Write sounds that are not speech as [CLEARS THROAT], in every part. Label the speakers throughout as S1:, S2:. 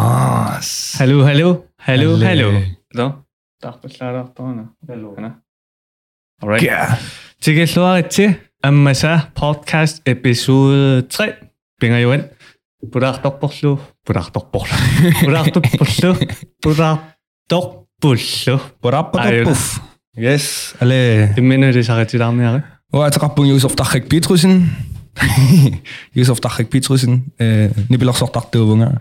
S1: Yes.
S2: Hello, hello, hello,
S1: Hello.
S2: hello. До. Тартуллаараа тоона. Hello. All right.
S1: Yeah.
S2: Til slået til Amasa podcast episode 3. Binger jo ind. Budartorporlu. Budartorporlu. [LAUGHS] Budartorporlu. Budartorporlu.
S1: Бараппатуф. Yes. Oh, Але
S2: Det minder det sig rigtig om, jeg
S1: уатеқарпун Юсуф Тахрик Петрусин. [LAUGHS] Юсуф Тахрик Петрусин э нипилэрсортартуунга.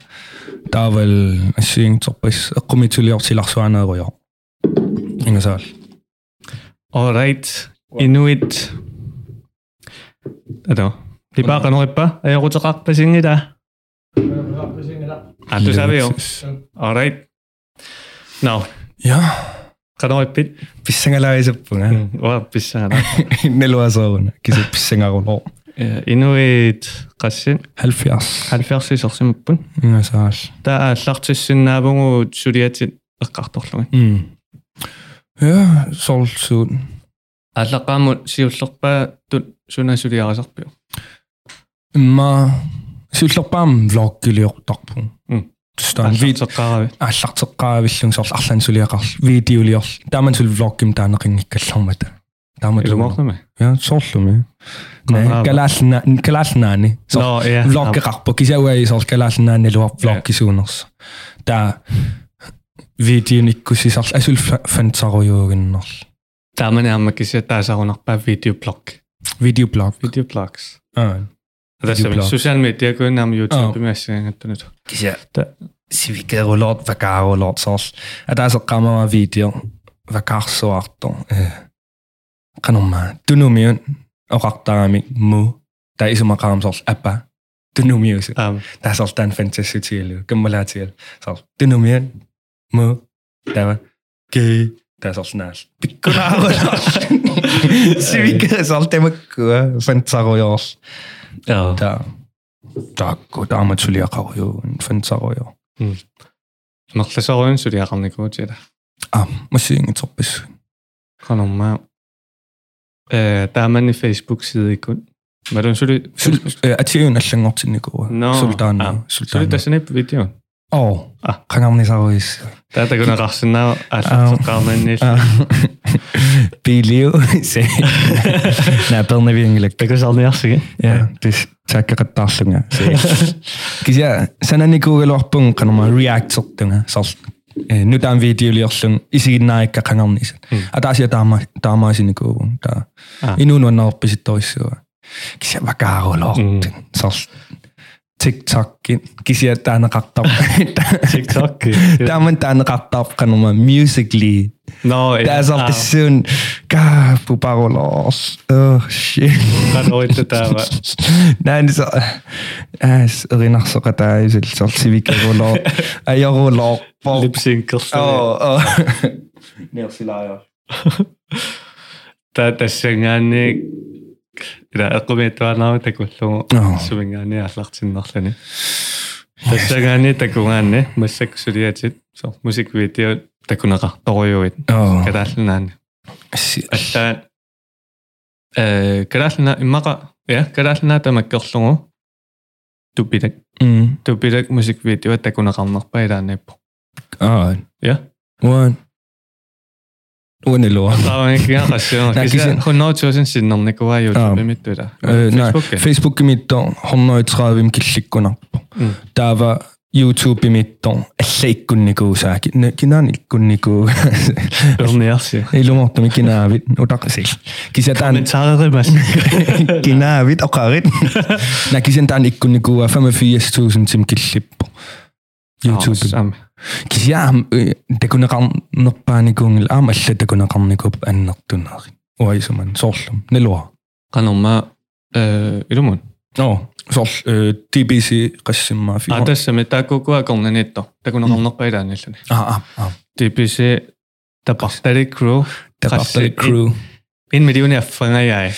S1: Таавал ассиингторпис эққумитулиортиларсуанеруйо. Ингасаал.
S2: All right. Inuit. Hvad Vi bare går noget bare. Er jeg rundt og rak på sengen i dag? Ja, du sagde jo. All right. Nå,
S1: Ja.
S2: går noget bit.
S1: [LAUGHS] Писсангалаисаппунга.
S2: Åh, bizarre.
S1: Нэлуасаарун кисэ писсангарулоо.
S2: Э, Inuit qassin
S1: 70.
S2: 70 isorsimuppun.
S1: Ингасаал.
S2: Таа аллартиссиннаавугу сулиатит эққарторлуги.
S1: Мм. Hmm. Ja, solsuden.
S2: Аллаққаамут сиуллерпаа тут суна сулиарасарпиу.
S1: имма суллерпаам влог гилиортарпу
S2: Мм.
S1: тстан вид
S2: Аллартеққарави.
S1: аллартеққаавиллун сорл арлан сулиақарл видеолиор тааман сул влоггим таанеқингиккаллармата тааман
S2: Илумоорнама.
S1: я сорлуми Ne,
S2: Канава.
S1: калаална калаалнаани сор
S2: Но я.
S1: влог геқарпу кисауаи сор калаалнаани луар
S2: Ja.
S1: влог кисуунерс таа видеониккусисарл асул фантаруйуугиннерл
S2: Таамани аама кися таасарунарпаа видеоблог.
S1: видеоблог
S2: Видеоблогс.
S1: аа
S2: Адасами
S1: Videoblog.
S2: социал медиа гуйнаам
S1: Åh.
S2: YouTube миассаангаттунут.
S1: кися
S2: Да.
S1: сивикерулоорт вакаарулоорт сорл атаасеққамава видео вакаарсуарто э канорма тунумиун оқартарами му таисумақарам сорл апа тунумиус
S2: Аам.
S1: таасорл таан фантаситиалу каммалаатиал сорл тунумиун му тава ке таасорл наал [LAUGHS] пиккунаарулоорл сивикер сорл тамаккуа фантаруйоорл
S2: Аа.
S1: та таакку тааматсулиақарюу фантаруйоо
S2: Марласоруун сулиақарникуутила.
S1: аа массиингиторпис
S2: Канамаа. Э таамани Facebook сиде иккун. Марун сули
S1: сул э, атиун аллангортинникуа
S2: Ноо.
S1: султаана
S2: сули
S1: султаана
S2: тассанеп видео.
S1: оо
S2: А.
S1: кангарнисаруис
S2: Таата гунеқарсинаа аллартеққарнанни
S1: [LAUGHS] билио се на пернавингилак
S2: такусарниарсиги.
S1: я тис таккаттаарлунга се
S2: [LAUGHS]
S1: кися niinku сананикуугалуарпун канама реактертунга сор э, нутаан видеолиорлун исигиннаикка кангарнисат
S2: Мм.
S1: атаасиа таама таамаасиникуувун таа
S2: Аа.
S1: инуунуаннаарписитториссуа кися
S2: Мм.
S1: вакаарулоортин сор TikTok-ин кися таанеқартар
S2: TikTok. [LAUGHS]
S1: Таман таанеқартаар канама musically
S2: Но э,
S1: That's all
S2: аа,
S1: the soon. Ка пупаролос. Oh shit.
S2: каноитта таава.
S1: [LAUGHS] Нэн со ас ринарсоқатаа исэлсор сивикагулоо аярулоо пор.
S2: Липсинкерс.
S1: Оо. Нерсилаа.
S2: Таа тассангаани ира эқумиттуанаа такуллугу
S1: Аа.
S2: сумингаани аллартиннерлани. Тассангаани такунгаани массаксулиатит со музик видео такунеқарторуйуит.
S1: Оо.
S2: Кадаалнаани. аллаа э гэрэлна иммака я гэрэлна тамаккерлугу тупилак
S1: Мм.
S2: тупилак музик видео такунеқарнерпа илаанаппо
S1: Аа.
S2: я
S1: One. One лоо.
S2: тааван киа қассаа
S1: Наа,
S2: киса
S1: кисин-
S2: хонноотуусин синнерникуа
S1: Аа.
S2: ютуб миттула
S1: Э, наа,
S2: фейсбук
S1: Facebook имитто 130 килликкунар.
S2: Мм.
S1: Таава YouTube имитто аллаиккунникуусаа кина кинаан [LAUGHS] иккунникуу.
S2: өрниарси
S1: Илумортуми кинаавит утақсил. Кисатаан
S2: комментарери мас
S1: кинаавит [LAUGHS] оқарит. На кисантаан иккунникуа 85000 тим киллиппо. YouTube.
S2: ам
S1: Кисяам такунеқарнерпааникуунгил аама алла такунеқарникуп аннертунаари. Уайсуман соорлум нэлуа.
S2: канорма э илумун
S1: Оо, соорл э, DBC қассиммаа фи.
S2: атассами такукуа корнанитто такунеқарнерпа илааниллани
S1: Аа, аа.
S2: типисе тапартали кру
S1: Тапартали
S2: Qasse-
S1: er crew.
S2: En million er fanger jeg.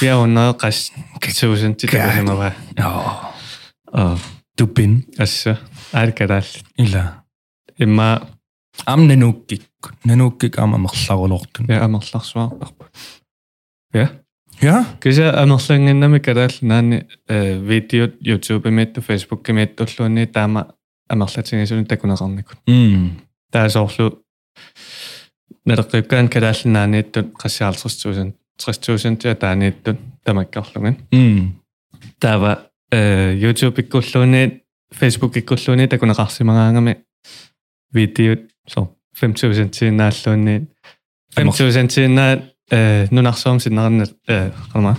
S2: Vi har hundrede rest tusind til det,
S1: God.
S2: der var.
S1: Оо,
S2: Og
S1: тупин
S2: altså, er det galt.
S1: ила.
S2: Det er meget,
S1: Ам нануккик. Нануккик аама мерларулортун.
S2: jeg er meget slags svar. Ja.
S1: Ja.
S2: Kan jeg er meget slags э, inden med galt, når en video, YouTube med, og Facebook med, og så er det der med, амерлатсинисуни такунеқарникут
S1: Мм.
S2: таасоорлу налеққипкаан калааллинааннииттут қассаалсэрсуусан 30000 тиа таанииттут тамаккарлуган
S1: Мм.
S2: таава э YouTube иккуллууни Facebook иккуллууни такунеқарсимагаангами видео со 5000 тинааллуунни 5000 тинаа э нунарсоом синнарнэ э қарма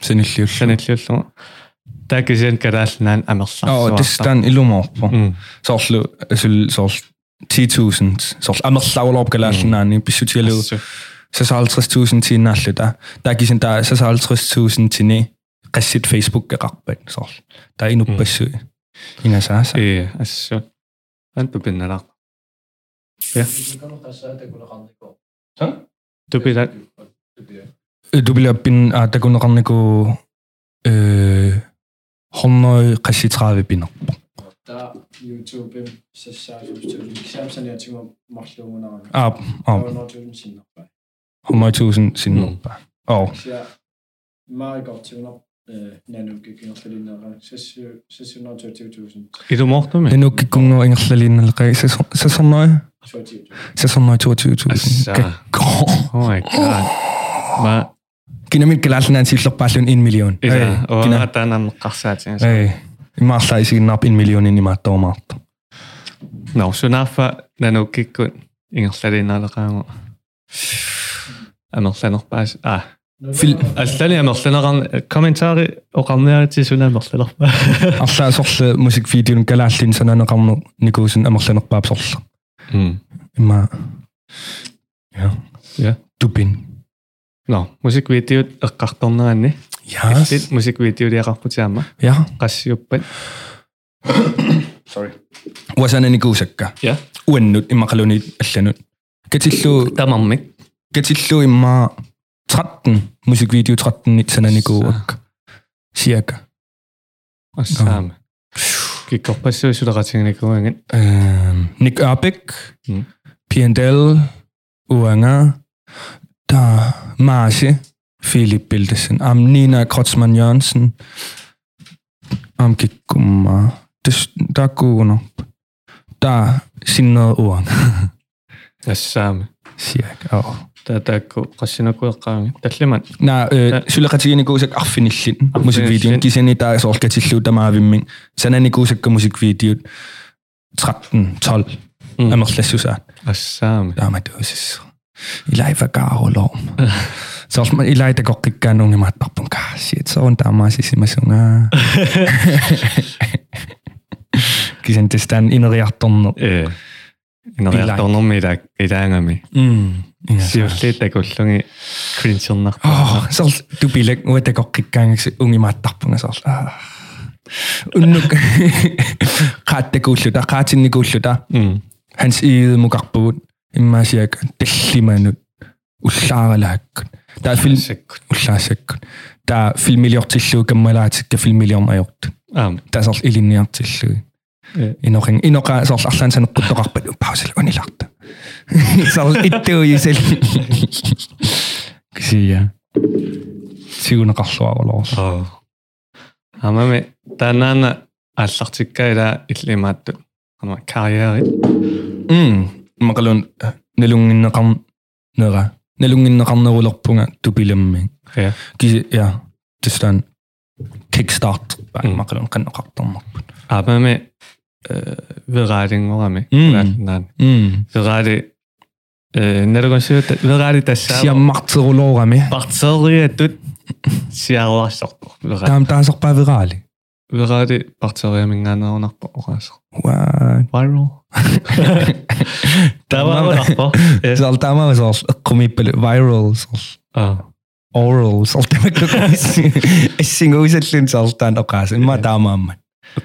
S1: Сэниллиуллу.
S2: каниллиуллума такисиан калааллинаан амерларсуа
S1: Оо, тестан илумаарпо.
S2: Mm.
S1: Соорлу асул соорл 10000 соорл амерлаулоорп калааллаани писсутигалу сасаалтрistуусин тииннаарлута таакисин таа сасаалтрistуусин тини qassит facebook qeqarpat soorl taa inuppassui inasaasa
S2: э ассу ан тупинналаа тупила
S1: дублаппин а такунеқарнику э хорной qassitрааве пинер
S3: та YouTube-м сассаалуустуул экзаменсаниа тима марлуунаага
S1: а а
S3: аунотуун синнерпаа
S1: хорной туусин синнерпа оо
S3: сиа май гортуна э нану гикинерлинера сассу сассунотуутуутуусин
S2: илумоортуми
S1: нэнук киккунгоо ингерлалиинналеқай сасерной
S3: суатиуту
S1: сасерной туутуутуусин
S2: ассаа Oh my god. Ма
S1: кинамит калаалнаан силлерпааллун 1 миллион
S2: иса
S1: кина-
S2: оо таанам қарсаатин.
S1: Эй, имаарлаисигин нап 1 миллионин имааттоомаарт.
S2: Ноо сунафа нануккиккут ингерлалинаалеқаангу. Амерланерпаас а
S1: Фил-
S2: аллани амерланеран комментари оқарниарити сунаамерлалерпаа.
S1: Арлаа сорлу музик видеон калааллин санаанеқарну никуусин амерланерпаап сорла. Има Я.
S2: Я.
S1: Тупин.
S2: Ноо музик видео эққарторнеранни.
S1: Я.
S2: Иллит музик видео лиақарпутиама
S1: Я.
S2: қассиуппат.
S1: Sorry. Wasana никуусакка.
S2: Я.
S1: Уаннут имақалуни алланут. Катиллу
S2: Тамармик.
S1: катиллу имма 13 музик видео 13 санааникууакка. Сиака.
S2: Ассаама. Киккорпассуу сулеқатингникуангат.
S1: Øhm, Nick Ørbæk,
S2: Mm.
S1: mm. Piandel, Uanga, der Marge, Philip Bildesen, am Nina Krotzmann Jørgensen, am Gikumma, Det- der er gode nok. Der er sin noget Uanga,
S2: Ассаама.
S1: siger jeg. Oh.
S2: таатаакку қассинакуэққаами таллимат
S1: Nej, øh, Sula Katigini Gosak Affinillin, musikvideoen. De sender i dag, så skal til slut, der meget ved mig. Sådan er Gosak musikvideo 13, 12,
S2: Mm.
S1: mm. er mig slet susan.
S2: ассаами
S1: Lad mig døses. I lege for garo lov. Så også man, i lege, der går ikke gør nogen i mig. Bare bunga, shit, så rundt der mig, så siger man sådan, ah. Gisen, det stand ind i reaktoren.
S2: э инериарторнэрмилаак илаангами
S1: Mm. Ja, så.
S2: сиуллиит такуллунги кринсернар
S1: Åh, så du bilag, nu er der går ikke gang, så unge mig, der bunga, så ah. [LAUGHS] Unnuk. Katte gulluta, katinni gulluta.
S2: м
S1: Hans eget mugarpun. Imma siger, dellimanut. Ullaralag. Der er film,
S2: сакку
S1: уллаасаккут таа филмилиортиллуу каммалаатикка филмилиормаёрт
S2: аам
S1: таасарл илинниартиллуу
S2: Э.
S1: инорин инока сарл арлаан санеккуттоқарпат паусал [LAUGHS] униларта сарл иттууисал [LAUGHS] ксия сигунеқарлуарулоорс
S2: оо амами таанана аллартиккаила иллимаатту ама карьери
S1: м мақалун налунгиннеқар нера налунгиннеқарнерулерпунга тупиламми
S2: я
S1: киси я тестан kickstart
S2: Мм.
S1: мақалун қаннеқартармар
S2: амами э вераалингорами
S1: Мм.
S2: наан
S1: м
S2: вераали э нэргонсиу вераали тассаа
S1: сиаммартерулоорами
S2: партериатут сиарлаарсарпу вераа
S1: Там таасарпаа вираали.
S2: вераали партериамингаанерунарпу ораасо
S1: Ваа.
S2: [LAUGHS] viral таваарпо
S1: Зал тамаа зал комиппел viral зал
S2: Э, а
S1: oral зал [LAUGHS] тамаккус. E Эссингуусаллун залтаан оқаас имма таамаамма.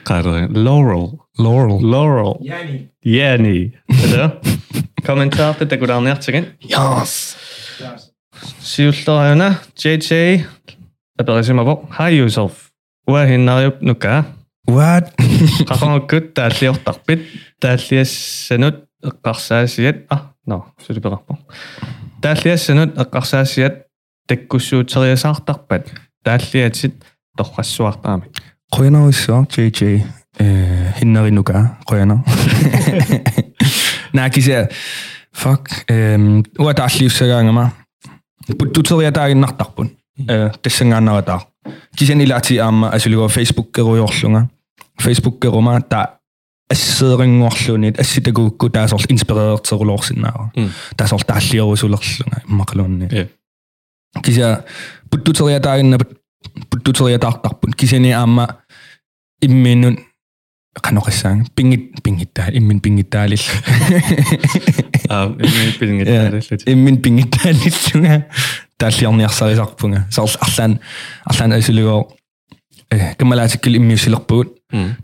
S2: карэ laurel
S1: Laurel.
S2: laurel
S3: яни
S2: яни [LAUGHS] да комментар тэ гударниартиген
S1: Yes.
S2: сиуллераана jj апэрисимаво hi yourself уа хиннариуп нука
S1: What?
S2: qaqangukut taalliortarpit taalliassanut eqqarsaasiat а но сулиперарпо тaalliassanut eqqarsaasiat таккуссуутериасаартарпат тааллиатит торрассуартаами
S1: Қойнаусо JJ. э хиннаринука [LAUGHS] қояна накисе fuck øhm, эм уа таалливсагаангама путтутериатаагиннартарпун э тассангааннаратаа кисен илати аама асулигоо фейсбук керуйорлунга фейсбук керума та ассеерингуарлунит асситагуукку таасорл инспиреертерулоорсинаава
S2: Мм.
S1: таасорл тааллиерусулерлунга иммақалуунни
S2: Е.
S1: кися путтутериатаагиннапут путтутериатаартарпун кисени аама имминун каноқиссаан пингит пингиттаа иммин пингиттаалил [LAUGHS]
S2: аа [LAUGHS] энэ бидний хэлэлээ
S1: иммин [LAUGHS] пингиттаалиллунга тааллиарниарсарисарпунга сарл арлаан арлаан асулигоо э камалаатиккил иммиусилерпугут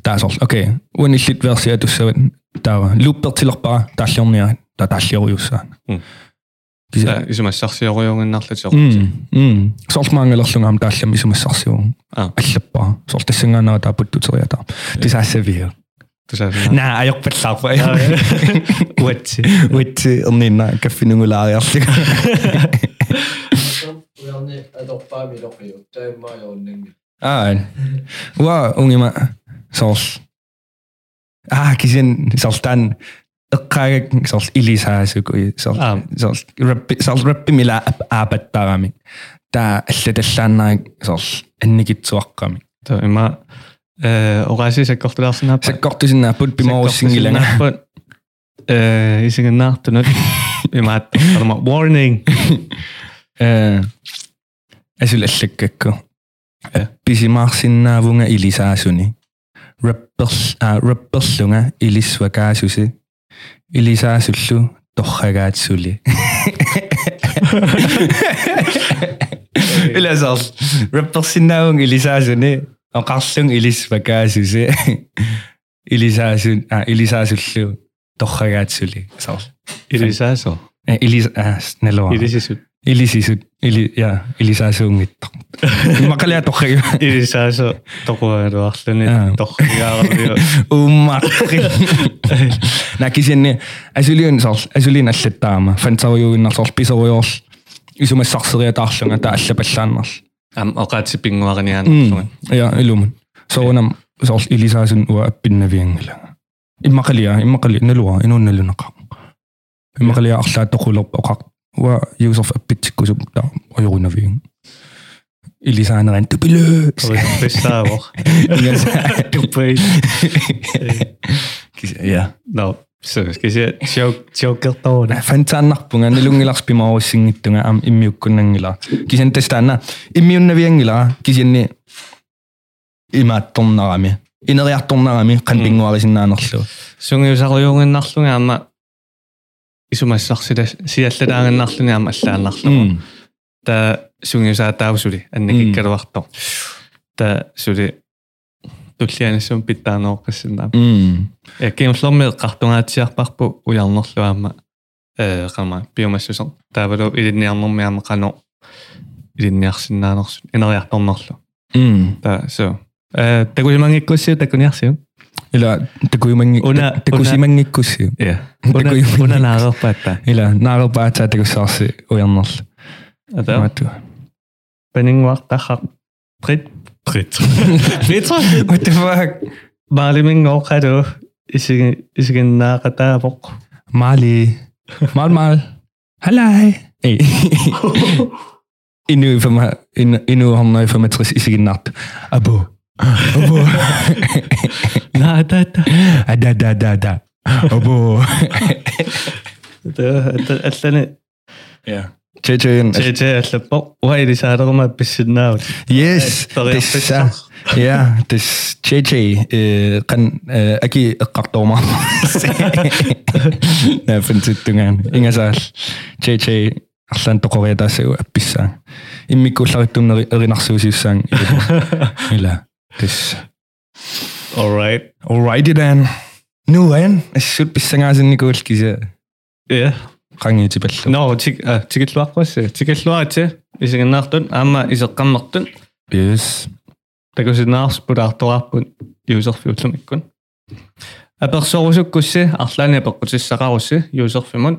S1: таасорл окей уаниллит версиа туссават таава луппертилерпара тааллиорниа та тааллиориуссаана
S2: Мм.
S1: кися
S2: исумассарсиориунгиннарлу
S1: м
S2: соорти
S1: м сортмаангалерлунга ам тааллам исумассарсиуун
S2: Аа.
S1: аллаппара сортассангаанаа таа путтутериатаа тисаассавиа
S2: тусаасна
S1: наа аёрпаллаарпа [LAUGHS] уатти уатти оннина каффинугулаариарлуга [LAUGHS]
S3: Уянни адорпаа милоқиу таамаа яуннангил.
S1: Аа. Уа унгима сорл. Аа кисен сортан эққаагак сорл илисаасуку сорл
S2: Аа.
S1: сорл рэп сорл рэп мила аапаттарами та аллаталлааннарик сорл анникитсуаққами
S2: то има э орасси саккортулаарсинаа
S1: саккортусиннааппут пиморуссингилана
S2: Саккортусинаарпут, э исигиннаартунут имаат тарма warning
S1: э асул аллаккакку
S2: Э.
S1: писимаарсиннаавунга илисаасуни рэпперл а рэпперлунга илисвакаасуси илисаасуллу [LAUGHS] торхагаатсули иласал рэпперсиннаавунга илисаасуни оқарлун [LAUGHS] илисвакаасуси илисаасун а илисаасуллу торхагаатсули сар
S2: илисаасо
S1: э, илис а снелоа
S2: илисису
S1: Илисисут или я илисаасуунгитто. Макалиа торхи
S2: илисаасо
S1: Аа.
S2: токуаруарлуни торхиаарвио
S1: уммақри. Накисинне асулиун сор асулиин аллаттаама фантариугиннарсор писориор ja исумассарсериатаарлунга та аллапаллааннар.
S2: ам оqaатси пингуариниаанарлуга
S1: Я илумун. Соонам сор илисаасун уа аппиннавиангала. Иммакалиа иммакали налуа инунналунақа. Иммакалиа арлаа тоқулерпа оқақ уа юсерф аппитсиккусуп та оюрунавиин. Илисаанеран тупилөө.
S2: писаавор тупэй Eh,
S1: ja
S2: но сэ скисе чок чокертоона
S1: фантааннарпунга нилунгиларс пимааруссингиттунга ам иммиуккуннангила кисен тестаана иммиуннавиангила кисинни имаатторнарами инериарторнарами канпингуарисиннаанерлу
S2: сунгиусариунгиннарлунга аама исумассарсила сиаллалаагиннарлуни аама
S1: Hmm.
S2: аллааннарлуга та сунгиусаатаавсули аннакиккалуарто та сули туллианассум питтаанооккассинаа
S1: м
S2: эккимллормил қартунгаатсиарпарпу улярнерлуаама э қама пиумассусер таавалу илинниарнэрмиаама қано илинниарсиннаанерсу инериарторнерлу
S1: м
S2: та со э такулимангиккуссиу такуниарсиу
S1: ила такуиманги
S2: Уна-
S1: такусимангиккуссиу
S2: я
S1: Такуй-
S2: уна наарерпаатта
S1: ила наарпаата такуссаарси уярнерл
S2: ата
S1: маату
S2: панингуартахар прит [LAUGHS] прит прит
S1: what the fuck
S2: маалимин оқалу исиги исигиннаақатаавоқ
S1: Mali. Mal, mal. Hallej. Hey. endnu, for mig, endnu, endnu ham, når jeg får mig trist i sig en nat. Abo. Abo.
S2: наа тата
S1: Ah, da, da, da, da. Abo.
S2: аллани
S1: Ja. Tjejjen.
S2: тэтэ аллаппо уайлисаалерма писсиннаавут
S1: Yes. Det er så. Ja, det er tjejje. Kan ikke ikke dommer. Nej, for en tid, du gerne. Ingen sal. Tjejje. Allan tokorea tässä jo appissa. Immikulla tunnar rinarsuusissaan. Illa. Tässä.
S2: alright
S1: Alrighty then. Nu en. Jeg synes, hvis jeg har sådan en god skisse.
S2: я
S1: Range til bælge.
S2: но тиг тигиллуаққас тигиллуате исигиннаартун аама исеққаммартун
S1: Yes.
S2: такусинаарс пулаартуарпут юсерфиуллум иккун аперсорусуккусси арлаани апеққутиссақарусси юсерфимун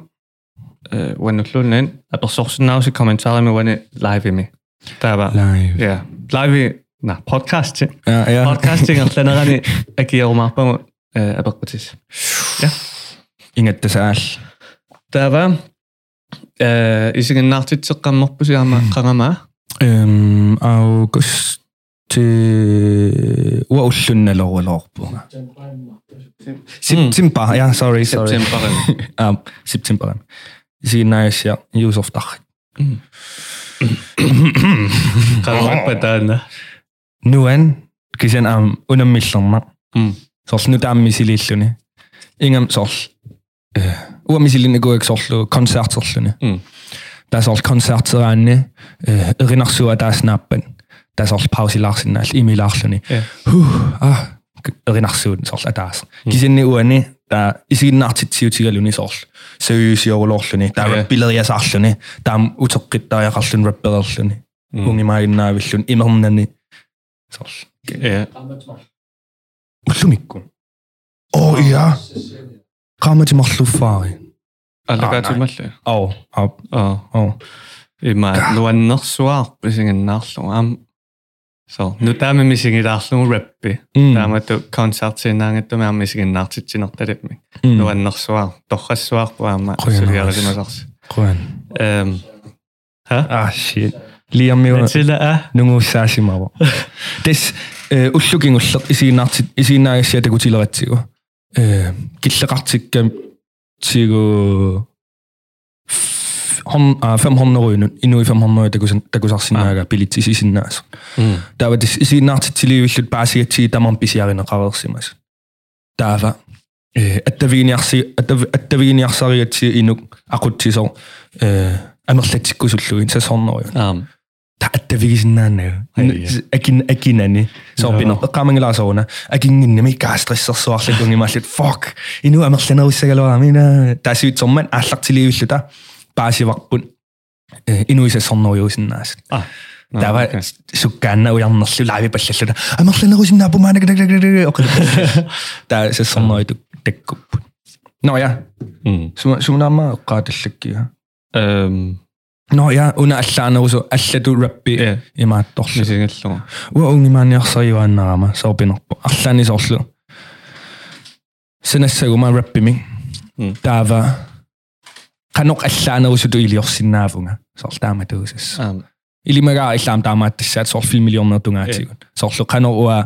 S2: э уаннуллуннан аперсорсинаруси комментарими уани лайвими таава
S1: Live. Uh,
S2: я лайви на подкаст чи
S1: Ja, ja.
S2: подкастинг алланерани акиерумаарпагу э апеккутис
S1: Inget tässä äl.
S2: таава э исигиннаартитсеққамморпуси аама қарамаа
S1: Øhm, augusti... Ua ullunne logu lorpunga.
S2: Mm.
S1: September, ja, sorry, sorry.
S2: септемберин
S1: Um, September. Siinä näissä ja Yusuf Tahri.
S2: қарамаа патаана
S1: Nuen, kysen am unemmillonna.
S2: Mm.
S1: Sol nyt ammisililluni. Ingam sol. Uamisillinne kuek sol konsertsolluni.
S2: Mm.
S1: Tässä on konsertseranne, rinnarsua tässä nappen. Tässä on pausilarsin näillä imilarsuni.
S2: Ie.
S1: Huh, ah, rinarsuun sol tässä.
S2: Hmm.
S1: Kysen ne uani, tämä isikin nartitsiutsikaluni sol. Seriösi joululluni, tämä
S2: Ie.
S1: rappileria salluni, tämä utokkittaa ja kallun rappilalluni.
S2: Mm.
S1: Ungimainnaavillun, imernani. Sol.
S2: э
S1: Ullumikkun. Oh, ja. Qaamat marluffaari.
S2: аллагаатималла
S1: Au, au,
S2: аа
S1: au.
S2: има нуаннэрсуаарпу сигиннаарлу аама со нутаами мисигилаарлугу рэппи
S1: Mm.
S2: таамату концертсинаангаттуми аама мисигиннаартитсинерталипми
S1: Mm.
S2: нуаннэрсуаар торрассуаарпу аама
S1: Qoyanaqas.
S2: сулиаралимасарс
S1: Qoyan.
S2: эм ха
S1: Ah, shit. Liam miuna.
S2: Этила а
S1: nunguussaasimaava [LAUGHS] tes eh, ullukin uller isiinaartit isiinaagassia takutilerattigu eh, killeqartikka tigu hon a 500 ruinun inui 500 takusan takusarsinaaga pilit isisinnaas taava tes isiinaartitsiliivillut paasigatsi tamam pisiarineqareersimas taava eh, attaviiniarsi attav- attaviiniarsarigatsi inuk aqutsiso eh, amerlatikkusulluin sasorneruyun
S2: ам
S1: тааттавигисиннаанаа
S2: Ай, я.
S1: акин акинани сорпино
S2: Joo.
S1: qaamangilaasaruna akinnginnami kaastrissarsuarlikun imaallit fuck inu amerlanerissagalwaamina taasiutsorman aallartiliivilluta paasivarpun э, инуисассорнериусиннаас
S2: а
S1: тава суккаанна уярнерлу лаави паллаллута амерланерусиннаа пумаанак оқил та сассорнериту таккуппут ноя
S2: mm.
S1: сума сумнаама оққааталлаккига
S2: эм
S1: ноя уна аллаанерусу аллату раппи
S2: э
S1: имаатторлу
S2: мисигиллугу
S1: уа унгимаанниарсаривааннаама сорпинерпу арлаани сорлу синассагума рэппими
S2: Мм.
S1: таава канок аллаанерусуту илиорсиннаавунга сорл тааматуусас
S2: ам
S1: илимага иллаам таамааттассаат сорл филмилиорнертунгаатигун сорлу канор уа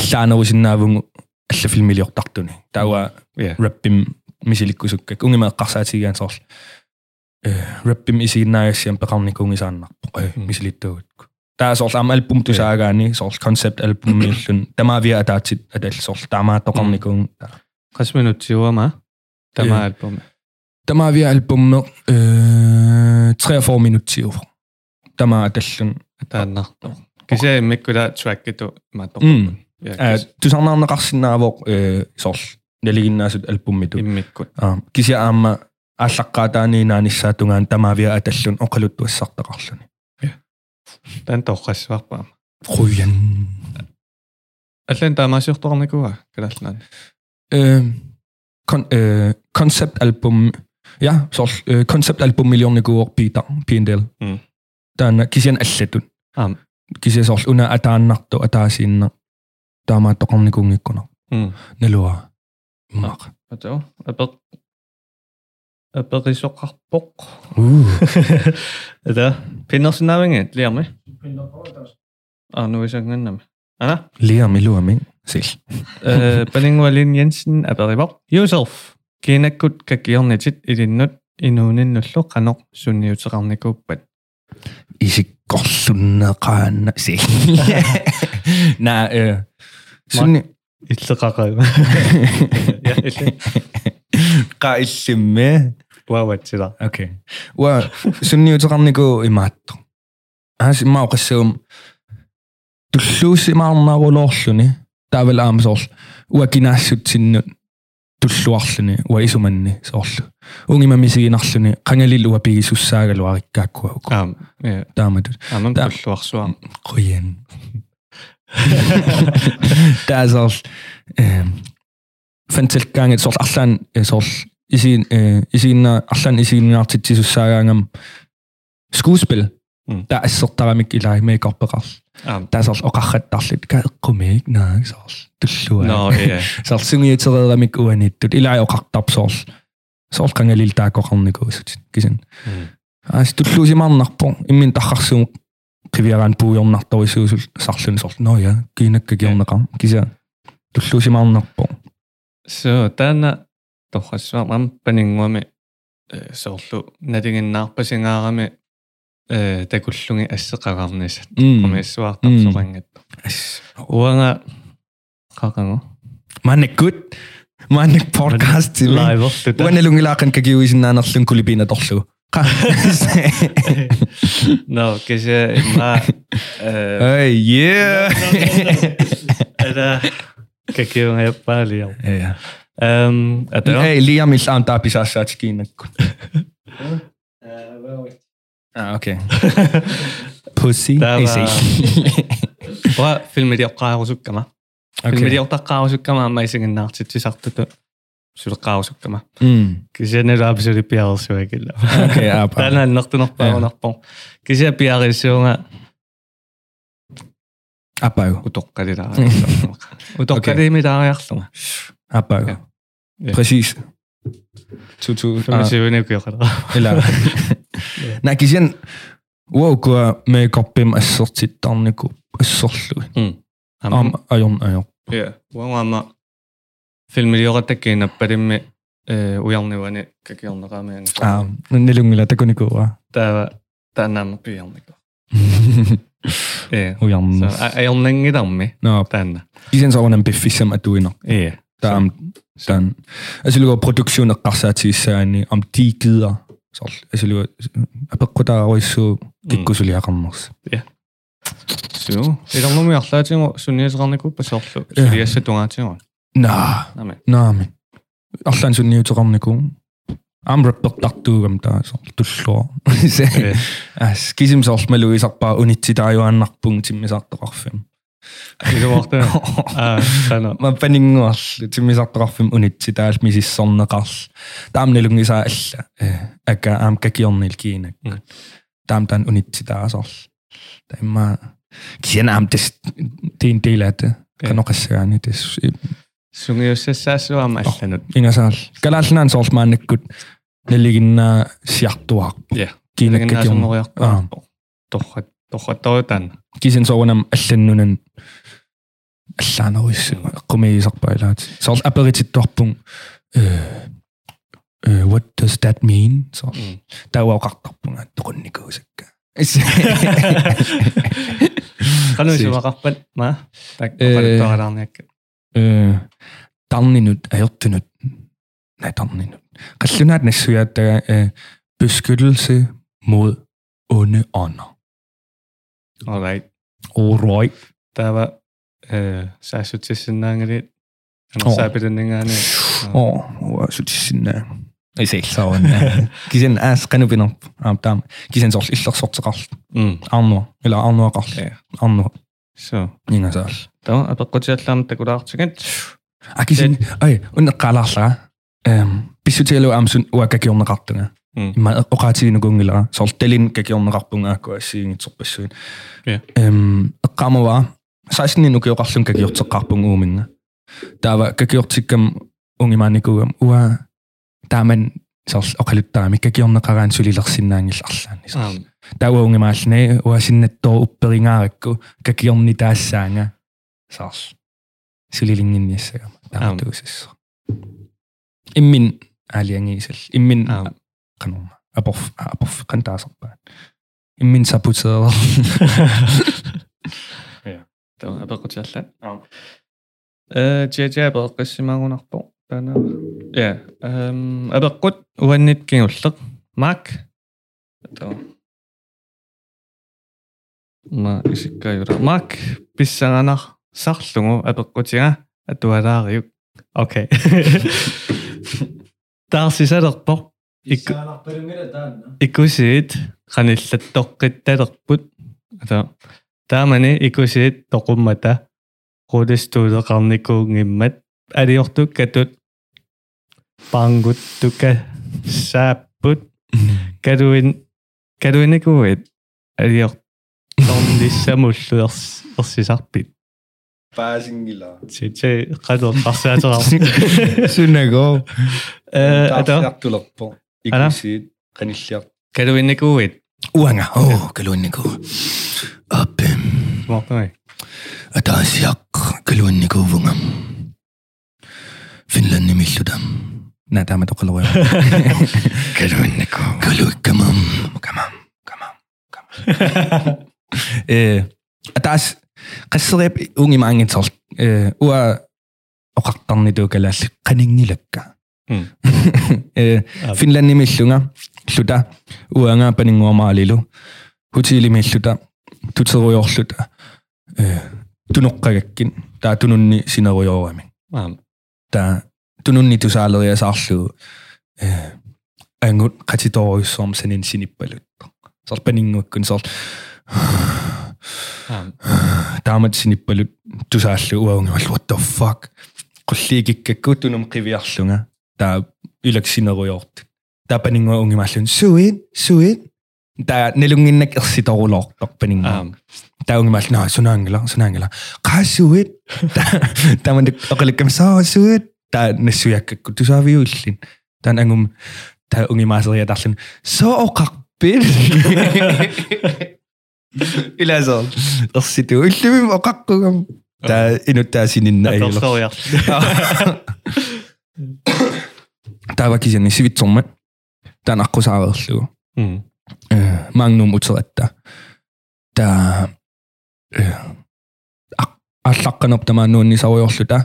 S1: аллаанерусиннаавунгу алла филмилиортартуни таава
S2: я
S1: рэппим мисиликкусуккак унгимаэккарсаатигиан сорл э рэппим исигиннаагассиам пеқарникунгисааннарпо э
S2: Мм.
S1: мисилиттуутку таа сорл аама альбум тусаагаани сорл концепт альбум миллун тамаавиа атаатсит атал сорл таамаа тоқарникун
S2: касминутсиуама тама альбом
S1: тамаавиа альбумме э 43 минуттиуф тамаа аталлун
S2: тааннарту кисаа миккула траккиту матор
S1: м
S2: я
S1: э тусаарнаарнеқарсиннаавоо э сорл налигиннаасут альбуммиту
S2: иммикку
S1: аа кися аама ааллаққаатаани нааниссаатунгаан тамаавиа аталлун оқалуттуассартақарлуни
S2: тан торрассуарпаа
S1: Rujan.
S2: аллан таамаасиорторникуа калаалнаан
S1: Øh, kon, øh, konceptalbum. Ja, så øh, konceptalbum millioner går Peter Pindel.
S2: Mm.
S1: Der er kisian alletun.
S2: Am.
S1: Kisian så under at der er nakto at der er sinna. Der er meget om ni kungi kuna.
S2: м
S1: Nelua. Mak.
S2: атоо апер аперисоқарпоқ [LAUGHS]
S1: Uh.
S2: эда пиннерсинаавингэ лиарми арнуисангэннами ана
S1: Lea milua min. Sil.
S2: э палингуалин янсен аперивоқ юселф кинаккут какиорнитит илиннут инууниннуллу канақ сунниутеқарникууппат
S1: Isi korsunna [LAUGHS] kaanna. Sil. Nää. Øh. Sunni.
S2: иллеқараа я илле
S1: Kaa illimme.
S2: ваватсила
S1: Окей. Уа сунниутеқарнику имаатту. Аас имаа оқассагум туллуусимаарнаарулоорлуни таавал аамсоорл уа кинаассутсиннут туллуарлуни уа исуманни соорлу. Унгимамисигинарлуни қангалилуа пигисуссаагалуариккааккуа
S2: ам я
S1: таамату.
S2: аман
S1: Да.
S2: пуллуарсуа
S1: [LAUGHS] Qoyan. Таасоорл эм фэнтэлкаангит соорл арлаан э, соорл äh, исиин э, исиинна арлаан исииннаартитсисуссаагаангам скуспил таасертарамик илаа мейкорпеқар
S2: Ам.
S1: таасерл оқарраттарлит каэққумиик наагсаарл туллуа
S2: No, yeah.
S1: сарсунгиитереэрамик уаниттут илаа оқартарпсоорл соорл кангалил таақоқарникуусут кисин
S2: Мм.
S1: аас туллуусимаарнарпо иммин тархарсуум қивиараан пуйорнарторисуусул сарлун соорл ноя кинакка киорнеқар киса туллуусимаарнарпо
S2: So tänä tohassa mampaningwami э, soorlu natinginnaarpasingaarami э такуллуги ассеқараарнисат
S1: Мм.
S2: комиссуартарсоқангат уанга қақанго
S1: маннаккут маннак подкаст тима
S2: лайверлута
S1: уаналунгилаақан какиуисиннаанерлун кулипина торлу қа
S2: но кеше ма
S1: [LAUGHS]
S2: э
S1: эй е
S2: это какие я палил
S1: Э.
S2: эм это
S1: Эй, Лиам ил аан тааписаассаач кинаккут. А, окей. Pussy
S2: Tämä-
S1: is it.
S2: ва фильм диоққаарусуккама фильм
S1: Окей.
S2: диоқтаққаарусуккама амайсигиннаартитсисартуту сулеққаарусуккама
S1: Мм.
S2: кисенэл абсолют пиарсуакилла
S1: Окей, апа.
S2: тана нартунерпаагунарпо кисе пиарисуунга
S1: Апаа.
S2: утоққалилаа
S1: Okei.
S2: утоққалимилаариарлума
S1: Апаа.
S2: Ja.
S1: Præcis. Tutu. ah,
S2: 25-ны куйоқалаа
S1: Eller. Nej, kisien. Wow, kua me koppim assortit tarniku assorlu. Am ajon ajon.
S2: Joo, huomaa filmi joka teki näppärimme ujalnivani kekialnakaamien.
S1: Ah, nelungila takuniku wa.
S2: Täällä tänään mä pyjalniko. Ei.
S1: Ujan.
S2: Ei ole nengi tammi
S1: No,
S2: tänne.
S1: kisien sa onen biffisem atuina.
S2: Ei.
S1: Der er, der er en, altså lukker produktion og græsser til serien, om de gider. Så, altså lukker, jeg bare der er også gik
S2: Mm.
S1: ud til jer rammer.
S2: Joo. Ei ole minun jahtaa, että sinun ei saa niinku pasollu. Sinun ei saa tungaa sinua.
S1: Nej,
S2: Näin.
S1: nej, men. Også en sådan nye til rammer kun. Am rapper der du om der så du [LAUGHS] slår.
S2: Ei.
S1: Altså, gisim så med Louis og bare unit til dig jo en nok punkt til mig sagt der [LAUGHS] fem.
S2: Eikä mahtaa. Tänään.
S1: Man finding også til mig sagt der fem unit til dig med sin sådan gas. Der er nemlig så alt. Akka am kakionnil kiinak.
S2: Mm.
S1: Tam tämän unitti taas olla. Tai mä... Siinä am tes... Tein teillä, että... Kanokassa niin tes...
S2: Sinun ei saa saa sinua mähtänyt.
S1: Inga saa. Kalasnan saa olla männe, kun... Nelikin sijoittua.
S2: Joo.
S1: Kiinakki
S2: Tänään sinun
S1: on.
S2: on jahtaa. Tohka. Tohka toi tänne.
S1: Kisin saa olla ällennunen. Ällähän olisi. Kumii sakpailla. Saa olla äpäritsit tuoppun. What does that mean? Saa olla. Tämä on kakkappun. Tukonnikuusikka.
S2: Kanuisin
S1: Siis-
S2: vaan kappen. Mä. Tai
S1: Ee.
S2: kappen tuodaan ehkä.
S1: [LAUGHS] Öö, tanninut, ajottunut, nej tanninut. Kallunaat næssu at der er beskyttelse mod onde ånder.
S2: All right.
S1: Og røg.
S2: täällä säästytsin nängri.
S1: Joo.
S2: No sääpidin ningäni.
S1: Og jeg synes, sin ei seilsa on. Kisen äs kanupin op. Am tam. Kisen sol illar sortsa kall. Anno. Eller anno kall.
S2: Joo.
S1: Anno.
S2: So.
S1: Ninga sall.
S2: Tämä on aika kotiatlam tekulaartsikin.
S1: A kisen. Ai, unna kalalla. Ehm. Bisutelo amsun uakakionna kattuna.
S2: Mm.
S1: ma oqaatiinu kungila sortelin kakiornerarpungaakku assiingitsorpassuin
S2: Ja.
S1: ehm eqqamava 16 nukioqarlun kakiorteqqarpung uuminga taava kakiortikkam ungimaanikuugam ua taaman sorl oqaluttaami kakiorneqaraan sulilersinnaangillarlaani
S2: Ah,
S1: sorl taava ungimaallani ua sinnattoo upperingaarikku kakiorni taassaanga sorl sulilinginniassagama
S2: Am.
S1: taatuusassa immin aliangiisal immin kanon. Abof, abof, kan der sådan bare. I min saboteret.
S2: Tämä on aika kotiatlam. Э, Jeje pelkkisimaagunarpo. Tänä. Joo. Aika kot uennitkin ullak. Mak. Tämä. Mä isikka juura. Mak. Pissangana sarlungu aika kotia. Tuodaariuk. Okei. Taas sisäderpo. Ikku. ikusiit qanillattoqqittalерпут ата таамани икусиит тоқуммата қулистуулеқарникуунгиммат алиортук катут пангуттука сааппут калуин калуиникууит Алиар торнисsamulluers ерсисарпит.
S4: Paasingila.
S2: Тэтэ гадор
S1: [LAUGHS]
S2: тарсаатераа.
S1: Synago.
S2: Э ата
S4: Taarsiartulerpo.
S2: Ана?
S4: Ikusiit qanilliar.
S2: калуинникууит.
S1: Uanga. Oh, kalunniku. Apem.
S2: Мартмай.
S1: Атаасиак калуанникуувнга. Финланни миллутам. На таама тоқалуя. Калуаннику. Калуиккамам. Камам. Камам. [LAUGHS] Камам. Э атаас қассерип унги маангитсор э уа оқартарни туукалаалли қанингилакка. [LAUGHS]
S2: Мм.
S1: Э Финланни миллунга лута уанга панингуамаалилу хутили миллута тутеруйорлута э tunuqqagakkin taa tununni sinerujoorami
S2: Аам.
S1: taa tununni tusaaleriasaarlugu э ангут қатиторуйссорм санин синиппалутто сорпанингуаккун сор [SIGHS]
S2: Аам.
S1: таамат синиппалут тусааллу уаунгавал ja what the fuck um qulliikikkakku tunum qiviarlunga taa ilaksinerijoort taa paninnga ungimaallun suit suit taa nalunginnak ersitorulortoq paninnga
S2: Аам.
S1: таунг мална сунаангла сунаангла қаасуит таман оқаликкам саасуит та нассуяккакку тусаавиуллин таан ангум та унги маасерия тарлун со оқарпит илазол ерситу уллумим оқаққугам та инуттаасининна аилер
S2: Аторсориар.
S1: тава кисианни сивитсорма таан аққусаареерлугу Mm.
S2: Мм.
S1: magnum utsaetta. Tää äh, allakkan optama nuunni saujohluta.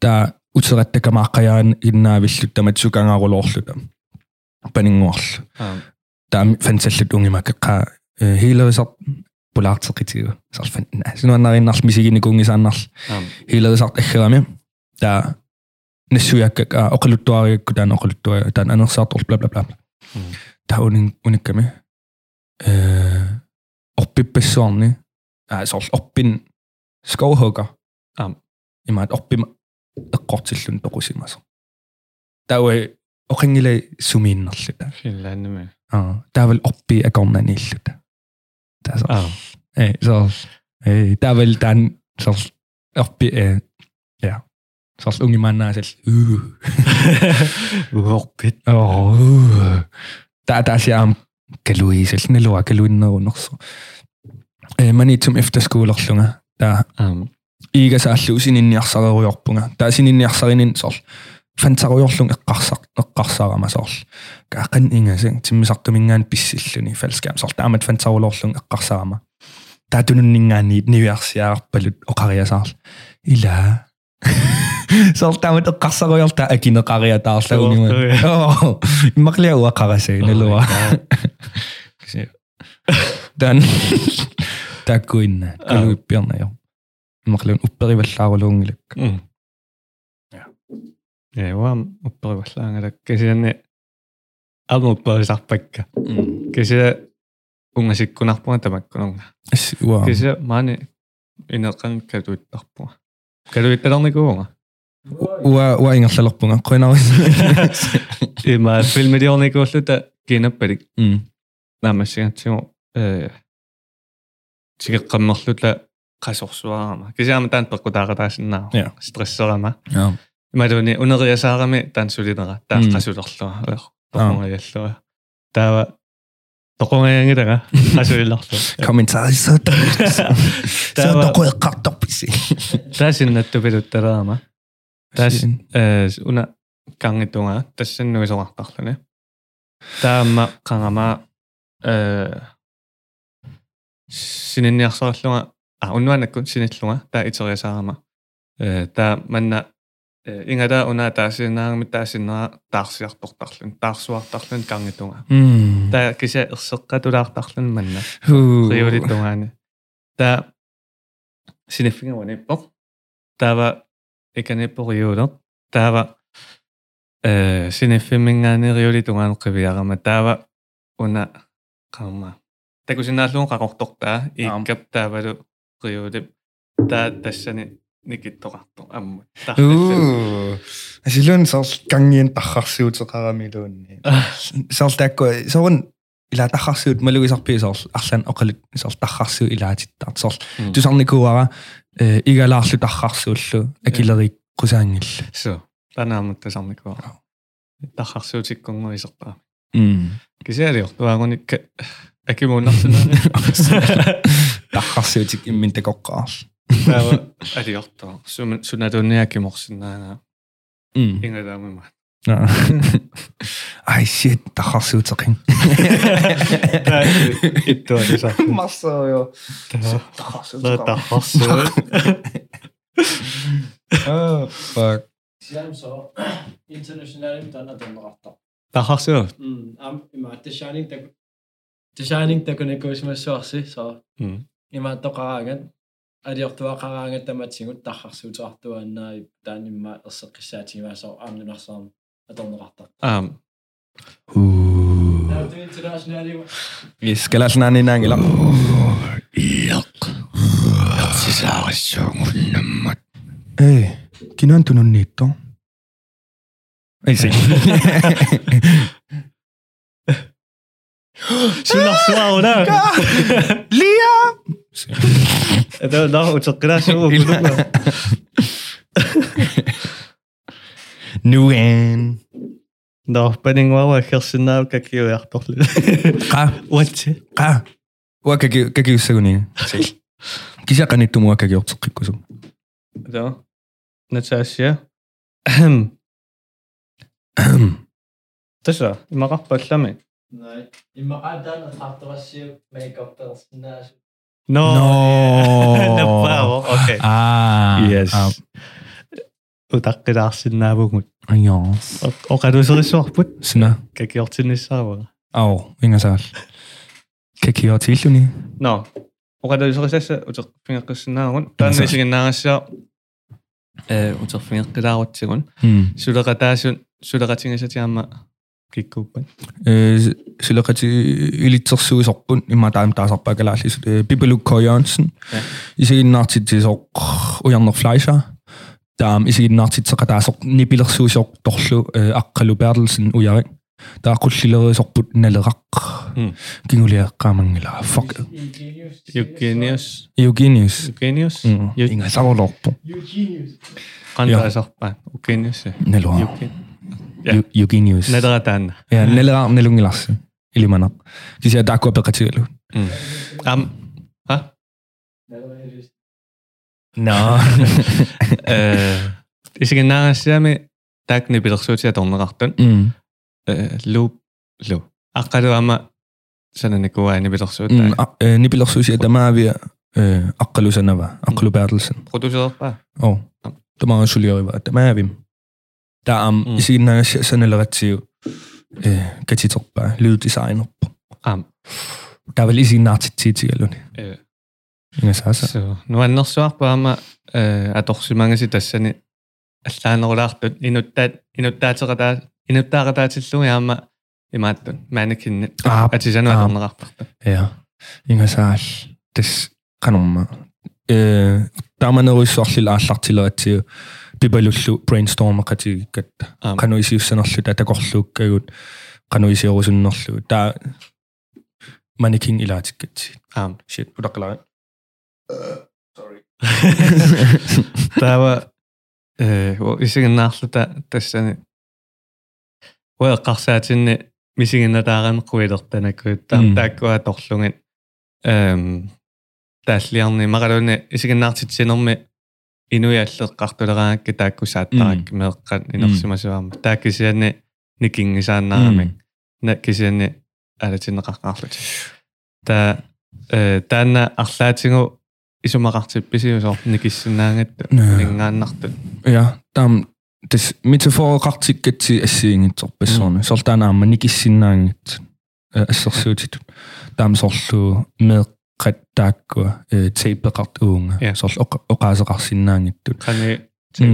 S1: Tää utsaetta kamakkajan innaa villutta metsukangarulohluta. Paningohlu.
S2: Аам.
S1: Tää fentsellut ungimakka hiilavisat pulaatsakitsiu. Sinua narinnall misikin kungisannall
S2: Аам.
S1: hiilavisat ehkärami. Tää nessujakka okaluttuariakku tän okaluttuariakku tän anersaatol bla bla bla.
S2: Мм.
S1: таа уник уникками э оппиппассуарни аа сорл оппин скоухога
S2: Ам.
S1: имаат оппим эққортиллун тоқусимасо тауэ оқингила сумииннерлута
S2: Финландме.
S1: аа таавал оппи акорнаниллута таа сорл
S2: Аам.
S1: э сорл э таавал таан сорл оппи э я сорл унгимааннаасал уу
S2: Уорпит.
S1: uh. Åh. uh. Der er der siger om kalui, selv når lort kalui når under så. Eh, Man er som efterskole og slunger. Der
S2: Аам.
S1: ikke så alt sin ind i akser og jobbunger. Der er sin ind i akser ind i sol. Fandt sig og slunger akser og akser og masol. Gærken ingen ting. Til mig sagt om ingen bissil i fællesskab. Så der er med fandt sig og slunger akser og masol. Der er du nu ingen i nyværsjær og karriere sol. [LAUGHS] Illa. Så der er med akser og jobbunger. Der er ikke karriere der er slet Joo, mä kyllä uokarasi, ne luo. Tän, [LAUGHS] tää kuin, kyllä
S2: Joo.
S1: yppianne jo. Mä kyllä upperi välillä on lungilekka.
S2: Mm. Ja. Ja, vaan uppari vastaan, että kysyä ne almuppari sappekka. Kysyä unga sikkun ahpuun tämä kun onga.
S1: Wow.
S2: Kysyä maani inalkan käytuit ahpuun. Käytuit tätä onniku onga.
S1: Ua, ua engalla loppunga, koin alas.
S2: Mä filmidi onniku sitä kiinnopedik
S1: [LAUGHS] Mm.
S2: намасиан тимо э сигеккаммерлута қасорсуарама кисяама таан пеккутаагатаасиннаа
S1: Joo.
S2: стрессерама
S1: Joo.
S2: ималуни унериасаарами таан сулинера таа
S1: Mm.
S2: қасулерлуа аер тоқунгаяллуа таава тоқунгаангилага қасулилларлу
S1: Kommentaari saattaa. Se
S2: Tää
S1: on
S2: on-
S1: toko ja kattopisi.
S2: таасиннаттупилуттараама Tässä- э уна кангитуга тассаннуисоқартарлуни таама қангама э сининниарсаарлунга а уннуанакку синиллунга таа итериасаарама э таа манна э, ингада уна таасиннаарми таасиннера таарсиартортарлун таарсуартарлун кангитуга
S1: Mm.
S2: таа кися ерсеққатулаартарлун манна
S1: Huu.
S2: приоритунгаани таа синиффингауаниппо таава иканиппориуулер таава э синиффиммингаани риулитунгаан қивиарама таава уна қарма такусинааллуун қақортортаа ииккап таавалу риулип таа тассани никиттоқарто амму тарлиффи
S1: Huu. [LAUGHS] Silloin se on kangien tahassi utsa karamilun. Se on täkkö, se on илаатахарсуут малугисарпиисаарл арлан оқалик сарл тархарсуу илаатиттарт сарл тусарникууара э игалаарлу тархарсууллу акилерик қусаангилла
S2: су танаамутта сарникуара тархарсуутиккунгуисертаа
S1: [LAUGHS] м
S2: кисиалиор туаагуникка акимууннарсунаани
S1: тархарсуутик иммин такоққаарл
S2: таава алиортаа суман сунатунниакиморсинаана
S1: м
S2: ингадаамима
S1: Аа. [LAUGHS] ай shit тархарсуутеқин
S2: иттуалиса
S4: Массаа ёо.
S2: лата хорсуу
S4: Аа.
S1: fuck
S3: Siam så internationalt den er den rätta.
S2: тахарсуу
S3: Mm, am ima The Shining der The Shining der kunne gå som så se så.
S2: Mm.
S3: Ima der qarangan. Adi ortua qarangan tamatsingut tarxarsuut artuanna taan imma erseqissaatiima so amnunarsaam atornerarta.
S2: аам
S3: Now the international
S1: yes galalnaani naangila
S4: Сисаарисуунгуннаммат.
S1: эй кинан тунунниитто ай [LAUGHS] си
S2: сунарсуаруна
S1: лиа
S2: это наа утеққилаасуу
S1: нуэн
S2: наа панингуава херсинаа какиуярторли
S1: qa
S2: уатси
S1: qa уакаги какиуссагуни [LAUGHS] кисяқаниттум уакагиортеққиккусум
S2: да натасия тэша имақарпаллами
S3: Nej. Ima adan artuassiu makeup personage.
S2: [LAUGHS] но
S1: но
S2: [LAUGHS] напао окей
S1: аа
S2: yes утаққилаарсинаавгут
S1: аё
S2: оқалусерисуарпут
S1: сна
S2: какиортиннссаава
S1: ау ингасаал какиортииллуни
S2: но оқалусерисасса утеқ фингеққиссинаагун тааннисигиннаагассаа э утеқ фингеққилаарутсигун
S1: м
S2: сулеқатаасун сулеқатингасатиама киккууппат
S1: э силакати илитсерсуисорпун има таам таасарпакалаалли бибелук коянсен
S2: Ja.
S1: исигиннаартитсисоқ уярнер флайша таам исигиннаартитсеқатаасоқ нипилерсуисоқ торлу аққалу перлсен уяри тааққуллилерисорпут налеқақ
S2: Mm.
S1: кингулиаққаамангила fuck
S3: Eugenius.
S2: юкениус
S1: евгениус
S2: юкениус
S1: Mm.
S2: ю-
S1: ингасарлорпу
S3: Eugenius.
S2: қандаасарпаа юкениус
S1: налуа
S2: юкен Ja.
S1: евгениус
S2: надаратаан
S1: я налеқар налунгиларси илиманақ кися таақкуа пеқатигалу
S2: Mm. ам а
S3: Eugenius.
S1: [LAUGHS] наа
S2: э исигиннаагассаами таакни пилэрсуутиа торнеқартун
S1: м
S2: э лу лу аққалуама сананикуаани
S1: М,
S2: пилэрсуута
S1: а- э, нипилэрсуусиа тамаавиа э аққалусанава аққалупаарлсен
S2: продусерпаа
S1: о тамаа сулиорива тамаавим таам
S2: Мм.
S1: исигиннагасса саналератсиу э катиторпаа людисайнерпо
S2: Ам.
S1: тавал исигиннаартитсиитигалуни
S2: э
S1: ингасааса
S2: соо нуаннэрсуарпаама э аторсимангаси тассани аллаанерулаартут инуттаат инуттаатеқатаа инуттаақатаатиллуги аама имааттун маанакинни
S1: Аа.
S2: атисануа торнеқартарта
S1: я ингасаал тас канорма э таманеруссуарлил ааллартилератсиу пипалуллу брейнсторм қатигиккат
S2: Ам.
S1: кануисиуссанерлута такорлууккагут кануисиорусуннерлу таа манекин илаатиккатси
S2: аам
S1: shit [LAUGHS] утаққалаа sorry
S2: Ah.
S1: [LAUGHS]
S2: таава э о- исигиннаарлута тассани уэ қарсаатинни мисигиннатааранеққуилертанаккуит таа
S1: Мм.
S2: тааккуа торлугин эм тааллиарни мақалуни исигиннаартитсинерми инуяаллеққартулераакки тааккусааттарак меққан инерсимасуарма тааккисианни
S1: Hmm.
S2: никингисааннаарамик наккисианни алатиннеқарқарлут та э таана арлаатингу исумақартипписиусоор никиссинаангатту
S1: Нэ.
S2: нингааннарту
S1: ja там тас метафорақартиккатси ассиингитсорпассуарни сортаанаама никиссиннаангит äh, ассерсуутит таам сорлу меққаттааккуа э тейпеқарт уунга
S2: Ja.
S1: сорл оқаасеқарсиннаангиттут
S2: кани
S1: Мм.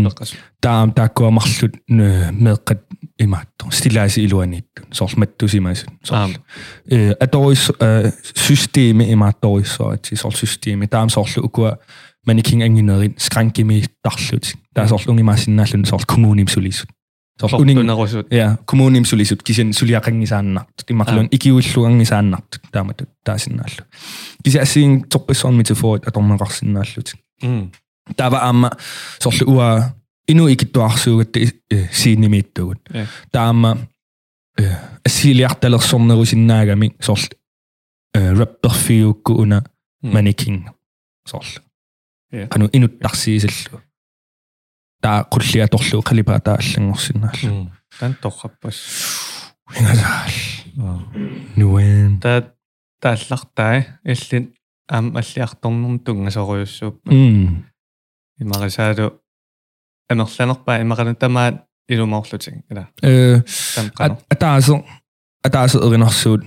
S2: тимеққас
S1: таам тааккуа марлут меққат имааттор стилааси илуаниттут сорл маттусимасут
S2: аам
S1: сорл э аторис э, системе имаатториссоати сорл системе таам сорлу укуа манекин ангинерин скранкими тарлут таа сорлу унгимаасиннааллун сорл коммууним сулисут Сол
S2: uning
S1: унингу
S2: nerusut
S1: я коммуним сулисут кисен сулиақангисааннарт иммарлун икиуиллуангисааннарт таамату таасиннааллу киси ассиин торписсоорми туфорит атормеқарсиннааллут тава аама сорлу уа ину икиттуарсуугатта сииннимииттугут
S2: Ie.
S1: таама e, ассилиарталерсорнерусиннаагами сорл e, рэпперфиукку уна манекин сорл
S2: Hmm. Ie.
S1: кану инуттарсиисаллу таа куллиаторлу қалипаа тааллангорсиннааллу
S2: Hmm. tan torrappas
S1: Ингаал. Нуэн.
S2: Ah. ta taallartaa illin am alliartornum tungasoruussuup
S1: Мм.
S2: имарисаалу амерланерпаа имаралун тамаат илумаорлутин ила
S1: Э
S2: тамқано
S1: атаасо атаасо эринарсуут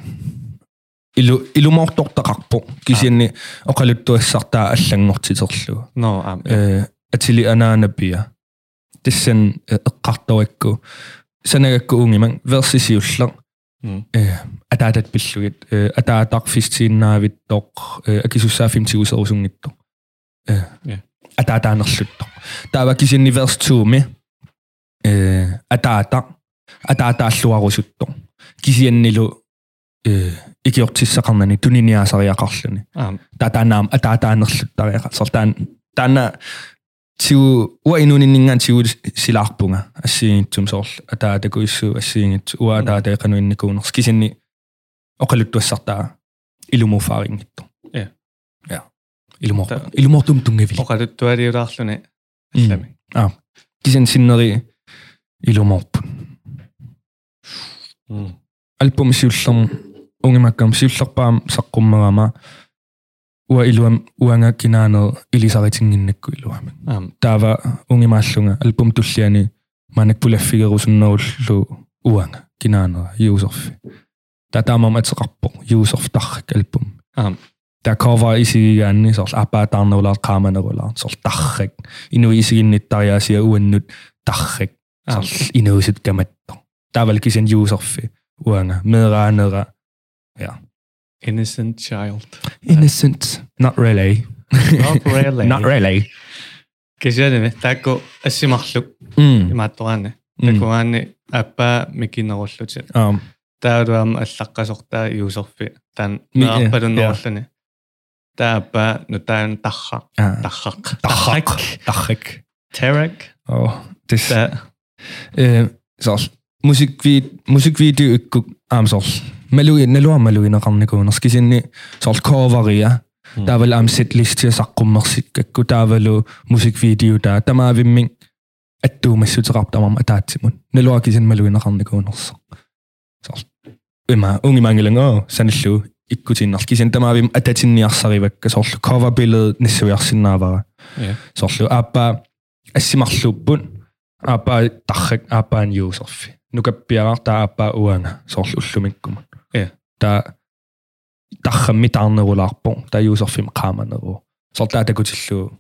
S1: илу илумаортортақарпо кисианни оқалуттуассартаа аллангортитерлугу.
S2: но ам
S1: Э атили анаанаппиа. Тиссан э, эққартуакку санагакку унгиман версисиуллар
S2: Мм.
S1: э атаатат пиллугит э атаатарфистииннаавиттоқ э акисуссаа фимтигусерусунгитто э
S2: Ја.
S1: атаатаанерлутто таава кисинни верс 2ми э атаата атаатааллуарусутто кисианнилу э икиортиссақарнани туниниаасариақарлуни
S2: ам
S1: татанаам атаатаанерлуттариақа сортаан таана тиу уаинуниннингаан тиу силаарпунга ассигингитсум соорл атаатакуиссуу ассигингитсу уаатаатаэқануинникуунерс кисинни оқалуттуассартаа илумуфаарингитто
S2: Е.
S1: я илумор
S2: Та-
S1: илумортум тунгеви
S2: оқалуттуалиулаарлуни
S1: Мм.
S2: аллами
S1: кисин синнери илуморпу альбом сиуллерм унгимаккам сиуллерпаам саққуммерама уа илуам уанга кинаанер илисаритингиннакку илуами
S2: ам
S1: таава унгимааллунга альбум туллиани манак пулаффигерусуннеруллу уанга кинаанера юусерфи татаамам атеқарпо юусерф таррак альбум
S2: Ам.
S1: та кова исигигаанни сорл апаатаарнерулаар қааманерулаар сорл таррак инуи исигинниттариаасиа уаннут таррак
S2: Ам.
S1: сорл инуисут каматто таавал кисен юусерфи уанга мераанера
S2: innocent child
S1: innocent not really
S2: not really
S1: not really
S2: кисяниме таакку ассимарлук Mm.
S1: м
S2: имааттораане
S1: м.
S2: такуаани аппаа микинеруллути
S1: ам
S2: таалуам аллаққасортаа юусерфи таан
S1: Ми-
S2: нааппалуннеруллани тааппаа нутаан тарха
S1: а,
S2: тархақ
S1: таррак таррак
S2: терек
S1: Åh, det er
S2: та
S1: øh, så musikvid musikvideo ikke am så. Meluin nelo am meluin ramne kun skal sinne så coveria.
S2: Mm.
S1: Der er vel am set list til sagt om musik ikke der er vel musikvideo der der må vi min at du med sit rap der om at der til mun. Nelo ikke sin meluin ramne kun så. Så ima unge mangelingo sanillu ikke til nok sin der må vi at der til niarsarivak så cover billedet næste år sinavara.
S2: Ie.
S1: Så appa ассимарлуппун аапаа таррак аапаан юусерфи нукаппиараар таа аапаа уана соорлу Э, уллумиккума
S2: Е.
S1: таа таррамми таарнерулаарпо таа юусерфим qaamaneru соорлаа такутиллуу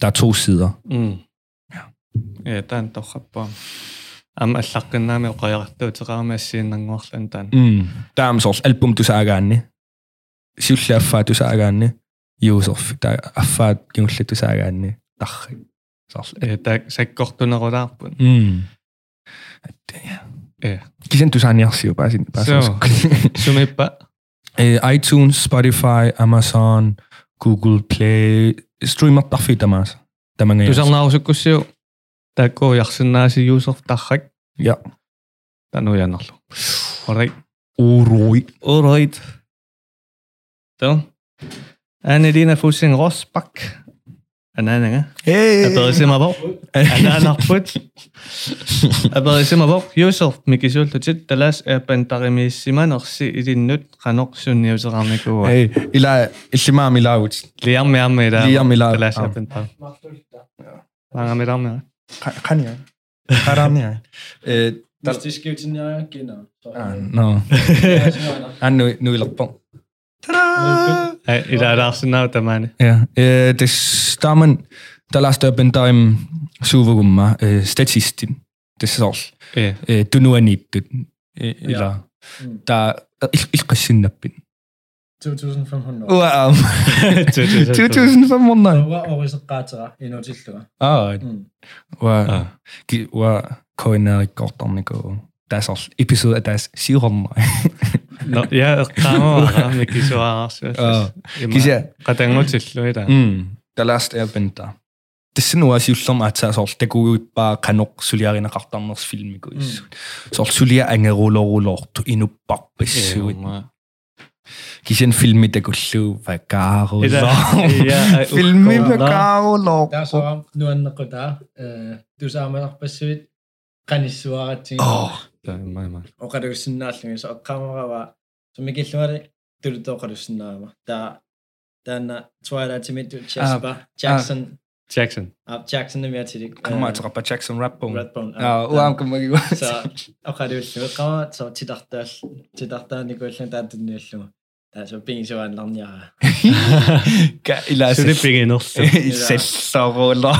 S1: таа то sider
S2: м я таан торхаппаа ам аллаққиннаами оқаяртуутеқарами ассииннангуарлан таан
S1: м таам соорл альбум тусаагаанни сиуллааффаа тусаагаанни юусерфи таа аффаат кимулла тусаагаанни таррак соорлу
S2: э таак саккортунерулаарпун
S1: м Э.
S2: Е.
S1: кисен тусааниарсиу паасин
S2: Соо.
S1: паасин
S2: сумиппа
S1: Eh, iTunes, Spotify, Amazon, Google Play, streamer tarfi tamas. Tamanga.
S2: тусарнаарусуккуссиу таакку ярсиннааси юусер таррак
S1: Ja.
S2: тануянерлу орай
S1: Oroi.
S2: Alright. Då. Anna-Lena Fussing Rosback. Anna-Lena. Jeg bad se mig hvor.
S1: [LAUGHS]
S2: Anna-Narput. Jeg bad se mig hvor. Yusuf, Mikkel Sjøl, du tit, der lads er bandarimi simaner se i din nødt, ranok sun i Øvseramme gode.
S1: Hey, ila ilimam ilaut.
S2: Lærer med ham i dag.
S1: Lærer med ham.
S2: Der lads er bandarimi. Mange med ham, ja.
S1: Kan jeg? Haram jeg. [LAUGHS] Eh,
S3: Hvis det skal til jer gennem.
S1: Ah. no. Han
S3: [LAUGHS]
S1: Ah, nu nu ila på.
S2: Ej, I dag er der også noget, der mand.
S1: Ja. Eh, det stammen der last up en time suvugumma eh statistin. Det sol.
S2: Ja.
S1: Eh du nu er nit. Eh, Ila.
S3: Mm.
S1: Der ilqassinnappi.
S3: 2500.
S1: Wow. [LAUGHS] 2500.
S3: Уа орисеққаатера инутиллуга.
S2: Аа.
S3: Hmm.
S1: Wow.
S2: Ah.
S1: Gi wow koinari gortarniku. That's all episode at that's sihorn. [LAUGHS]
S2: Но я камаа нэг кисуаарсуу.
S1: Аа.
S2: Кисиа
S1: Gisia.
S2: катангуутиллуи таа.
S1: Oh. Mm. The last airbender. Тэсэн уу асиуллэрма атсаасоор такууиппаа канок сулиаринеқартарнерс филмику иссу. Соор сулиа ангерулорулорту инуппарписсуит. Кисен фильми такуллуу вакаару.
S2: [LAUGHS] Я
S1: Фильми
S3: ukkola.
S1: вакаарулор.
S3: Таа сорам нуаннеқутаа э тусаамаларпассуит каниссуаратсиг.
S1: Оо.
S2: мама.
S3: оқалуссиннааллуги со аққамарава сумикиллуали тулутооқалуссинаама таа таана твайлатимит часпа Jackson
S2: Jackson.
S3: ап Jackson нэмиатилик
S1: Камаатеқарпа Jackson Rapbone.
S3: Redbone
S1: Аа уам камаги. [LAUGHS]
S3: со оқалуссуи қама со титартаал титартааникууллан таатунниаллума таа со пингисуаанларниара
S1: Ка илаа
S2: Сүриппиг [LAUGHS] нэрсэн.
S1: Исэллорулоо.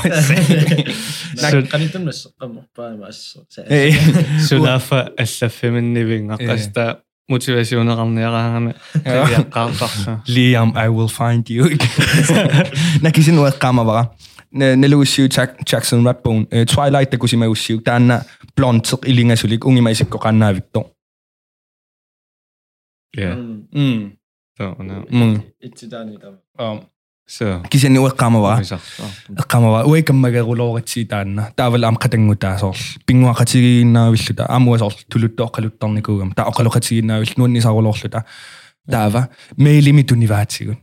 S3: нак канитуннас қаммарпаама ассо
S1: Эй.
S2: Сунафа аллаффиминнивин аққаста er мотивасионеқарниараагами тариаққарпарса.
S1: Liam I will find you. Nakishin wa kama bara. Nelusiu Jackson Rapbone. Øh, Twilight der kusima usiu tanna blond ilinga sulik ungi mai sikko kanna vittu.
S2: Я.
S1: Mm.
S2: Тоо наа.
S1: Mm.
S3: иттитаани таа
S1: Um
S2: Сэ.
S1: kishin wa kama bara.
S2: Мисарсаа.
S1: qamava uikammaga ruloritsi taanna taaval am qatangutaa soorl pinguaqatigiinnaavillluta amua soorl tulutta oqaluttarnikuugam ta oqaluqatigiinnaavill nuanni saarulorluta taava mailimi tunivaatigun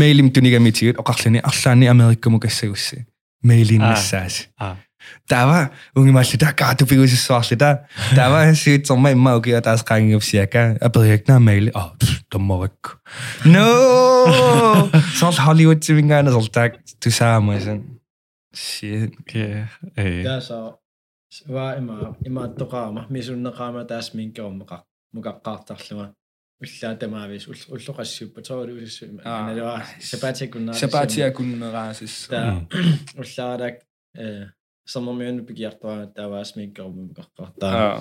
S1: mailim tunigamitigut oqarlani arlaani amerikkamu kassagussi mailinnissaasi
S2: Аа.
S1: taava ungimalluta kaatupigusissuarluta taava siutsorma immaukia taas qaangiupsiaka aperiaknaa maili oh tommorakku no soorl hollywood tivingaana soorl taak tusaamaisen shit
S2: Ке. Э.
S3: таа со ва има има тоқаама мисуннеқаама таас минкеормеқар мукаққартарлума уллаа тамаавис уллоқассууппа тоолуусиссу има
S1: Аа.
S3: налава сапатикуннаа
S1: sapatiakunneraasis
S3: [CLEARS THROAT] таа уллаарак э соммермиуну пикиартуа таваас минкеормеқартаа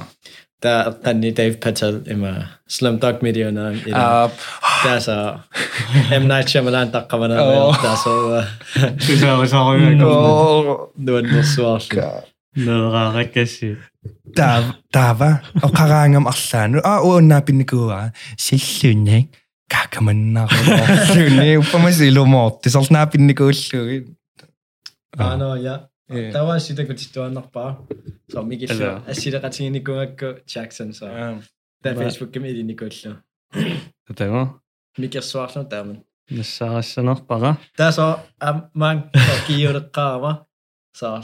S3: таа танни дэйв пател има слэмдаг медиана
S1: Uh,
S3: таа со эм найт шамалан таққавана
S1: Åh.
S3: таа со
S2: Сусаавсааруугаа.
S3: дуаннерсуарлу
S2: Нэрааракаси.
S1: Da- Dava og Karangam Arlan og Una Bindigua Sillunik Kakamanna Sillunik Upamasilo Morti Saltna Bindigullu
S2: Аа.
S3: Ано я.
S1: Э.
S3: Тава сидэг титуаннарпаа. Со мигиллу
S2: Аллаа.
S3: ассилеқатигникуакку Jackson со. Та Facebook гэм элиникуллу.
S2: Татэго.
S3: Микерсуарлу тааман.
S2: er Нассаарассанарпара.
S3: Та со ам ман киюреккаава. Со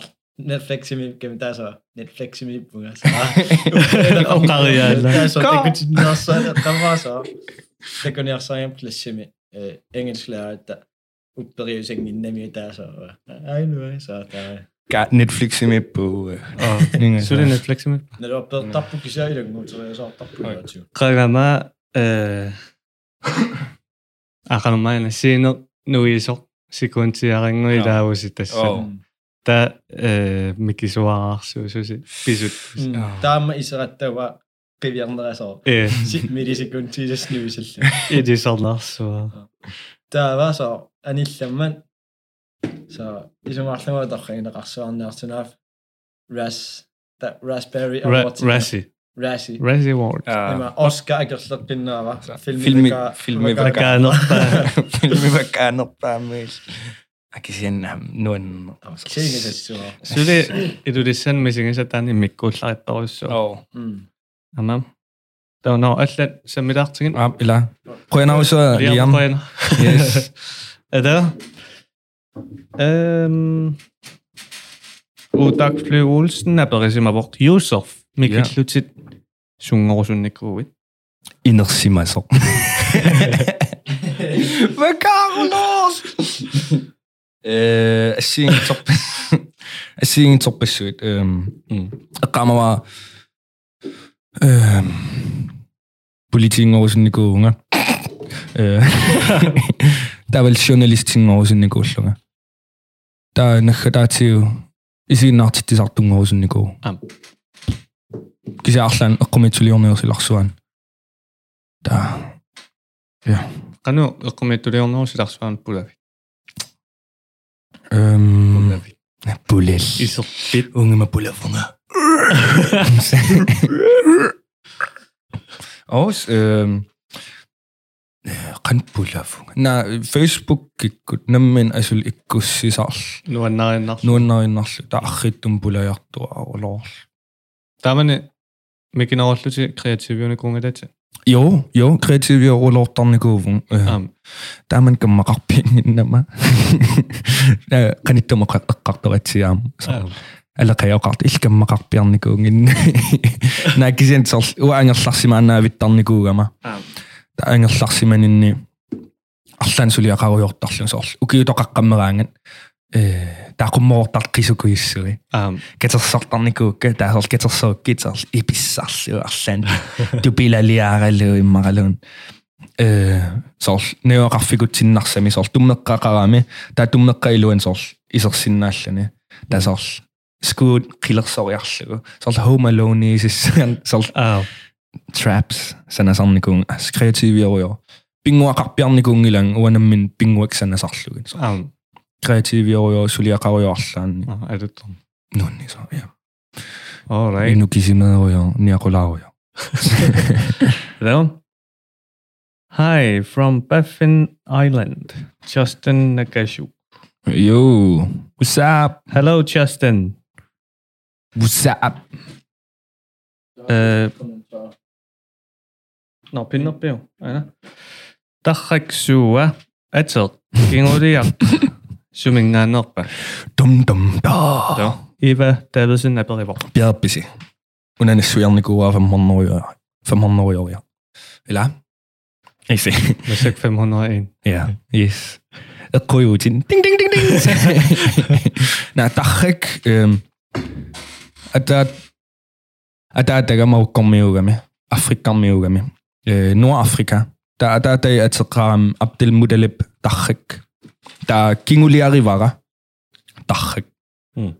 S3: Netflix ми гэм та со Netflix ми буга со.
S2: Оқариаала.
S3: Та со тегутиннерсаа тава со. Тегонерсаам классими э engelsklærta upperiusing minnemi tää so. Ainoa saa tää.
S1: Netflix med på
S2: Аа. Сүрэ Netflix мэ.
S3: Når du har tappu kisaidag, mutta se on saa tappu kisaidag.
S2: qagama э [COUGHS] Ah, aqalmaana siino nuiso sikuntiaringui laavusi
S1: Joo.
S2: tassa ta э mikisuaarsuususi pisut
S3: Tämä israttava piviarnerasor.
S2: э
S3: Sit mirisikun tiisas nyysille.
S1: [LAUGHS]
S2: idisarnarsua
S3: Tämä vaan saa anillamman. Saa isumarthamaa tohkeina kaksuarnersunaaf. Ras. Tää Raspberry Award.
S2: rasi
S3: Rasi.
S2: rasi award
S1: Ah, [LAUGHS]
S3: Nämä Oscar Egerslot pinnaava.
S1: Filmi- filmi- [LAUGHS]
S2: kaanerpaa
S1: Filmivakannerpaa meis Akisin nuen
S3: Seinisessua.
S2: suli idulissan misingissä tani mikkuullarittarussua
S1: Joo
S3: Mm.
S2: ama ta no allan sammilaartigin
S1: Ah, Ila Prøjnavsø Liam
S2: Liam.
S1: [LAUGHS]
S2: [LAUGHS]
S1: Yes
S2: Eller? Øhm, Udak Flø Olsen er blevet simpelthen vort Yusuf.
S1: Ja.
S2: Mikkel Lutit. Sunge over sunne kroge.
S1: Indersimmer så Hvad gør du, Lars? Øh, Jeg siger en [LAUGHS] top. Jeg siger en top besøg. Jeg rammer mig... øhm, Politikken over sådan en god unger. Øh, [LAUGHS] Der er vel journalistikken over sådan en god unger. Der er en der er til... I sin nat til det sagt over sådan en god.
S2: Am.
S1: Kisah Arlan, jeg kommer til at lide om jeg også i laksuan. Der...
S2: qanu iqqumiattuliornerusilarsuarnut pulavi
S1: Эм
S2: pulavi
S1: пулел.
S2: iserpit
S1: Унгема [LAUGHS] пулафунга. Ос эм кан пулафунга. На Facebook гиккут наммен асул иккуссисарл.
S2: nuannariinnar
S1: Нууннариннарлу таарриттум пулаяртуа олоор.
S2: taamani mikinerulluti kreatiiviuni kungalati
S1: Jo, jo, kreativ jo olortarnikuvun.
S2: aam
S1: Таамен каммақарпингиннама. Э, каниттума қаққартораатсиаама.
S2: Аам.
S1: алақаяоқарт илкаммақарпиарникуунгин наакисен сор уаангерларсимаанаавиттарникуугама
S2: aam
S1: таангерларсиманинни арлаан сулиақаруйортарлун соорлу укиутоқаққаммераангат э таақуммоортар қисукуиссуи
S2: aam
S1: катерсартарникуукка таасор катерсоуккитсарл иписсарлу [LAUGHS] арлаан тупилалиааралуу иммаралуун э соор неоқарфикутсиннарсами соор туммеққақарами таа туммеққаилуан соор исерсиннааллани таасоор скуут қилерсориарлугу соор home alone is [LAUGHS] соор
S2: aam
S1: traps санасарникуун ас креативиоруйо пингуақарпиарникуунгилан уанаммин пингуак санасарлугин соор
S2: aam
S1: креативиоруйо сулиақаруйоарлаани
S2: aduttum
S1: нуунни соор я
S2: all right
S1: инукисимеруйо ниакулааруйо
S2: Well, hi from Baffin Island, Justin Nagashu.
S1: Yo, what's up?
S2: Hello, Justin.
S1: What's up?
S2: Uh, no, pin up you. Dachaksua. Etel. [COUGHS] Gingoriak. Suminga nokba.
S1: Dum dum da.
S2: Eva Davidson Appelevor.
S1: Bjergbisi. Hun er næsten gjerne gode af 500 år. 500 år, ja. Eller? Jeg ser.
S2: Musik
S1: [LAUGHS]
S2: 501.
S1: Ja, yes. E Jeg går jo til den. Ding, ding, Nou, ding, ding. Nej, der er ikke... øhm, At der... At der er der må komme med med. Afrika med med. Øh, Nordafrika. Der er der der at så kram Abdel Muttalib Dachik. Der er Kinguli Arivara. Dachik.
S2: Mm.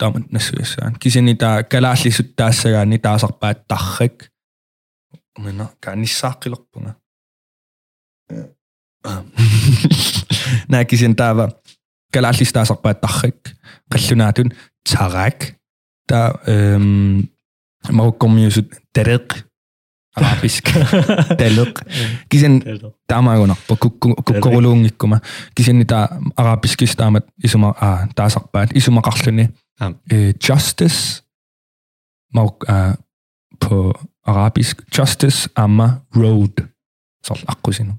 S1: Der er man næsten sådan. Kisini der kalashli sut der siger ni der sagt bare Dachik. Men kan ni sagt lukpunga. [LAUGHS] näkisin täällä kelällistä sakpaa tahik, kallunätyn tarak, tää marokkomiusut terek, arabisk [LAUGHS] telek. Kisin tämä on nappo, kukkurulungikkuma. Kisin niitä arabiskista tämä isuma, äh, tää sakpaa, isuma kalluni.
S2: Am.
S1: Justice, marok, på arabisk, justice amma road. Se on akku sinun.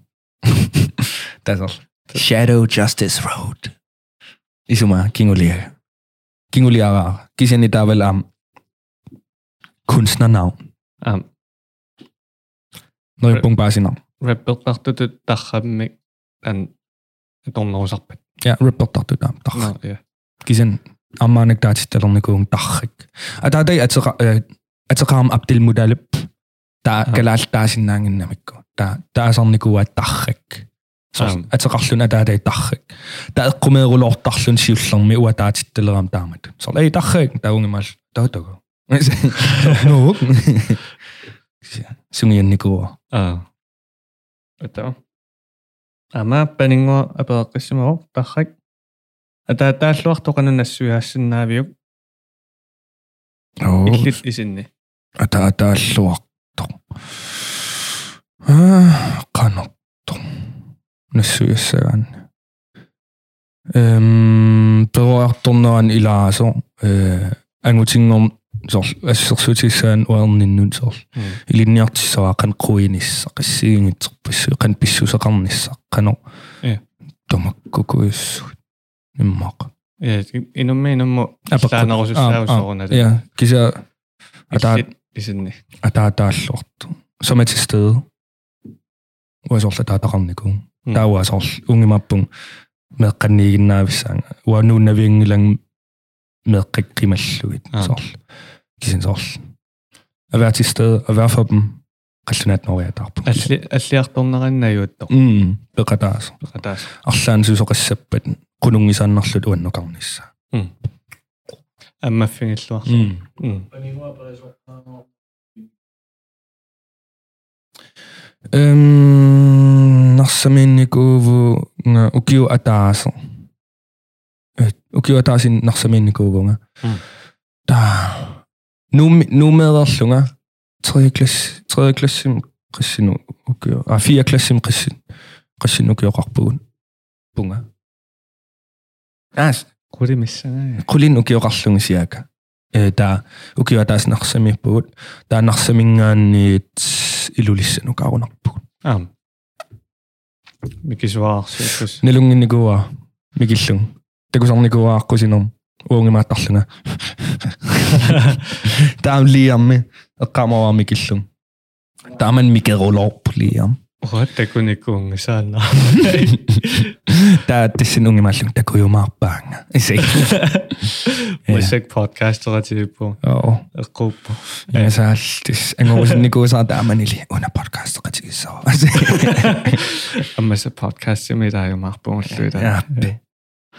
S1: [LAUGHS] Tässä on. Shadow Justice Road. Isuma, kinguliaga. Kinguliaga. Kisen ähm, i der vel om kunstnernavn.
S2: Am.
S1: Når jeg bunker bare sin navn.
S2: Rebel Partut Dachamik. And I don't know something.
S1: Ja, Ripper Dr. Dam. Dag.
S2: No, yeah.
S1: Kisen, amman ikke der til stedet, når jeg dag. Og der er det, at så øh, at så ram Abdel Mudalib. Der
S2: Ja.
S1: kan lade der er sin navn nemlig. Der der er sådan en god dag. Så
S2: Am.
S1: at så rallun at der er det dag. Der er kommet ruller daglun sivlang med ud der er til stedet om damet. Så lad i dag, der er unge mal. Der er dog. Nå. Sunge jeg ikke
S2: Ah. Ito. Ama, paning mo apalakis mo, takak. At tatalo ako ka na nasuyasin na biyog.
S1: Åh,
S2: Iklit isin ni.
S1: at der er der er lort. Ah, kanot. Næsøseren. Øhm, berørtorneren i Larso. Øh, angoting om så assersuutisaan uarninnuun sor
S2: Mm.
S1: илинниартисаа кан куинисса қиссигингитсерписсу кан писсусақарнисса қано
S2: Е.
S1: томаккукуиссу иммақ
S2: Yeah, inumme inummo.
S1: Apakka-
S2: Saan ako
S1: Ah,
S2: sa
S1: ah,
S2: usokon na.
S1: ja киса атаа
S2: Iklit isin ni.
S1: атаатааллуарту som er til stede уасорла таатақарникуу
S2: Mm.
S1: таауасорл унгимаппун меққаннигиннаависсаанга уанууннавиангилан меққиққималлугит
S2: Ah.
S1: сорл кисин сорл at være til stede og være for dem qallunaat noriataarpu
S2: Alliartornaran na yuutto.
S1: e mm beqataas
S2: Kataas.
S1: arlaan susoqassappat qulungisaannarlut uannoqarnissa
S2: Mm. Amma fingilluar.
S1: mm
S2: Mm.
S1: Øhm, nars нарсамиинникууву нга укиу атаасо э укиу атаасин нарсамиинникуувунга
S2: Мм.
S1: та ну нумерерлунга 3 класс 3 классим қиссину укиу а 4 классим қисси қиссин укиоқарпугун пунга аас
S2: Гури миссана.
S1: qulin ukiuqarlungi siaka э та укиу атааснарсамииппугут таанарсамингаанниит илулиссан укаарунарпугут
S2: Аа. Микисваар сүүс.
S1: нэлунгинникуа микиллун такусарникуааққусинерм уонгимааттарлунга таам лиамми эққамаваа микиллун тааман микерулоорп лиам
S2: Хот такуникуун саана.
S1: таа тиссинунгимааллун такуйумаарпаанга исек
S2: Мисек подкастера типо.
S1: оо
S2: Эққуп.
S1: ясаал тис ангорусинникуусаа тааманили уна подкаст қатигиссаа
S2: Аммаса подкаст юм даа юм арпуун лүдэ.
S1: яаппи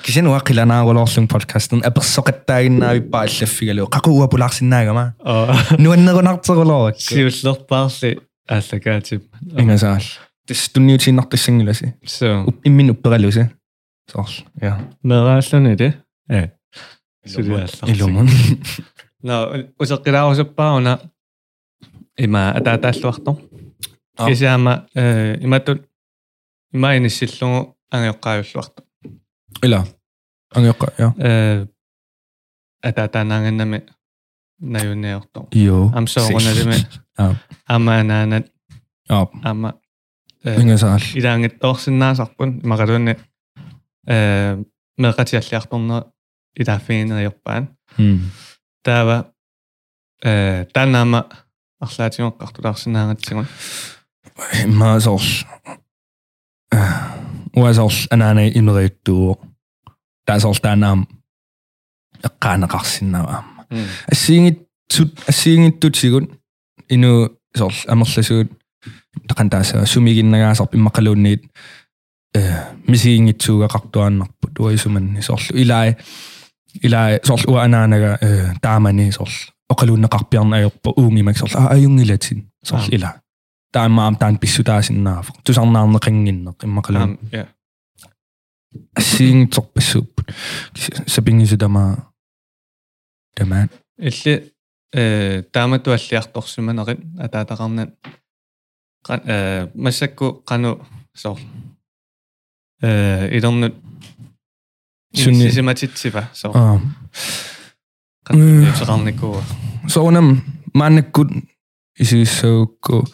S1: кисен уаққиланаарулоорлун подкастн аперсоқаттаагиннаавиппаа аллаффигалу қақууа пулаарсинаагама
S2: Аа.
S1: нуаннерунартерулоорак
S2: Сиуллерпаарли аллагаатип.
S1: Инgasal. Тэс тунниутииннартиссангиласи.
S2: Соо.
S1: Уп иммин уппералуси. Соорл. Я.
S2: Мерааллуни де. Э.
S1: Илумун. [LAUGHS]
S2: На усеқилаарусаппааруна има атаатааллуартор.
S1: Аа.
S2: кисаама э иматут имаинисиллугу ангеққаавиллуартор.
S1: Ила. Ангеққа, я.
S2: Э атаатаанаангэннами наюнеортор.
S1: Йо.
S2: амсооруналими
S1: Аа.
S2: амаанаанат
S1: Аа.
S2: ама э
S1: Инgasal.
S2: илаангаттоорсинаасарпун макалуунни э меқатиаллиарторнера илааффигинериорпаан
S1: Хм.
S2: таава э танама арлаатингоққартулаарсинаагатсигун
S1: Ма соорл. Уа соорл анаана имериуттуу. Таа соорл таанаам эққаанеқарсиннава. ассиингит сут ассиингиттутигун ину сорл амерласуут тақантаасаа сумигиннагаасарп иммақалуунниит э мисигингитсуугақартуааннарпут уайсуманни сорлу илаа илаа сорлу уанаанага э таамани сорл оқалууннеқарпиарнаайорпо уунгимак сорл аа аюнгилатин сорл
S2: Аа.
S1: илаа таамаам таан писсутаасиннаафо тусарнаарнеқингиннеқ иммақалуун
S2: ам я
S1: ассиингитсорпассууп сапингисутама тамаа
S2: илли э тааматуаллиарторсиманерит атаатақарнат қан э массакку қану соор э илэрнут
S1: Сунни-
S2: сисиматитсива соор
S1: аа Мм.
S2: каннеқарникуа
S1: соонам маанаккут исиссаукку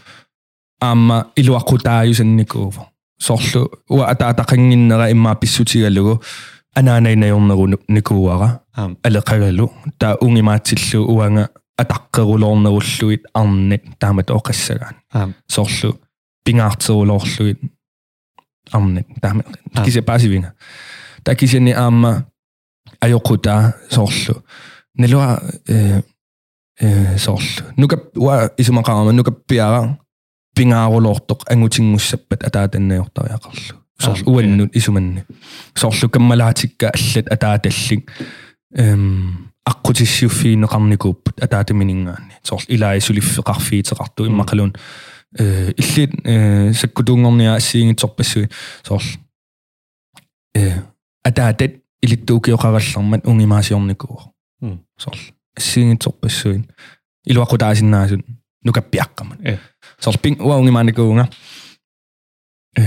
S1: аама илуаққутааюсанникуува сорлу уа атаатақангиннера иммаа писсутигалугу анаанайнайорнерунук никууара
S2: Аам.
S1: алеқагалу таа унгимаатиллу уанга атаққерулоорнеруллуит арни таамат оқассагаан
S2: Аам.
S1: сорлу пингаартерулоорлуит арни таамат
S2: Аам.
S1: кисе пасивинга таа кисени аама аёқутаа сорлу налуа э э соорл нука уа исумақарама нукаппиара пингаарулоортоқ ангутингуссаппат атаатаннаиортариақарлу соорл
S2: Аа,
S1: уаннут исуманни соорл каммалаатикка аллат атааталлик эм аққутиссиуффиинеқарникууппут атаатаминингаанни соорл илаа сулиффеқарфиитеқарту иммақалуун э иллит э саккутуунгорниа ассиингитсорпассуи соорл э атаатат илиттуукиоқараллармат унгимаасиорникуу
S2: Мм.
S1: соорл ассиингитсорпассуин илуаққутаасиннаасут нукаппиаққамат
S2: Э.
S1: соорл пин уаунгимааникуунга э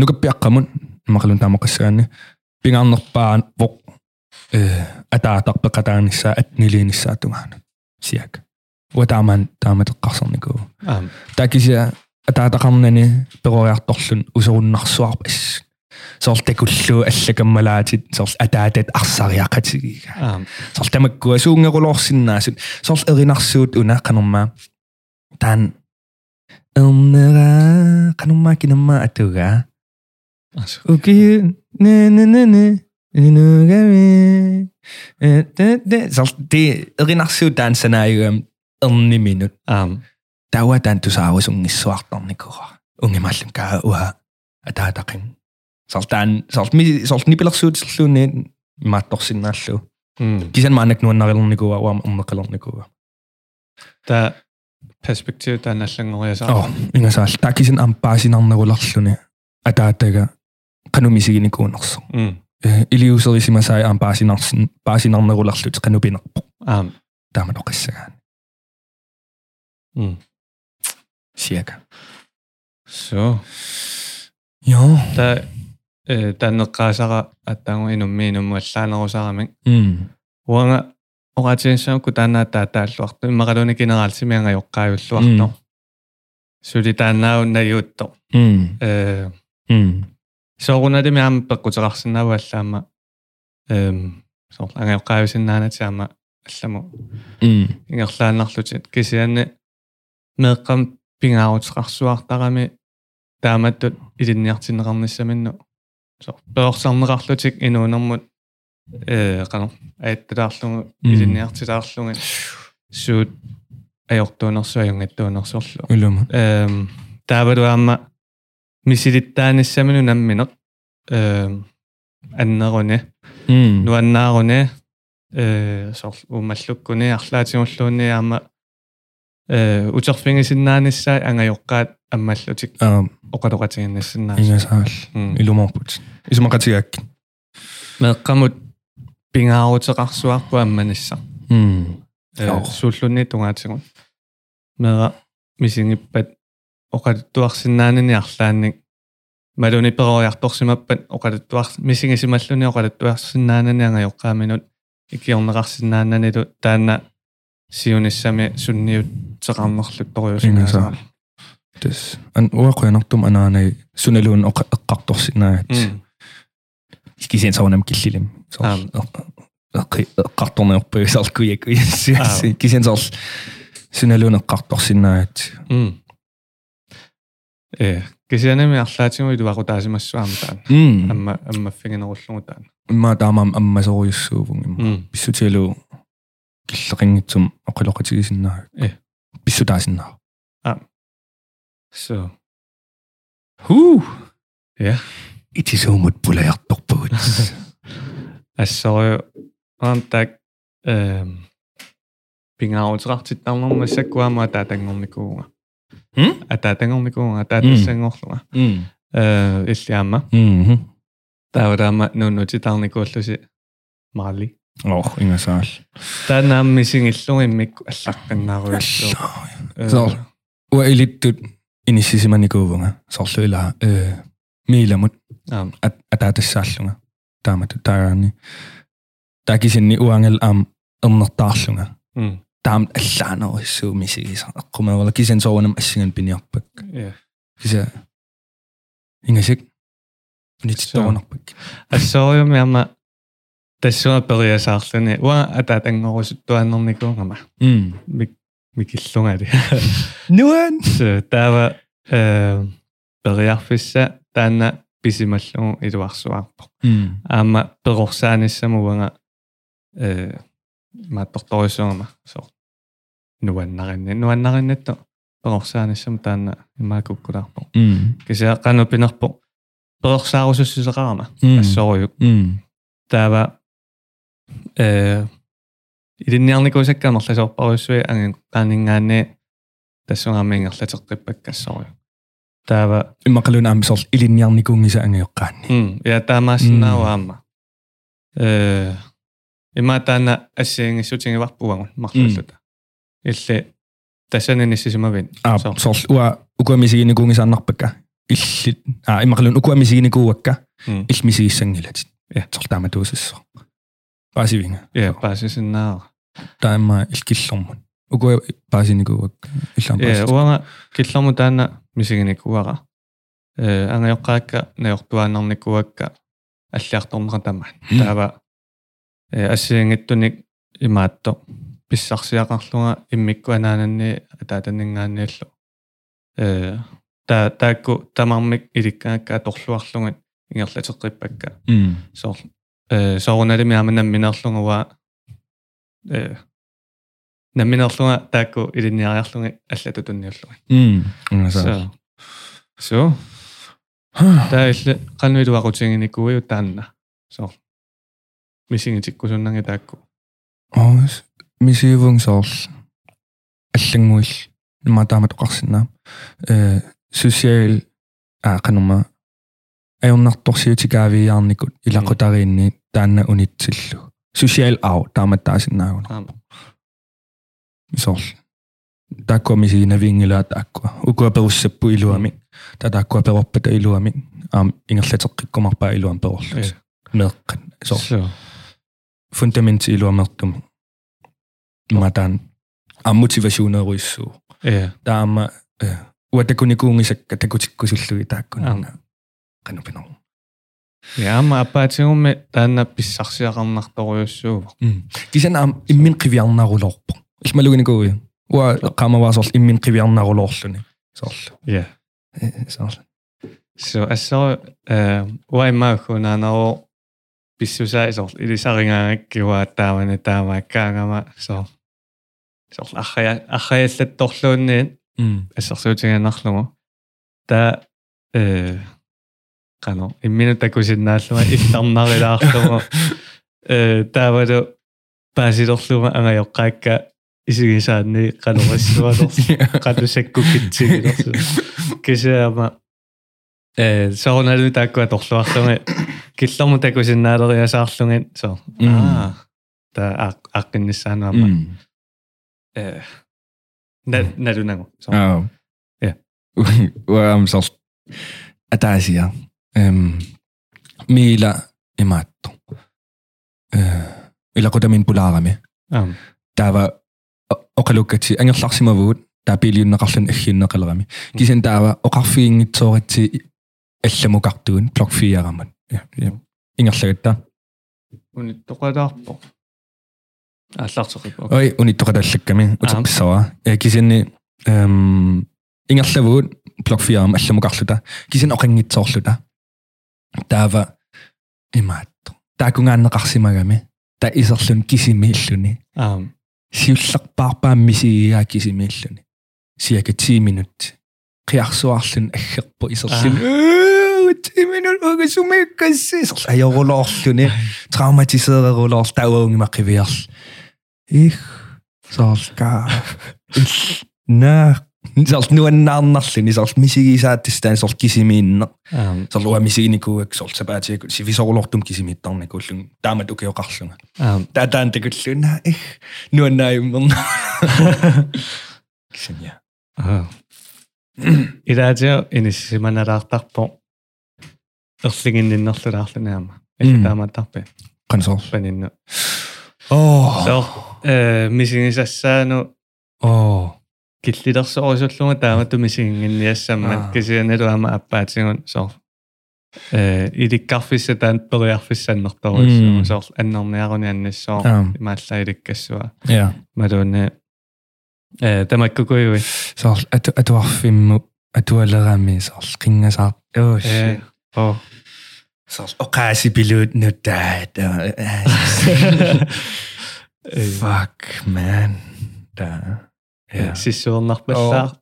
S1: нукаппиаққамут имақалун таамоқассаанни пингаарнерпаан воқ э атаатарпеқатааниссаа атнилиниссаатунгаана сиак уатааман тааматеққарсарникуу
S2: аам
S1: такися атаатақарнани перориарторлун усеруннарсуарпа ис соорл такуллуу аллакаммалаатит соорл атаатат арсариақатигига
S2: аам
S1: соорл тамаккуа суунгаруулоорсиннаасут соорл эринарсуут унааққанэрмаа таан эрнера қанэрмаа кинаммаа атуга
S2: асу
S1: уки не не не не инугами э те те соорл ти эринарсуут таан санааюам эрни минут
S2: аам
S1: таава тантусаавас унгиссуартарникуа унгимааллам каа уа атаатақин сартаан сартми сартни пилэрсуутиллуунни маатторсиннааллу
S2: м
S1: кисан маанак нуаннарилэрникуа уа уммеқалэрникуа
S2: та перспектив таналлангориасаа
S1: Oh, оо ингасаал такисин ампаасинарнеруларлуни атаатага канумисигиникуунерсо
S2: Мм.
S1: э илиусерисимасаи аам паасинарсин паасинарнеруларлут канупинерпо
S2: Аам.
S1: тааман оқиссагаан
S2: Мм.
S1: сиака
S2: Så.
S1: ёо
S2: Der øh, der er noget græsere, at der er endnu mere endnu mere slange og sager, men
S1: м
S2: уанга оратисан кутана таатааллуарту иммакалуна генералсимианга
S1: Мм.
S2: йоққаавиллуарто сули таанаа наюутто
S1: м
S2: э
S1: м
S2: соорунали миам пеккутерарсинаавааллаама эм соорлу анга йоққаависиннаанатиама алламу
S1: м
S2: ингерлааннарлутит кисианни меэққам пингаавутеқарсуартарами тааматтут илинниартинеқарниссаминну соор пеорсарнеқарлутик инуунэрмут э қано аатталаарлугу
S1: Мм.
S2: илинниартилаарлугу суут аёртуунэрсуаюнгаттуунэрсуорлу
S1: улума
S2: эм таавалуаама мисилиттааниссамину намминеқ эм аннеруне
S1: м
S2: нуаннааруне э сор умаллуккуни арлаатимуллуунни аама э утерфингисиннаанissaа ангайоққаат аммаллутик
S1: аа
S2: оқалоқатигиннассинаа
S1: ингасаал илумаарпут исумақатигаак
S2: меққамут пингаарутеқарсуарпу амманissaа
S1: м
S2: э
S1: Яо.
S2: сууллунни тунгаатигун мера мисингиппат оқалуттуарсиннаанини арлаанник малуни перориарторсимаппат оқалуттуар мисингисималлуни оқалуттуарсиннаанани ангайоққааминут икиорнеқарсиннаананилу таана сиунissami сунниут теқарнерлут ториусингаасаа
S1: Ингасаа. тас ан уақуянартум анаанай суналуун оқ- эққарторсинаат кисен саунам киллилим
S2: Аа.
S1: эққарторнеорпуи саркуяк уяссиаси кисен сарл суналуун эққарторсинаат
S2: м э кисианами арлаатиму илуақутаасимассуаама таана
S1: м
S2: амма аммаффигинеруллугу таана
S1: имма таамаам аммасориуссуувун имма
S2: м
S1: писсутиалу киллеқингитсум оқилоқатигисиннаа
S2: Э.
S1: писсутаасиннаа
S2: Ah. So. Huh. Ja,
S1: итисуумут пулаярторпугут
S2: [LAUGHS] altså, om der pinga utragt til der nogen, så går man der den om det går.
S1: М?
S2: At der den om det går, at der den
S1: Мм.
S2: sen også.
S1: м
S2: Øh, islamma.
S1: м
S2: Der var der nu nu til der den går så Mali.
S1: ох ингасаал
S2: Der er nærmest missing i slungen, men ikke sagt den nærmere. Э,
S1: Så. уа илиттут иниссисиманикуувнга сорлуила э мииламут
S2: Аам.
S1: ат атаатассааллунга таамату таагаани такисинни уангал аам эрнертаарлунга
S2: Mm.
S1: таам аллаанериссуу мисигиса аккумаавала кисен соонам ассиган пиниарпак
S2: Ja.
S1: киса ингасик нитситторунарпак
S2: Altså, jo mere med, det så er bedre, jeg sagt den. Hvor er der den går så der er nogen, der går
S1: м
S2: микиллунга али
S1: нуан
S2: сэ тава э периарфисса таана писималлугу илуарсуаарпо
S1: м
S2: аама перорсааниссамуанга э мааттортарисуама сор нуаннаринне нуаннариннатто перорсааниссам таана имаакуккулаарпо
S1: м
S2: кисиа канупинерпо перорсаарусуссисеқарама
S1: Hmm.
S2: ассоруйук
S1: м
S2: тава э илинниарникусаккамерласоорпаруссуи ангин таанингаане тассунгаамингерлатеққиппаккассоруй тава
S1: иммакалунаам сорл илинниарникуунгиса ангиоққаани
S2: м я таамаассинааваама э иматана ассиингиссутингиварпуангу марлуллута илли niin, тассанинниссисимавин
S1: аа
S2: Соо.
S1: сорл уа укуамисигиникуунгисаарнарпакка иллит аа иммакалун укуамисигиникууакка
S2: Мм.
S1: илмисигиссангилатит
S2: Я.
S1: сорл тааматуусиссо паасивинга
S2: я паасисинаа
S1: таама илкиллэрмут укуа паасиникууакка иллаам
S2: э
S1: паасис
S2: уанга киллэрму таана мисигиникуара э ангаёққаакка наёртуааннарникуакка аллиарторнера тама таава э ассиангиттуник имаатто писсарсиақарлунга иммиккуанаананни атаатаннингаанниаллу э та таакку тамармик иликкаакка аторлуарлугат ингерлатеққиппакка
S1: м
S2: соор э соорунарими аманам минерлунгуа э наминерлунга таакку илинниариарлунги аллатутунниарлунга
S1: м ингасаа
S2: со со таалла каннуилуакутингиникуйу таанна соор мисингитиккусуннанги таакку
S1: оос мисивун сорл аллангуил матаамат оқарсинаа э социал аа канама ajornartorsiutikaaviijarnikut ilaqutariinni taanna unitsillu social au taamattaasinnaagun
S2: Taama.
S1: isorl taakkuamisiinavingilaa taakkua ukua perussappu iluami ta taakkua perorpata iluami aam ingerlateqikkumarpaa iluam perorlut meeqqan isorl fundamenti iluamertumi matan aam motivationeruissuu
S2: Ja.
S1: таама уатакуникуунгисакка такутиккусуллуги тааккуна
S2: Аама.
S1: канупинор
S2: Ja, ma appaatiumme tänne pissarsiaqarnartorujussuu.
S1: Mm. кисанаам иммин кивиарнарулоорпо илмалугиникууи уа қамаваасорл иммин кивиарнарулоорлуни соорлу
S2: Ja.
S1: соорлу
S2: So assa eh vai ma kuna no pissu sai so ili saringa kiwa tavan tama kaangama so so e akhaya akhaya settorluunni
S1: [LAUGHS] м
S2: ассерсуутиганарлугу та э кано иммина такусиннааллума илларнарилаарлугу э таавалу паасилорлума ангаёккаакка исигисаанни канорассуалор канусаккукитсигилорсу кисаама э сооналу таккуа торлуарлуми киллэрму такусиннаалериасаарлугин со
S1: Мм.
S2: аа та аққиннссаанаама
S1: м
S2: э на налунагу со
S1: аа
S2: Ja.
S1: [LAUGHS] уам соорлу атаасия эм мила имаатто э илақутамин пулаарами
S2: Ам.
S1: таава оқалуккати ангерларсимавуут таа пилиуннеқарлун аггиуннеқалерами кисен таава оқарфигингитсоорати алламукартуун блок 4-арамат ингерлагатта
S2: unit toqalaarpo аллаартерип
S1: ой униттоқалаллакками утепписсава э кисенни эм ингерлавуут блок 4-арам алламукарлута кисен оқангитсоорлута таава имаатто таакунгааннеқарсимагами та исерлун кисими иллуни
S2: аам
S1: сиулларпаарпааммисигиаа кисимииллуни сиака 10 минут қиарсуарлун аггерпо исерлун «Уу, 10 минут угасумиккасси исерл аёрулоорлуни травматисеерерулоор тауаунги мақивиарл их сорка Ил, на сорт нуаннаарнарлуни сорт мисигисааттистаан сорт кисимиинне
S2: аам
S1: сорт уамисигиникууак сорт сапаатиакку сивисорулортум кисимиттарнакууллун таамат укиоқарлунга
S2: аам
S1: Tatan tekulluuna ih nuonna [LAUGHS] ymmon. Ksenja.
S2: аа илаатио иниссиманараартарпо ерлигинниннерлулаарлунаама
S1: Мм.
S2: тааматтарпи
S1: Kansol.
S2: панинну
S1: Oh.
S2: со э мисигисассаану
S1: Oh.
S2: киллилерсоорисуллума тааматту мисигингинниассамма
S1: Аа.
S2: кисианелу аама аппаатигун со э иликкарфисса таан периарфиссаннэрторуссума
S1: Мм.
S2: со аннерниаруни аннассоо
S1: Аам.
S2: имааллаа иликкассуа
S1: Um, Ja.
S2: madonna eh tamakkukui
S1: Sol atu atu affimmu atu alerami sol qingasaar. Oh
S2: eh
S1: shit.
S2: oh
S1: Sol oqaasi pilut nuttaat. [LAUGHS] Fuck man. Da. Ja.
S2: sissuernarpallaa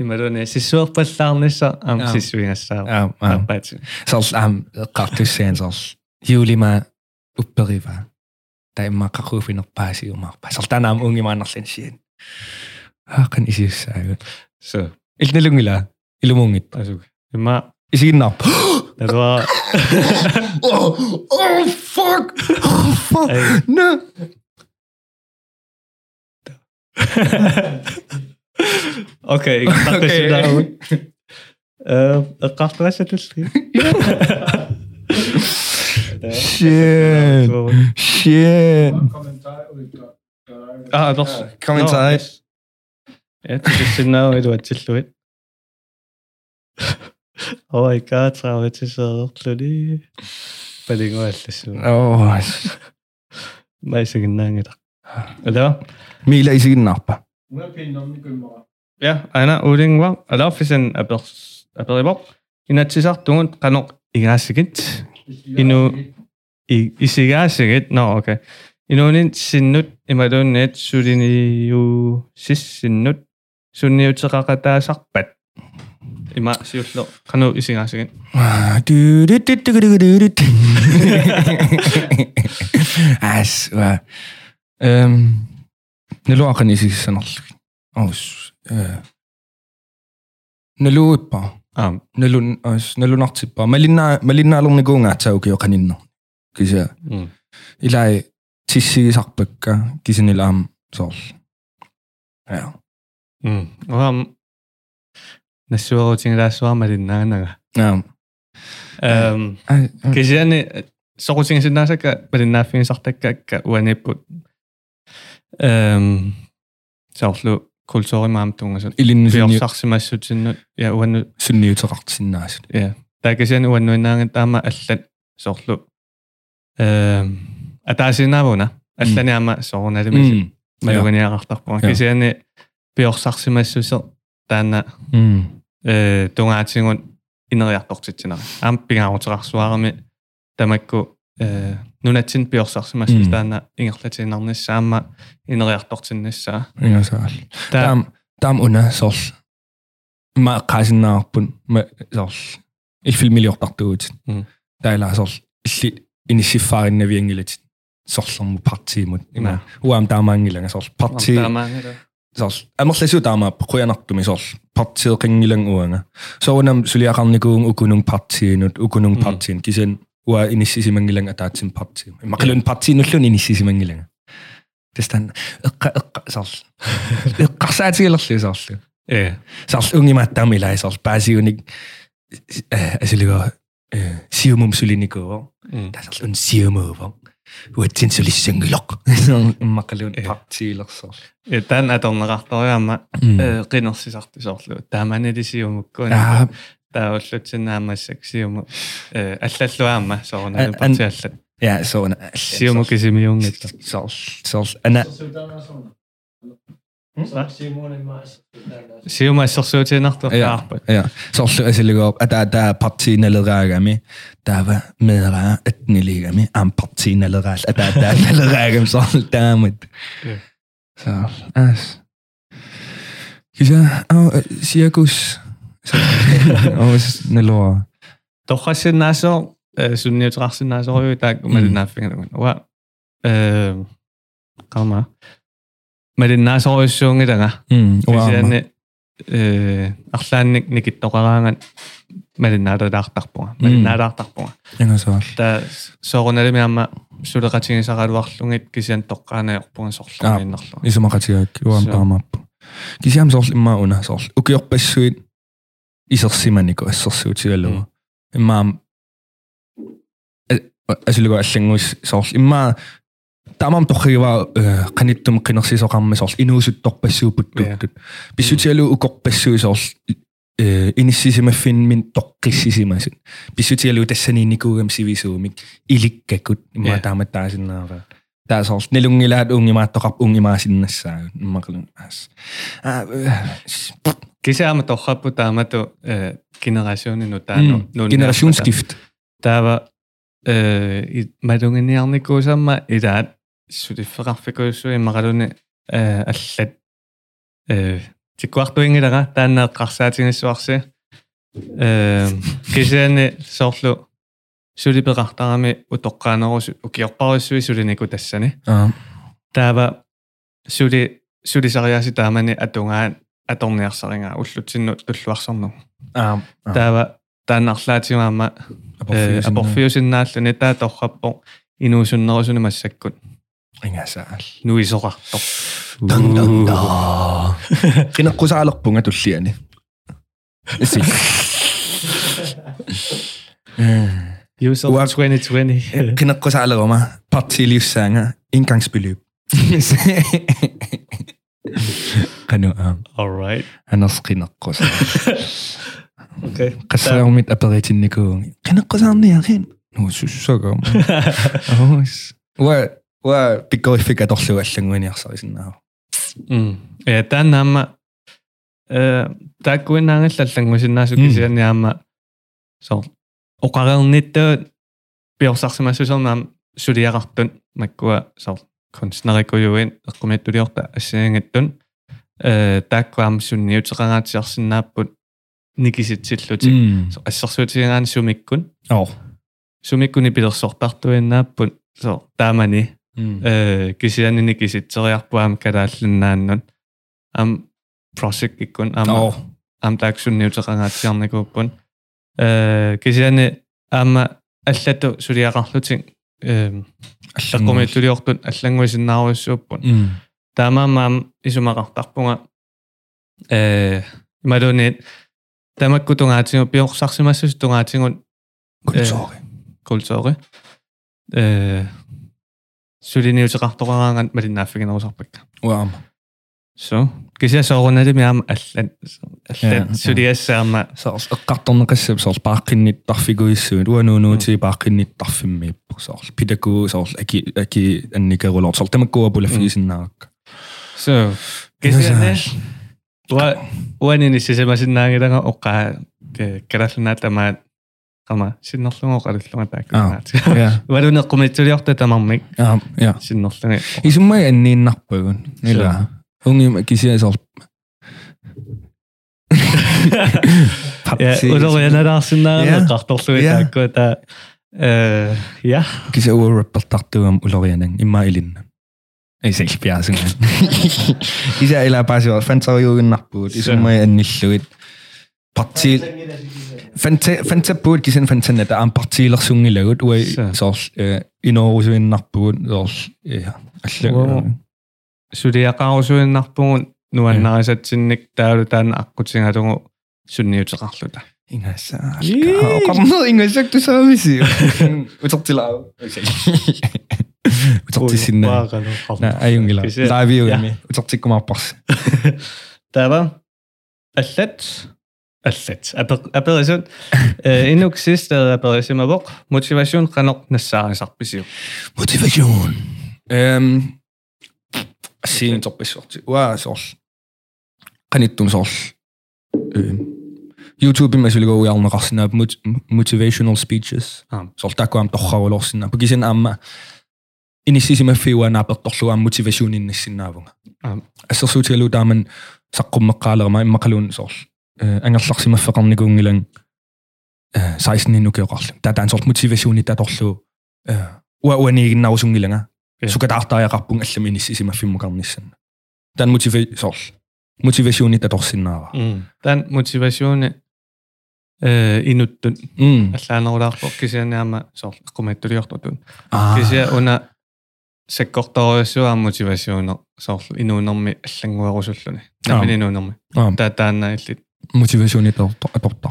S2: imadonna sissuerpallaarnissa am
S1: Joo.
S2: sissuingassaa
S1: Am am.
S2: appaatsi
S1: Sol am qartussaan sol. Juulima upperiva. Tai imma qaquufinerpaasi umarpa. Sol tanaam ungimaannerlin siin. Haqqan isiussaagut.
S2: so
S1: илнэлунгила илумунгит
S2: asuk ima
S1: исигиннарп
S2: tadua
S1: [GASPS] oh fuck oh
S2: Эй.
S1: fuck no
S2: [LAUGHS] okei
S1: Okei.
S2: ikkartissuna eh qartarassatilli
S1: shit shit
S3: Kommentar udgår.
S2: ah adors
S1: Kommentar.
S2: et sissinaa iluatsilluit oh my god traumatiseererluni palinguallassu
S1: oh
S2: maisiginnaangila alo
S1: мила исигиннарпа
S3: Nu er pænt om, vi gømmer.
S2: ja aina ulingwa alo fisan apers aperibor inatsisartugun qanoq igaasigit Endnu. I- isigaasigit no okay inuunin sinnut imaluunniat suliniu sissinnut sunniuteqaqataasarpat ima siullo qanu isigaasigit
S1: ас ва эм нэлуакан исигиссанерлуги аус э нэлуиппа
S2: аа
S1: nalun as nalunartippa malinna malinnaalornikuungaataukio qaninner kisia
S2: м.
S1: ilai tissigisarpakka kisinilaam soorl ja
S2: м. Уам нассуарутингилаассуармалиннаанага.
S1: ja
S2: Эм
S1: Mm.
S2: кисиани сорутингисиннаасакка малиннааффигисартаккаакка уаниппут. Эм соорлу культуримаам тунгасут.
S1: ilin
S2: пиорсарсимассутиннут я уанну
S1: sunniuteqartinnaasut
S2: Ja, такасиан уаннуинаанга таама аллат соорлу Um, эм атаасинаавуна алланиама соорналимис
S1: mm
S2: малуганиаарартарпуа
S1: Ja.
S2: кисиани пиорсарсимассусер таана
S1: mm
S2: э тунгаатингун инериартортитсинара аам пингаарутеқарсуарами тамакку э нунатсин пиорсарсимассус
S1: Mm.
S2: таана ингерлатинарнисса аама инериартортиннассаа
S1: ja saal
S2: таа
S1: taam taam una soorl ma qasinnaarpun ma soorl ilfilmiliortartugut
S2: Mm.
S1: taila soorl illi inissiffaarinnavieangilatin sorlermu partiimut
S2: Ja.
S1: ima uam taamaangilanga soorl partii
S2: таамаангала
S1: Sors, ammerlesu taama quyanartumi sors partiet qingilang uanga. Sounam suliaqarnikuung ukunung partiinut ukunung
S2: Mm.
S1: partiin kisen ua inissisimangilang ataatsin partii. Maqilun partiinullun inissisimangilang. Testan eqqa eqqa sors. Äh, Eqqarsaatigilerlu sors.
S2: э
S1: Sors ungimaattamilai sors paasiunik äh, asiliga äh, siumum sulinikuo.
S2: м.
S1: Tasors un siumuvo. Uatsin sulissangiloq. [LAUGHS] Maqilun
S2: Ja.
S1: partiilersors.
S2: э таан аторнеқарториама
S1: Mm.
S2: э кинерсисартисоорлу тааманилисиумуккуни
S1: Ah,
S2: тааллутсинаамассаксиуму э аллаллуаама соорнали
S1: Ан- ан-
S2: партиаллат
S1: ja, sådan.
S2: сиумукисимиунгатта
S1: Sol, sol. Anna,
S2: сиумаассерсуутинарту
S1: ja,
S2: каарпат
S1: ja. Sol, altså ligger op, at der, der er partien allerede rækker med. Der var med rækker, at den ligger med. Am partien allerede rækker, at der der er allerede rækker med sol, der er med.
S2: Ja.
S1: Så, altså. Kan jeg, og cirkus. øh, Så, [LAUGHS] og nælår.
S2: торхассинаасоо э сунниутеқарсинаасоорю таак малинааффигалугун уа э кама малиннаасоориуссуунгилага
S1: Mm, wow.
S2: кисиани э арлаанник никиттоқараанган малиннаалаартарпуга малиннаалаартарпуга
S1: Ingen sol.
S2: та соорнали амма сулеқатигисаралуарлугит кисиан тоққаанаёрпуган
S1: Аа.
S2: сорлуиннерлу
S1: Ligesom har jeg gjort en
S2: Så.
S1: barm op. Kan jeg så lidt meget under sol. Og jeg bare så ind. I så ser man ikke også så til at lave. En meget. eh, Altså lige godt længe sol. En meget. Der er man dog ikke var kan ikke dem kan også så ramme sol. Endnu så dog bare så på
S2: Ja.
S1: det. Hvis du til at lave og godt bare så sol. Ind i eh, sidste med finde min dog i sidste med sin. Hvis du til at lave det sådan en ikke om sig vi så om ikke. I ligger godt.
S2: Ja.
S1: Meget der med dig sådan noget. Der er så også nælunge lahat unge meget tokap unge meget sin næssa. Makalun. eh,
S2: кисаама торхаппу таамату э генерасионину таану
S1: Mm. Generationsskift.
S2: таава э и малунгиниарникуусаама илаат сулиффеқарфикуссуи маралуни э аллат э тиккуартуингилага таанаа қарсаатингиссуарси э кисаани соорлу сулипеқартарами утоққаанерусу укиорпаруссуи сулинику тассани
S1: Ja.
S2: таава сули сулисариаси таамани атунгаан аторниарсарингаа уллутсиннут туллуарсарну
S1: Ja.
S2: таава таанарлаатимаама э, апорфиусиннааллани таа торраппо инуусуннерусуни массаккут
S1: Ringa saal.
S2: нуисоқартор
S1: Dang dang dang. Qinaqqusaaqlerpunga tulliani. Isi. [LAUGHS]
S2: юсер
S1: Уа-
S2: 2020
S1: Qinaqqusaaqleruma partilivsaanga indgangsbeløb. Qanu am.
S2: alright
S1: Anders qinaqqusa.
S2: okay
S1: qassaarumit aperitinikuungi qinaqqusaarniaqin nuu sussagam ahois wa wa pikorifika torlu allanguiniarsarisinnaava
S2: м э таанама э такуинаангаллаллангусиннаасу
S1: Мм.
S2: кисианиаама сор оқарернитта пиорсарсимассусернаам сулиақартун маккуа сор конснерикуюин эққумиттулиорта ассиангаттун э таккуам сунниутеқараатиарсинааппут
S1: Mm.
S2: никиситсиллутик Сор ассерсуутигаан сумиккун
S1: ау
S2: сумиккуни пилерсортартуиннааппут сор таамани э кисианини киситсериарпуам калаалланнааннун ам просек иккун ама
S1: ау
S2: амтааксунниутеқангаатсиарникууппун э кисиани аама аллату сулиақарлутин э
S1: аллангуи
S2: аққумиттулиортут аллангуисиннааруссууппун
S1: Мм.
S2: таамаамаам исумақартарпунга э ималуни тамаккутунгаатингу пиорсарсимассус тунгаатингут
S1: культури
S2: культури э сулиниутеқартораангаат малиннааффигинерусарпакка
S1: уам
S2: Så, kan jeg så runde det med om Atlant,
S1: Ja,
S2: Atlant, så det er samme.
S1: саарл эққартарнеқассап саарл пааққинниттарфигуиссуут уануунуутии пааққинниттарфиммииппу саарл питакуу саарл аки аки анникерулоор саарл тамаккуа пулафигисиннааракка
S2: Så, kan
S1: Ja,
S2: jeg
S1: så-
S2: så Uan ini sih sama sih nangis dengan oka keras lena tamat sama sih nolong oka di lena
S1: Ah.
S2: tak. [LAUGHS]
S1: я
S2: Baru nak komentar ya waktu tamat mik
S1: я я
S2: sih nolong.
S1: исуммай аннииннарпагун нила унги кисиа саарл
S2: Ya, udah kau yang ada sih
S1: Ja.
S2: nang kartu lu
S1: Ja.
S2: itu aku tak. Eh, ya,
S1: кисиа уораппартартуам улорианан имма илинна эсэлпиасун кисиа ила пасиор фантариугиннарпуут исуммай анниллуит партил фанте фантаппуут кисен фантанната аам партиилерсунгилагут уа
S2: Са.
S1: соорл инорусуиннарпуут соорл я алла
S2: Уа. sudah kau sudah nakpun nuan nangis sih nik tahu tan aku sih ngadung sunni itu kartu dah.
S1: ингаса [LAUGHS] оқарнер ингасак тусаависи утертилаа утертисинна на аюнгила
S2: Кисиа-
S1: лавиуми утертиккумаарпарс
S2: Tava. Allat. Allat. Apparition. Endnu sidst er apparition af vok. Motivation kan nok næssere sig besøg.
S1: motivation эм син торписсуарти уа соорл каниттум соорл эм YouTube имасулиго уярнеқарсинаап мут- motivational speeches
S2: Аам.
S1: соорл такуам торравулорсинаап кисин аама инисисимаффиуанаапертторлуаам мотивашуун иннассинаавунга
S2: Аам.
S1: ассерсуутигалу тааман саққуммеққаалерма иммақалуун соорл э, ангерларсимаффеқарникуунгилан э 16 нинукеоқарлу татаан соорл мотивашууни таторлу э уа уанигиннарусунгиланга
S2: Ja.
S1: сукатаартариақарпун аллами инисисимаффиммақарниссанна таан мотиве соорл мотивашууни таторсинаава
S2: Den motivation er inuttun.
S1: м
S2: Allan o'r arbo gysia ni am sol. Gwmedwyr i ortodun.
S1: аа
S2: Gysia hwnna segortor ysw am motivation o sol. Inwn o'n mi llengwyr o swllwn i. Na
S1: Aam.
S2: fi'n inwn o'n mi.
S1: Aam.
S2: Da dan na illid.
S1: мотивашууни таторпа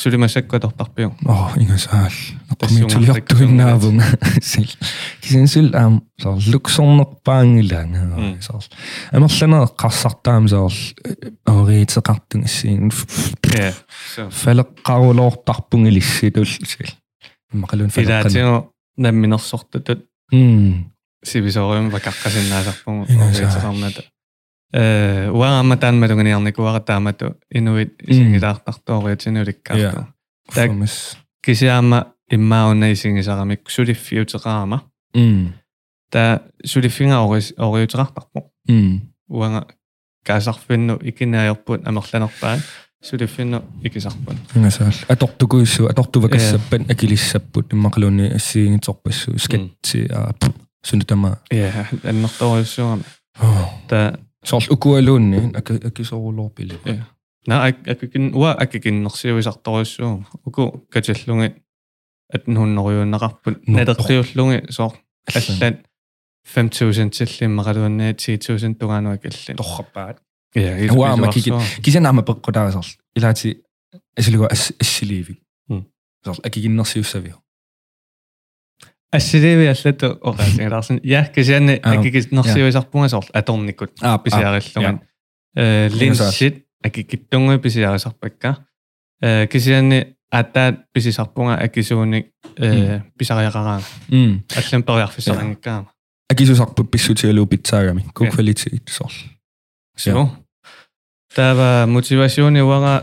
S2: Swyr i'n segwyd o'r barbion.
S1: Оо ингээсаал
S2: Тассиума
S1: комментулиартуиннаавун [LAUGHS] сил кисенсул аам соор луксорнерпаангилаан
S2: Мм.
S1: соор амерланаа қарсартаам соор oh, ориитеқартун иссиин
S2: Ie. So.
S1: фалеққарулоортарпун илисситул сил мақалун фалеққан
S2: Idaatio намминерсортутут
S1: м
S2: сивисоориум вакаккасиннаасарпугу
S1: Ингасаа.
S2: ориитеқарнату э уаама таанматугиниарникуара таамату инуит исингилаартарту ориатинууликкаарту Так.
S1: фамис
S2: кисиаама иммаауна исингисарамик сулиффиутеқарама
S1: м
S2: та сулиффинга орис ориутеқартарпу
S1: м
S2: уанга каасарфинну икинаайорпут амерланерпаан сулиффинну икисарпун
S1: ингээсаал атортукуиссу атортувакассаппат акилиссаппут мақалуни ассиингиторпассу скатти аа сунутама
S2: я аннерториуссуарами
S1: оо
S2: та
S1: Sors ukualuunni, aki, aki soulorpili.
S2: Joo. Na, akikin, ua akikin noksiu isartorissu. Uku katjallungi, at nun norjuunnakarpun.
S1: Nå.
S2: Nadertiullungi, so
S1: Allan.
S2: allan 5.000 tilli, maraduunne 10.000 tunganu akillin.
S1: Tohkapaat.
S2: Ja,
S1: Ua, mä kikin-
S2: eh,
S1: Kisen naamme pakko täällä sors. Ilaatsi, esiliko essiliivi.
S2: Mm.
S1: Sors, akikin nasi ystäviä.
S2: Assilivi allattu orasin darsin. Ja, kisianne
S1: Joo.
S2: akikin noksiu isarpunga sort, atornikut
S1: Ah,
S2: pisiarillungan. Eh, Linsit, akikittunga pisiarisarpakka. Eh, Kisianne ataat pisisarpunga akisuunik pisariararaan.
S1: Mm.
S2: Allan periarfisarangikkaama.
S1: Aki su sakpu pissu tielu pizzaagami. Kuk
S2: Ja.
S1: kvalitet, sors.
S2: Jo. Der var motivation i var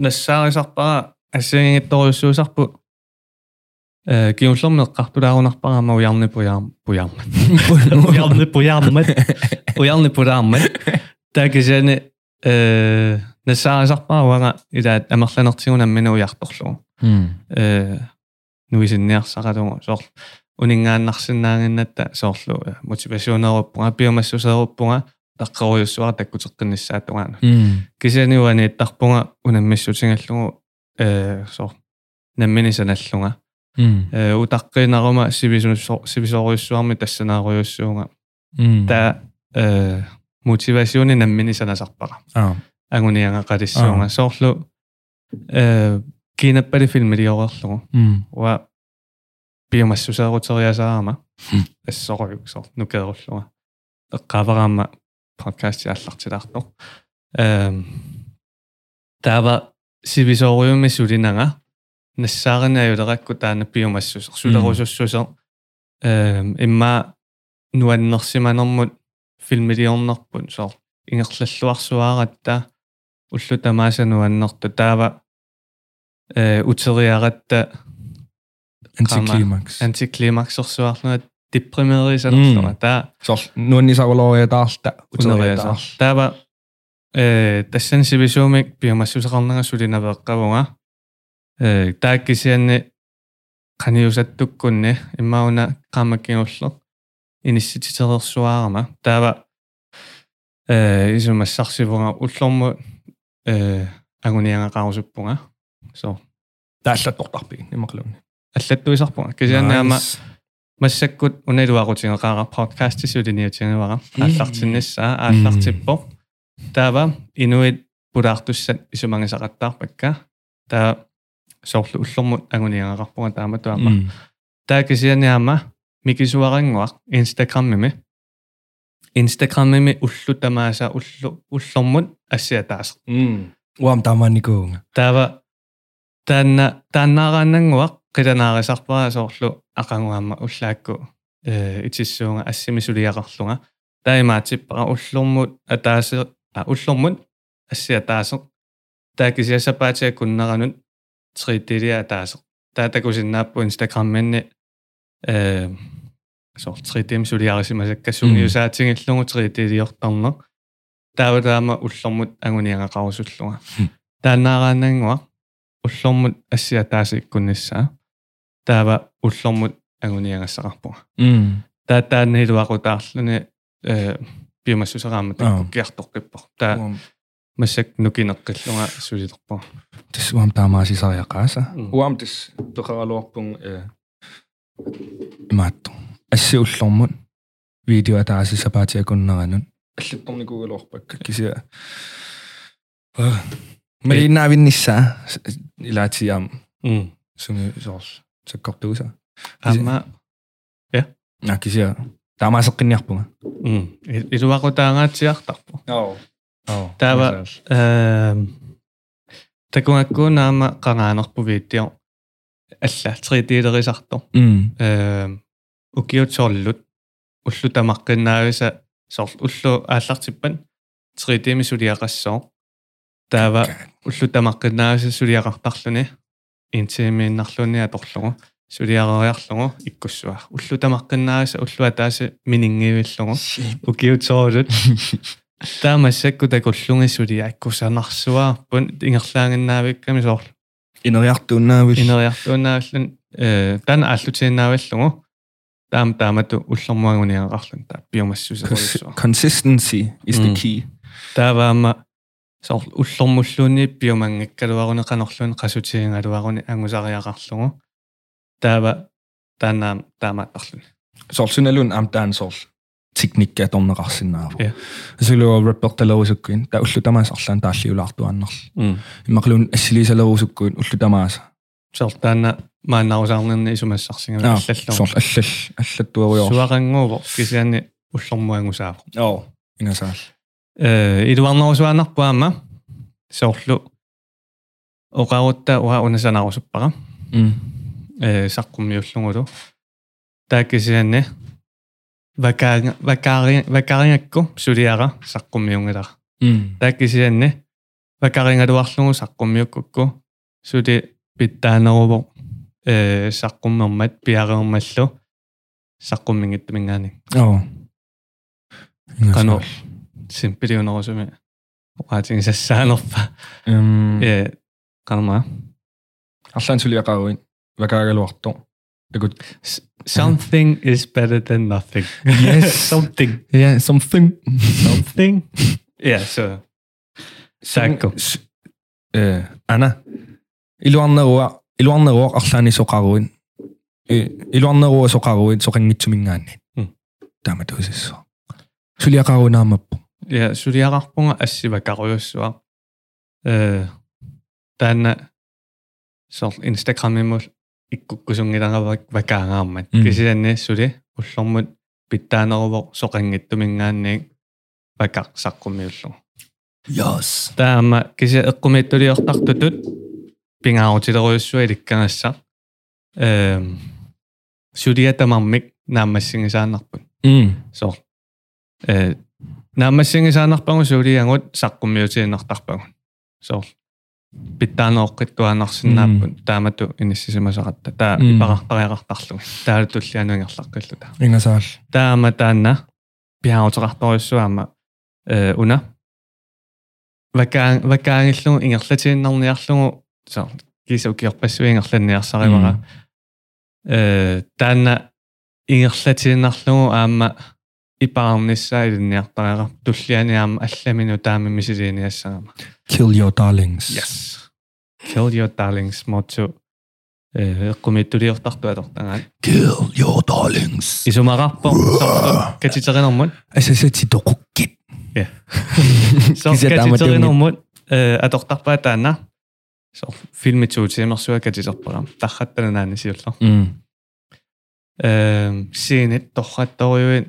S2: nassarisarpara ассингитторюссуусарпу э киунлэрнеққарпу таарунарпаама уярни пуяам пуяам уярни [LAUGHS] пуяаммат уярни пуяаммат такэжэне э насаасарпаа вара илаат амерланертигунам мина уярторлугу
S1: Mm.
S2: э нуисинниарсаратугу соор э, унингааннарсинаангиннатта соорлу мотивационеруппунга пиумассусеруппунга таққаруйуссуара таккутеққиннассаатугаана
S1: Мм.
S2: кисианиуани тартпунга унаммиссутингаллугу э сор намминисаналлунга
S1: Мм.
S2: э утаққинарума сивисуссо сивисоруйуссуарми тассанааруйуссуунга
S1: Мм.
S2: та э мотивасиуни намминисанасарпара
S1: Аа.
S2: агунианга қалиссуунга соорлу э кинаппали филмилиорерлугу
S1: Мм.
S2: уа биомассусаарутериасаарама ассоруйуксор нукееруллуга эққавараама подкасти аллартилаартор эм тава сивисоориумми сулинага нассаарнааюлеракку таана биомассусер сулерусуссусер эм имма нуаннерсиманермут филмилиорнерпун соор ингерллаллуарсуааратта уллу тамаасануаннерта таава э утериаратта
S1: Антиклимакс.
S2: антиклимаксэрсуарлуна депримерисанерлуна таа
S1: Сор нуаннисарулоория таарта
S2: унериасаар таава э тассан сивисуумик биомассусеқарнага сулинавеэққавунга э тааккисианни каниусаттуккунни иммауна қамаккинуллер иниссититерерсуаарама таава э исумассарсивунга уллорму э агуниангақарусуппунга со
S1: тааллаттортарпи нимақлуунни
S2: аллаттуисарпунга кисианниама массаккут уналуарутингеқара подкасти сулиниутингевара ааллартиннассаа ааллартиппо таава инуит пулаартуссат исумангисақаттарпакка таа соорлу уллормут агуниангеқарпунга таама туама
S1: Hmm.
S2: таа кисианиама микисуарангуа инстаграммими инстаграммими уллу тамааса уллу уллормут ассиатаасеқ
S1: Мм. Уам таманикуунга.
S2: таава таанна тааннаараанангуа қиланаарисарпара соорлу ақангуаама уллаакку э итиссуунга ассимисулиақарлунга таимаатиппара уллормут атаасе а уллормут ассиатаасе таакисиасапаатиа куннаранут тритилиа атаасе таатакусиннааппу инстаграмминни э соор тритим сулиарисимасаккассуниусаатингиллугу тритилиортарнер таавалаама уллормут агуниангақарусуллунга таанаараанангуа уллормут ассиатаасиккуннассаа таава уллормут агуниангассақарпуга
S1: Мм.
S2: таатааннилуақутаарлуни э биомассусераама
S1: Аа.
S2: таккиартоққиппор таа
S1: Уам
S2: массак нукинеққиллунга сулилерпо
S1: тис уам таамаасисариақааса.
S2: Мм.
S1: Уам тис тоқаралуарпун э имаатту. Асси уллормут видео атаасисапаатиакуннаранун. аллатторникугалуарпакка кисиа. Э, Малинавиннисса илаатиам
S2: м
S1: суми соорс таккортуса.
S2: ама
S1: На кисиа таамаасеққинниарпунга.
S2: м и- илуақутаангаатиартарпо
S1: Оо. Оо.
S2: Таава- эм такунгаккунаама қараанерпу виттио алла тритилерисартор
S1: Мм.
S2: эм укиутсоорлут уллу тамаққиннаависа соорлу уллу ааллартиппан тритими сулиақассоо таава уллу тамаққиннаависа сулиақартарлуни интимииннарлуни аторлугу сулиарериарлугу иккуссуа уллу тамаққиннаависа уллу атааси минингивиллугу укиутсоорлут таамассакку такуллунги сулиааккусанарсуаарпун ингерлаангиннаавикками соорлу
S1: Инериартууннаавил.
S2: инериартууннааллан э тан аллутииннааваллугу таам таамату уллормуагуниаақарлан таа биомассусеруйссуа
S1: Consistency is the
S2: Мм.
S1: key.
S2: тааваама соор уллормуллууни биомангаккалуаруни канарлуни қасутиингалуаруни ангусариақарлугу таава таанаа таамааттарлуни
S1: Сорсуналун амтаан сор техникка торнеқарсинааву.
S2: Ја.
S1: Асулуа репортерлерусуккин та уллу тамаасарлаан тааллиулаартуаннерл. Иммақлуун ассилисалерусуккуин уллу тамааса.
S2: соор таана маанаарусаарнерни исумассарсингами
S1: Аа.
S2: аллаллур
S1: Сор аллал аллаттуаруйор.
S2: суарангуувор кисианни уллормуангусаавор
S1: Оо. Ингасаал.
S2: э илуарнерусуанарпаама соорлу оқарутта уа унасанарусуппара
S1: Мм.
S2: э саққуммиуллугулу тааккисианне вакаан вакари вакарингакку сулиара саққуммиунгалар
S1: Мм.
S2: тааккисианне вакарингалуарлугу саққуммиуккукку сули питтаанерувор э саққуммермат пиареермаллу саққуммингиттумингаани
S1: Оо.
S2: канор симпилиунерусуми оқаатин сассаанерпа
S1: Эм.
S2: э канама
S1: Арлаан сулиақаруин вакаагалуартор. Good.
S2: Something is better than nothing.
S1: Yes.
S2: [LAUGHS] Something.
S1: Yeah, something.
S2: [LAUGHS] Something. Yeah, so. Sacco.
S1: S- Э, ана. Илуарнеруа илуарнеруа арлаани соқаруин. Э, илуарнеруа соқаруин соқангитсумингаанни.
S2: Мм.
S1: Тама тусиссо. Сулиақарунаамап.
S2: Ja, er suliaqarpunga assivakaruyussua. Э таана сор инстаграмиммул иккуккусунгиларавак вакаангаамат.
S1: Мм.
S2: Кисианни сули уллормут питтаанеруво соқангиттумингаанник вакарсаққумиуллу.
S1: Yes.
S2: таама киси эққумиттулиортартутут пингаутилеруйуссуа иликкангасса эм er, сулиатамармик наамассигисаанарпут
S1: Мм.
S2: соор э наамассигисаанарпагу сулиангут саққумиутииннартарпагу соор питтаанеоққиттуаанарсинааппут таамату иниссисимасақатта таа
S1: Мм.
S2: ипарартариақартарлуги таалутуллиануингерлаққиллута
S1: Ингасаал.
S2: таама таана пиаутеқарторюссуама э уна вакаан вакаангиллугу ингерлатииннарниарлугу саа кисаукиорпассуингерланниарсаривара э таана ингерлатииннарлугу аама ипаарнissaилинниартариара туллианиаама алламину таами мисилиниассарама
S1: Kill your darlings.
S2: yes kill your darlings моту э кумиттулиортарту алортангаат
S1: Kill your darlings.
S2: исумарарпо сорто катитеринэрмут
S1: Асасати тоқуккит. [LAUGHS]
S2: Så
S1: Kisset
S2: kan
S1: ammer
S2: de tage
S1: tunget.
S2: ind over mund, at der bare er andet. Så filmet tog til mig, så kan de tage på ham. Der har den anden siger så.
S1: Мм.
S2: Sen Øh, et tohka toiveen,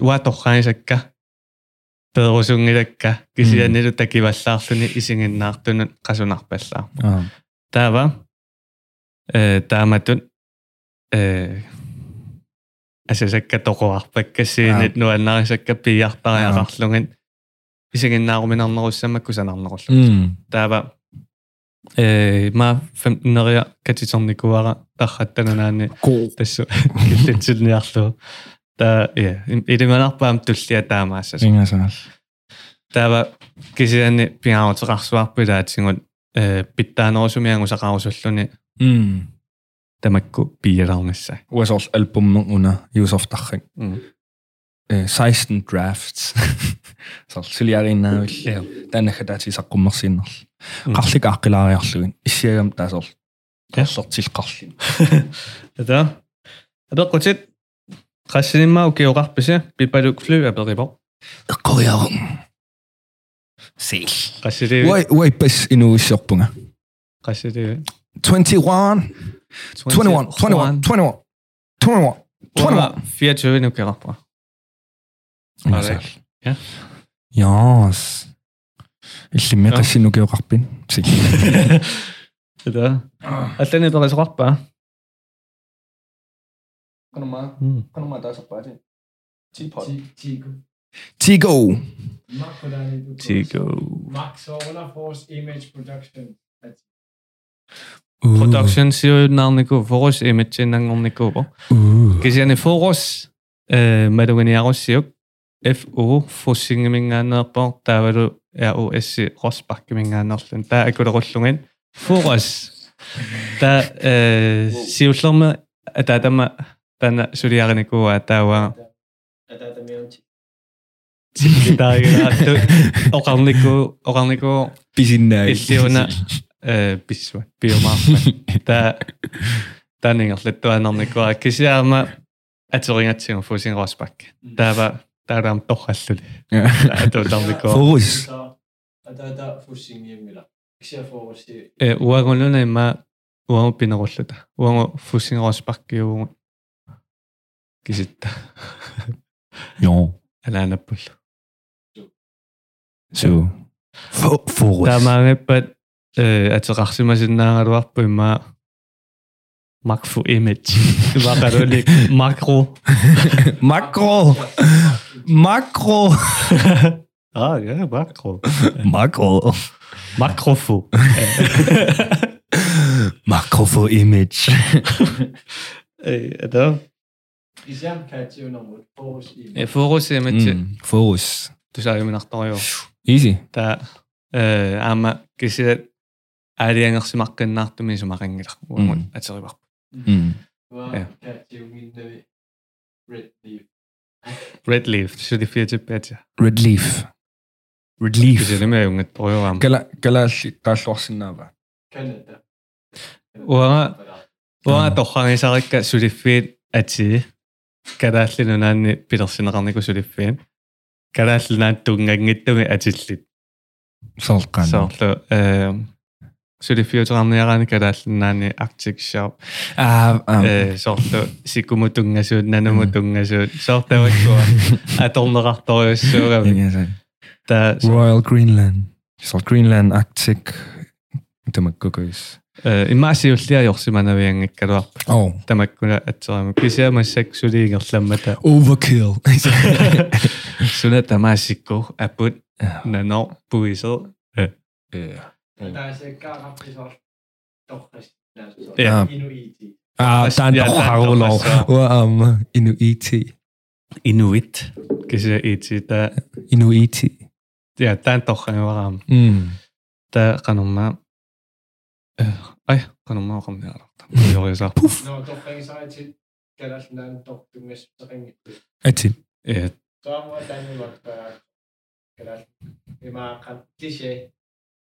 S2: ua tohkaan sekka. Perusung edekka. Kysyä
S1: Mm.
S2: mm. nyt teki vastaartuni isingin naartunut kasunarpessa.
S1: Аа.
S2: Tämä, øh, tämätön, Øh, se sekka tokoarpekka
S1: Ah.
S2: siinä, että nuo naarin sekka piiahtaa ja
S1: Ah.
S2: rahlungin. Isingin naarmin annaruussamme kusen annaruussa.
S1: Мм.
S2: Täällä eh, mä 15-vuotiaana katsoin nikuara tahattanut näin,
S1: Cool.
S2: [LAUGHS] tässä kysytsin jahtoa. Tää, yeah. Ilman appaam tullia tämä maassa.
S1: Ингасаал.
S2: Täällä kysyäni pian otsakasua pitää, että sinun pitää nousumia, kun sä kausulluni
S1: Мм.
S2: tämäkku piiraunissa.
S1: Уасоорл альбуммун уна юусортаррин.
S2: Mm.
S1: э, 16 drafts [LAUGHS] сорсулиариннаавилли таанахатаати саққуммерсииннерл
S2: Мм.
S1: қарлика аққилаариарлугин иссиагам таасоор
S2: Mm. Ja.
S1: сортилқарлин
S2: Tätä. Tätä kutsit. Kassin mauki on kappisi, pipälyk flyy ja peripo.
S1: эққориарун сил
S2: Kassili,
S1: уай уай пас инуиссорпунга
S2: kassili.
S1: 21 21 21 21 21 21
S2: 24 nukerapaa.
S1: Ингасаал.
S2: Ja.
S1: яас иллимми
S2: Ja.
S1: қассинукиоқарпин сил
S2: Tätä. Älä nyt ole se rappaa. [LAUGHS]
S1: канама канама таасарпаати типот
S3: Tigo.
S1: тиго
S3: Mark på dig.
S2: Tigo.
S3: Mark Solar Force Image Production.
S2: Production siger jo navnet Nico. Forårs image er navnet Nico.
S1: [LAUGHS]
S2: Kiserne forårs, med du kan jære siger FO, fossing min anden på, der var du ROS, Rosbakke min anden. Der er gået rullungen. Forårs. Der siger jo slår med, at der er dem, den er studerende Nico, at der var
S3: Er der der mere om ti?
S2: der er jo
S1: [LAUGHS]
S2: Oraniko, Oraniko,
S1: бисиннаа [LAUGHS]
S2: Иллиуна э бисва биомарфа та танингерлаттуанарникуа кисиаама атерингатсигу фусингорспак таава таалам торраллули атотарникуа
S1: Форус.
S3: Er der der fuldstændig hjemme der? Ikke ser for at se.
S2: э уагонлуна има уагу пинеруллута уагу фусингорспак юугу киситта
S1: Joo.
S2: алаанаппул
S1: Суу. Форус.
S2: таамаагаппат э атерарсимасиннаагалуарпу има макфу имидж вакаролик макро
S1: Макро. Макро.
S2: а я макро
S1: Макро.
S2: Makrofu.
S1: Макрофо имидж.
S2: Eda.
S3: Især kan jeg til nummer et Force Image.
S2: Ja, forårs er med
S1: Mm.
S2: til.
S1: Форус.
S2: Du sagde jo min aften jo.
S1: Easy.
S2: Der øh, er man kan sige, at er det engang så meget nat, men så meget engang.
S1: Mm.
S2: Altså, det var.
S1: Mm.
S3: Wow,
S2: Ja.
S3: catch you in the red leaf.
S2: Red Leaf. Шо ди фиа типпаатиа.
S1: Relief. Relief.
S2: Кисилимаа юнгат поёрам.
S1: Кала калаалли тааллуарсинаава.
S3: Canada.
S2: Уа уа тохангисарикка сулиффиит ати. Калааллинунаанни пилерсинеқарнику сулиффиин. Калааллинаат тунгангиттуми атиллит.
S1: Солкана.
S2: Соорлу э сулиффиутерарниараани калааллинаани Arctic Sharp.
S1: Аа
S2: [LAUGHS]
S1: аа.
S2: Э соорлу сиккумутунгасуут нанумутунгасуут
S1: [LAUGHS]
S2: соортаваккуа аторнеқарториуссуугами.
S1: Яа.
S2: Та
S1: Royal Greenland. Salt Greenland Arctic тамаккукуис.
S2: э имаасиуллиа йорсиманавиангаккалуар
S1: Oh,
S2: тамаккуна атсераму кисиамассак сулиигерламмата
S1: [LAUGHS] overkill.
S2: Sulle tämä sikku aput nano puisel.
S3: Der er så garant til så dårligt.
S1: Ja.
S3: Inuiti.
S1: Аа танд
S2: Ja,
S1: харулоо.
S2: Tantoharulov.
S1: Уам инуити.
S2: Inuit. Kysyä itse, tää,
S1: Инуити.
S2: ja tän tohkan varam.
S1: Мм.
S2: Tää kanumma. Э, Ai, kanumma on kamne arvata. Joo, ja saa.
S3: Når du ringer sig til, kan der sådan en dog, du mest så ringe.
S1: Ати.
S2: Э,
S3: Så må den jo godt gøre. Kan der det er meget kan det se.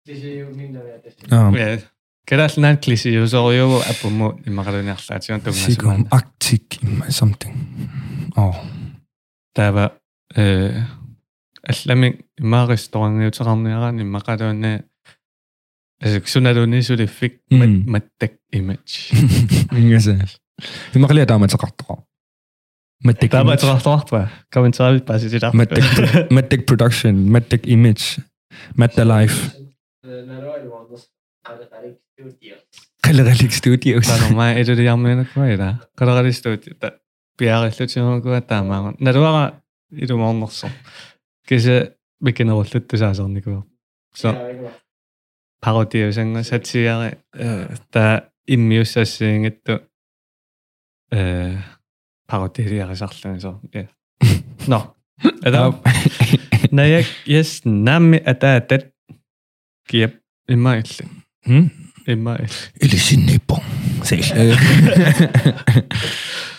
S3: Det ser jo mindre værd det. ser.
S1: Аа.
S2: э, Kedä sinä klisi, jos on jo apu mu, niin mä katsoin jahtaa, että se on
S1: Сигом
S2: tungan
S1: Arctic something. [LAUGHS] Oh.
S2: Tämä, øh, Äslämin, mä restaurannin jutsarannin aran, niin mä katsoin ne, Sunadoni sulifik,
S1: Mm.
S2: mä tek image.
S1: Ингээсэл. Имаглиа тааматсеқартоо. Маттек.
S2: Tämä ei tulla tahtoa. Kavin saavit pääsi sitä.
S1: Маттек. Маттек production, Маттек image, Matta life.
S3: Øh, Når du er jo anders, er det er det ikke det er jo dyrt.
S1: Qilleqalik studios.
S2: Tämä on mä edellä jammeena kuin edä. Kato kadistu, että piäristu sinun kuin tämä on. Nä tuolla idu mongossa. Kyllä se mikin on lytty saa se on niinku. Se
S3: Det
S2: on
S3: er jo ikke meget.
S2: parodio sen kanssa, että siellä tämä immius ja sen, että э, parodio jäädä sahtaan. Se on, yeah. No. Tämä on Når jeg, jeg snamme, at der er det, giver en mail.
S1: Hm?
S2: En mail.
S1: Илисинниппо. Сэл.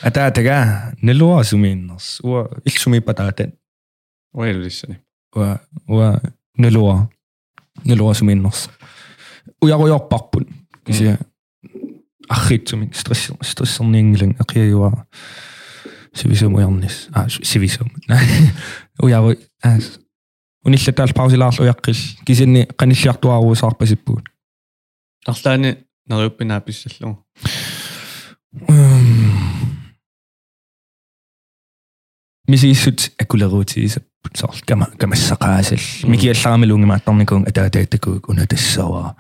S1: Атаатага нэлуа сумииннэрс. Уа илсумиппа таатан.
S2: Hvor er det sådan?
S1: Уа уа нэлуа. Нэлуа сумииннэрс. Уяруйорпарпут. кися архитсумик стресс стрессернингилан акиаюа сивисум уярнис а [LAUGHS] сивисум уяру аас униллатаал паусилаарлу уяққил кисинни каниллиартуаарусаарпасиппуут
S2: Og sådan, når jeg begynder at blive så
S1: мисииссут акулерутииса соор кама камассақаасал микиаллаармилунги мааттарникуун атаатааттакуук уна [LAUGHS] тассава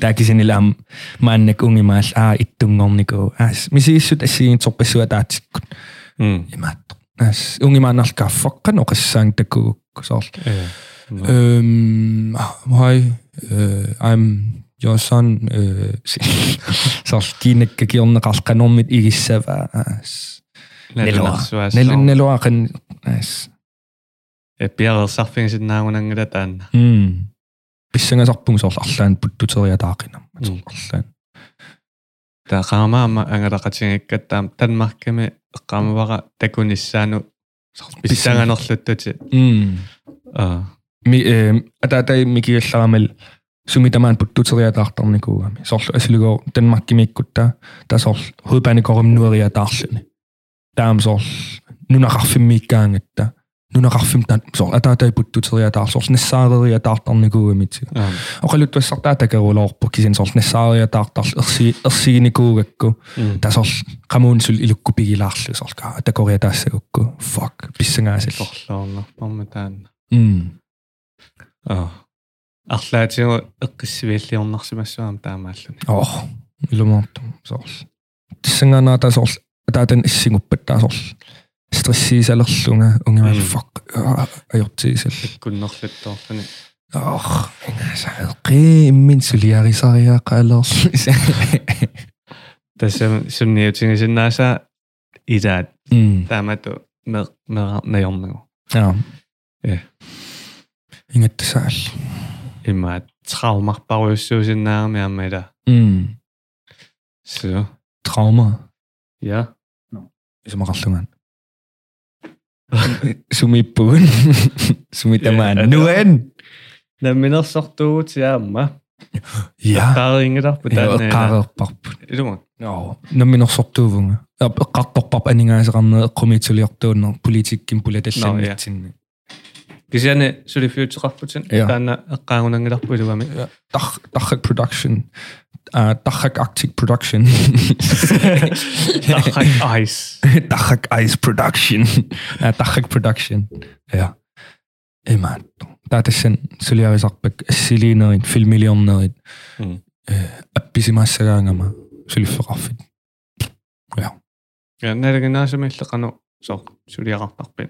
S1: такисинилаам мааннак унгимаал аа иттунгорникуу аас мисииссут ассигинторпассуа таатиккут
S2: Mm.
S1: имаатто аас унгимаанарлкааффаққан оқассаан такуук соор
S2: Øh,
S1: Э, Øhm, hej, øh, Um, I'm your son. Øh, [LAUGHS] så dine gældende kalkan om mit igisava. Nelloa. Nel
S2: Nelloa.
S1: nelo akan. Yes.
S2: Jeg bliver reddet sagt, findes et navn, når det er den.
S1: Mm. Bissinga sarpung sol allan puttutoria taqinam.
S2: Mm.
S1: Allan.
S2: Der rammer mig, når der er ting, ikke at der den marker med rammer, hvor der kunne især nu. Hvis jeg er nok lyttet til.
S1: Mm.
S2: Og
S1: Mi ehm atata miki sallamel sumitamaan puttutoria taqtarnikuami. Sol aslugo Danmark mikkutta. Der sol hovedbanekorum nuoria taqlene. Taam sol nunaqarfim miikkaangetta. nunaqarfim tan sol atata puttutoria taq sol nissaaria taqtarnikuamit. Oqaluttuassartaa takaruloorpu kisin sol nissaaria taqtar ersi ersiginikuugakku. Der sol qamuun sul ilukkupigilaarlu sol ka atakoria taassagukku. Fuck pissangaasall.
S2: forslående om den.
S1: Mm.
S2: Og Арлаатиу эққиссивииллиорнарсимассуам таамааллуни.
S1: Oh, ilmaantum soorl. Tissangaanaa taa soorl. Taatan issinguppat taa soorl. Stressiisalerlunga ungimaa
S2: Mm.
S1: fuck. Ah, Ajortiisall.
S2: kunnorluttorluni
S1: Oh, ingaasa qii immin suliarisariaa
S2: [LAUGHS]
S1: qaalerlis.
S2: тасам сумниутингисиннааса илаат
S1: Mm.
S2: таамату мер мер наёрнагу
S1: Ja.
S2: Ja.
S1: Ingattisaall.
S2: имма Mm. траумарпаруйуссуусиннаарами аамала
S1: Mm.
S2: су
S1: Trauma.
S2: Ja.
S1: isumaqarlungaan [LAUGHS] sumippuun
S2: Ja,
S1: sumitamaan
S2: det var-
S1: nuen
S2: När mina sorter ut hemma.
S1: ja
S2: Där ringer det på den. Är
S1: qaaqerparp
S2: det många?
S1: joo namminersortuuvunga qaqqarparp aningaasaqarne eqqumiitsoliartuunner politiikkin
S2: Nå, ja.
S1: pulatallannitsinni
S2: Kisjane så det fyrts rapporten.
S1: Ja.
S2: Den kan hon inte på det var [LAUGHS] med.
S1: Dach- dachak production uh, dachak arctic production [LAUGHS]
S2: Där har ice.
S1: dachak ice production uh, dachak production ja eman tatasen suliarisarpak assilinnerin filmilliornerin
S2: Mm.
S1: Eh, appisimassagaangama sulifferqarfit
S2: Ja, när det gnas med det kan så så det rapporten.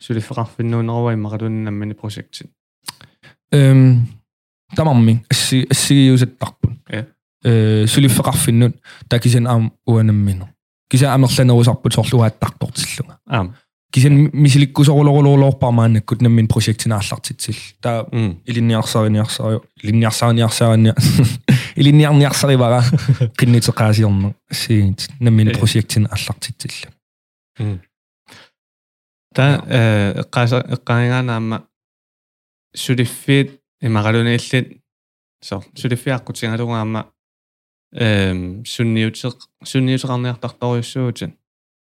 S2: Så det förraffar nu när vi maradun nämnde projektet.
S1: Øhm, der var min. Sige jo sæt dagpun.
S2: Ja.
S1: Sølge for raffe nu, Øh, der kan sende am uan am minu. Kan sende am og sende os op på tårlu af dagdor til lunga.
S2: Ja.
S1: Kan sende misili gus over over over bare man gud nem min projekt til nærlagt til til. Der
S2: Mm.
S1: ilinjarsar injarsar ilinjarsar injarsar [LAUGHS] ilinjar injarsar i
S2: [LAUGHS]
S1: bare kinde til qasirna. Sint nem min
S2: Ja.
S1: projekt til nærlagt til til.
S2: Та э гаса гаанаама сулиффит имагалунаиллит со сулиффиаккутингалугаама эм сунниутеэ сунниутеқарниартарторюссуутин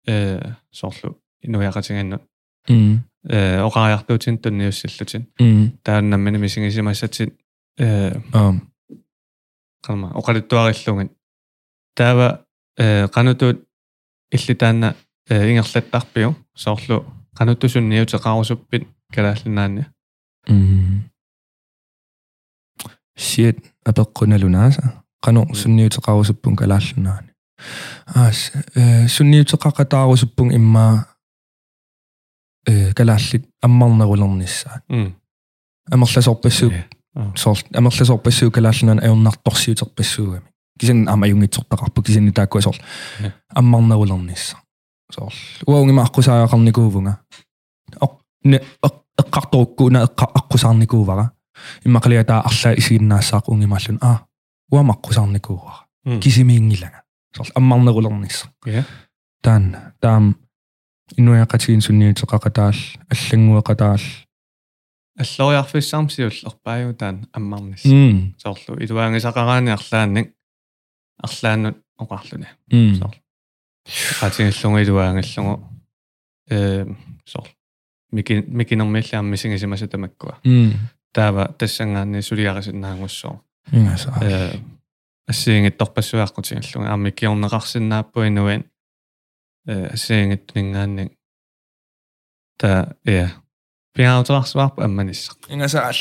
S2: э соорлу инуяқатинганну
S1: Mm.
S2: э оқаариартуутин тунниуссиллутин
S1: Mm.
S2: тааннаммани мисигисимассатит э
S1: Um.
S2: qanma oqalittuarillungin taava э qanutut иллитаанна э ингерлаттарпиу соорлу qanuttusunniутеқарусуппит калааллинаанни
S1: Mm. Shit, апеккуналунааса кану сунниутеқарусуппун калааллунаани аас э сунниутеқақатаарусуппун иммаа э калааллит аммарнерулерниссаа амерласоорпассуу
S2: Е, аа.
S1: соор амерласоорпассуу калааллунаан аюрнарторсиутерпассуугами кисин ама юнгитсортақарпу кисинни тааккуа соор
S2: Е.
S1: аммарнерулернисса соор уаунгимааққусаагаақарникуувнга оқ не эққарторуккуна эққа аққусаарникуувара иммақалиатаа арлаа исигиннаассаақ унгимааллун аа уамаққусаарникуувара
S2: М.
S1: кисимиингилага соор аммарнерулернисса
S2: Е.
S1: таан таам инуяқатигин сунниутеқақатаал аллангуақатаал
S2: аллориарфиссаармсиулл орпаажутаан аммарнис
S1: м
S2: соорлу илуаангисақараанниарлаанник арлааннут оқарлуни
S1: м
S2: Соор. qatiнгиллунга илуаангиллугу э соор мики микинэрмиллаам мисигисимаса тамаккуа
S1: м
S2: таава тассангаанни сулиарисиннаангуссоо
S1: Yes, ah.
S2: э ассиингиттарпассуааққутигиллунга аами киорнеқарсинааппу инуин э ассиингиттунингаанник та я пиаутарсуарпу амманиссақ
S1: инgasаал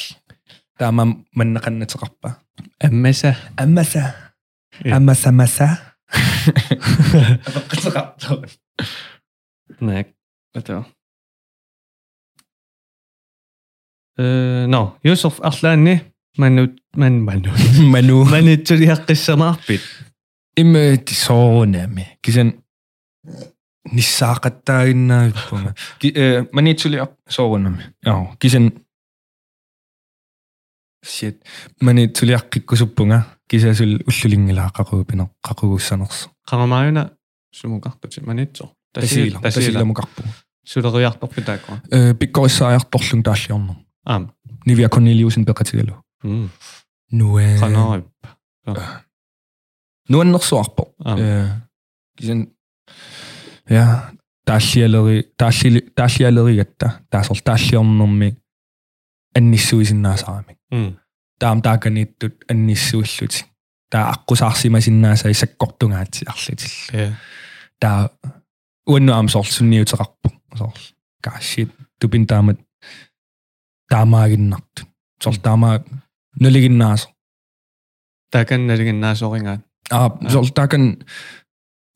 S1: таама маннеқаннатеқарпа
S2: аммаса
S1: аммаса
S2: Ja.
S1: аммаса [LAUGHS] маса
S3: апеққитеқарту
S2: Näk. Vänta. Uh, no, Yusuf Arlani, manut, man, er manut, [LAUGHS]
S1: ману
S2: manut tuli haqqissamaarpit.
S1: имме тисоонами кисен ниссаақаттаагиннаавиппунга ки э манитсулиар соорунами яо кисен shit манитсулиаққиккусуппунга кисасул уллулингилааққақуупинеқ қақугуссанерс
S2: Qaramaayuna sumukartuti manitso.
S1: тасила
S2: Tasila.
S1: тасиламукарпу
S2: er Suleriartorpitaakua.
S1: э пиккориссаариарторлун тааллиорнер
S2: Aam.
S1: нивиа коннилиусин пеқатигалу
S2: Mm.
S1: нуэ
S2: Qanarip.
S1: нуаннерсуарпо
S2: Aam.
S1: Э, кисен я тааллиалери таалли тааллиалеригатта таасор тааллиорнэрми анниссуисиннаасаарами
S2: Mm.
S1: таам тааканиттут анниссуиллути таа аққусаарсимасиннаасаа исаккортунгаатсиарлутилла
S2: Yeah.
S1: таа уаннуам сорсунниутеқарпу сор гашит тупин таамат таамаагиннарту сор таамаа нулигиннаасо
S2: Taakan naligin naasoringaat.
S1: аа сор таакан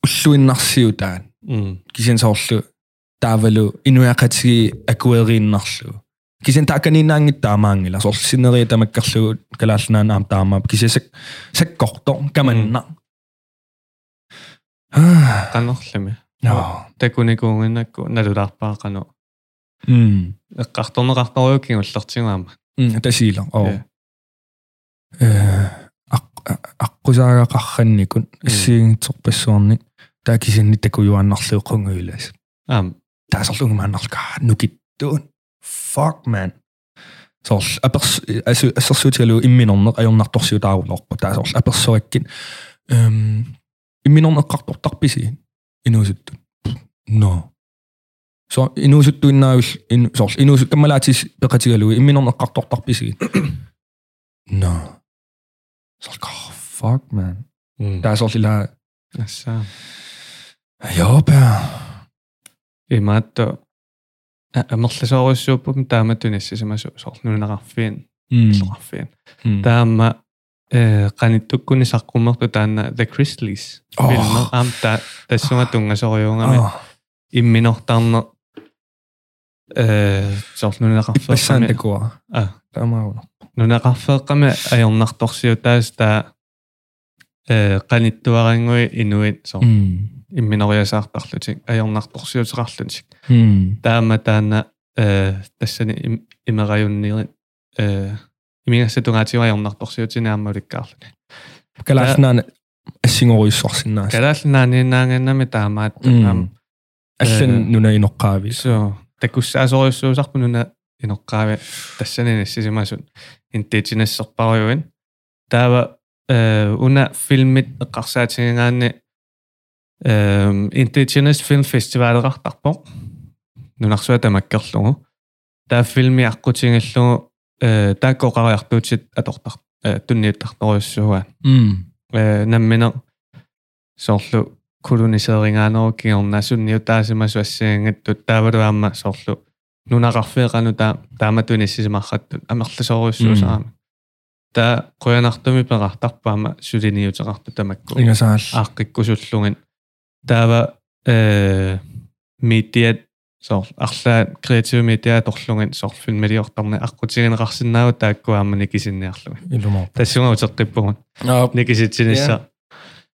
S1: уллуиннарсиутаан
S2: Mm.
S1: кисен соорлу таавалу инуяқатиги акуэрииннарлу кисен тааканинаангит таамаангила соорлу синерия тамаккарлугу калаалланаан аам таамаап кисесак саккорто каманна аа
S2: Qanorlami.
S1: ноо
S2: Takunikuunginakku nalularpaa qanu.
S1: м
S2: Qartorneqartoruukin ullertiguaama.
S1: м тасила
S2: Ie.
S1: оо Eh, э аққусаага қарранникун ассигинтерпассуарник такисинниттакуюааннарлиуқунгуилаас
S2: Ам.
S1: таасорлунгмааннарлка нукиттуун fuck man eh, сорл аперс асу ассерсуутигалу имминорнеқ ажорнарторсиу таавулоорпа таасорл аперсораккин эм имминорнеққартортарписи инуусутту но со инуусутту иннаавил ин сорл инуусу каммалаатис пеқатигалу [CLEARS THROAT] имминорнеққартортарписи но сорл oh, fuck man таасорл ила
S2: Аса.
S1: ёпа
S2: Имаатто амерласоориуссууппум тааматтунассисимасу соорнунеқарфиин.
S1: Mm. м
S2: Соорфиин.
S1: м.
S2: Таама э каниттуккуни саққуммерту таана The Chrisleys.
S1: Ох.
S2: Фильм ам та тассунга тунгасориунгами
S1: Аа,
S2: имминортарне э
S1: пассан
S2: соорнунеқарфиин.
S1: такуа
S2: А
S1: тамаауна
S2: нунеқарфеэққами аёрнартарсиу таас таа э каниттуарингуи инуит сор
S1: Mm.
S2: Mm.
S1: м
S2: имминориасаартарлутик аёрнартарсиутеқарлутик
S1: м
S2: таама таана э тассани им- имераюннери э имигассатунгаатиу аёрнартарсиутинааммаликкаарлут
S1: калааснаа ассигориуссорсиннаас
S2: калааллинаанинаангэннами таамаат
S1: Mm.
S2: таам
S1: аллан нунаиноққаави
S2: соо такуссаасориуссуусарпу нуна инеққааве тассани нассисимасут интитинессерпаруйуин таава э уна филмит эққарсаатингаанни эм интитинес филм фестивалеқартарпо нунарсуа тамаккерлугу таа филми аққутингиллугу э тааккоқариартуутит атортар э туннииттарторуссуа
S1: м
S2: э намминер соорлу колонисеерингаанеру кигернаасунниу таасимасу ассаангаттут таавалуаама соорлу нунақарфеэқану таа тааматуниссисимарраттут амерласоориуссуусаами таа қоянартуми пеқартарпаама сулиниутеқарту тамакку Ah.
S1: ингасаалла
S2: ааққиккусуллугин таава э медиат соор арлаат креатив медиа торлугин соор филмилиортарне аққутигинеқарсинааву тааккуаама никисинниарлугин
S1: илумаа
S2: тассунга утеққиппугун
S1: аа
S2: никиситсинисса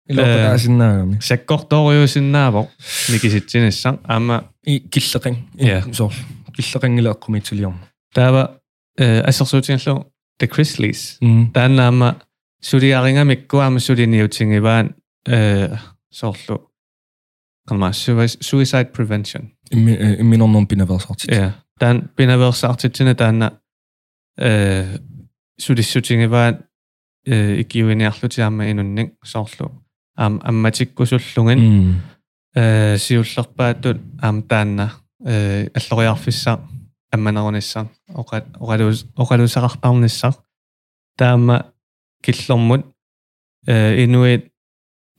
S2: Э.
S1: илумаасиннааами
S2: саккорториусиннаавоо никиситсиниссан аама
S1: и киллеқин
S2: Иа.
S1: сор киллеқингилеэққумитсулиорма
S2: таава э ассерсуутингерлу the Chrisleys
S1: м
S2: тааннаама сулиарингамиккуаама сулиниутингиваан э соорлу канмаа suicide prevention
S1: имминорнорн пинаверсартит
S2: я таан пинаверсаартитсина таанна э сулиссутингиваан э икиуиниарлутиаама инунник соорлу аам амматиккусуллугин
S1: м
S2: э сиуллерпаатут аам таанна э аллориарфиссаа амманерунissaan оқа оқалуус оқалуусақартарнissaan таама киллэрмут э инуит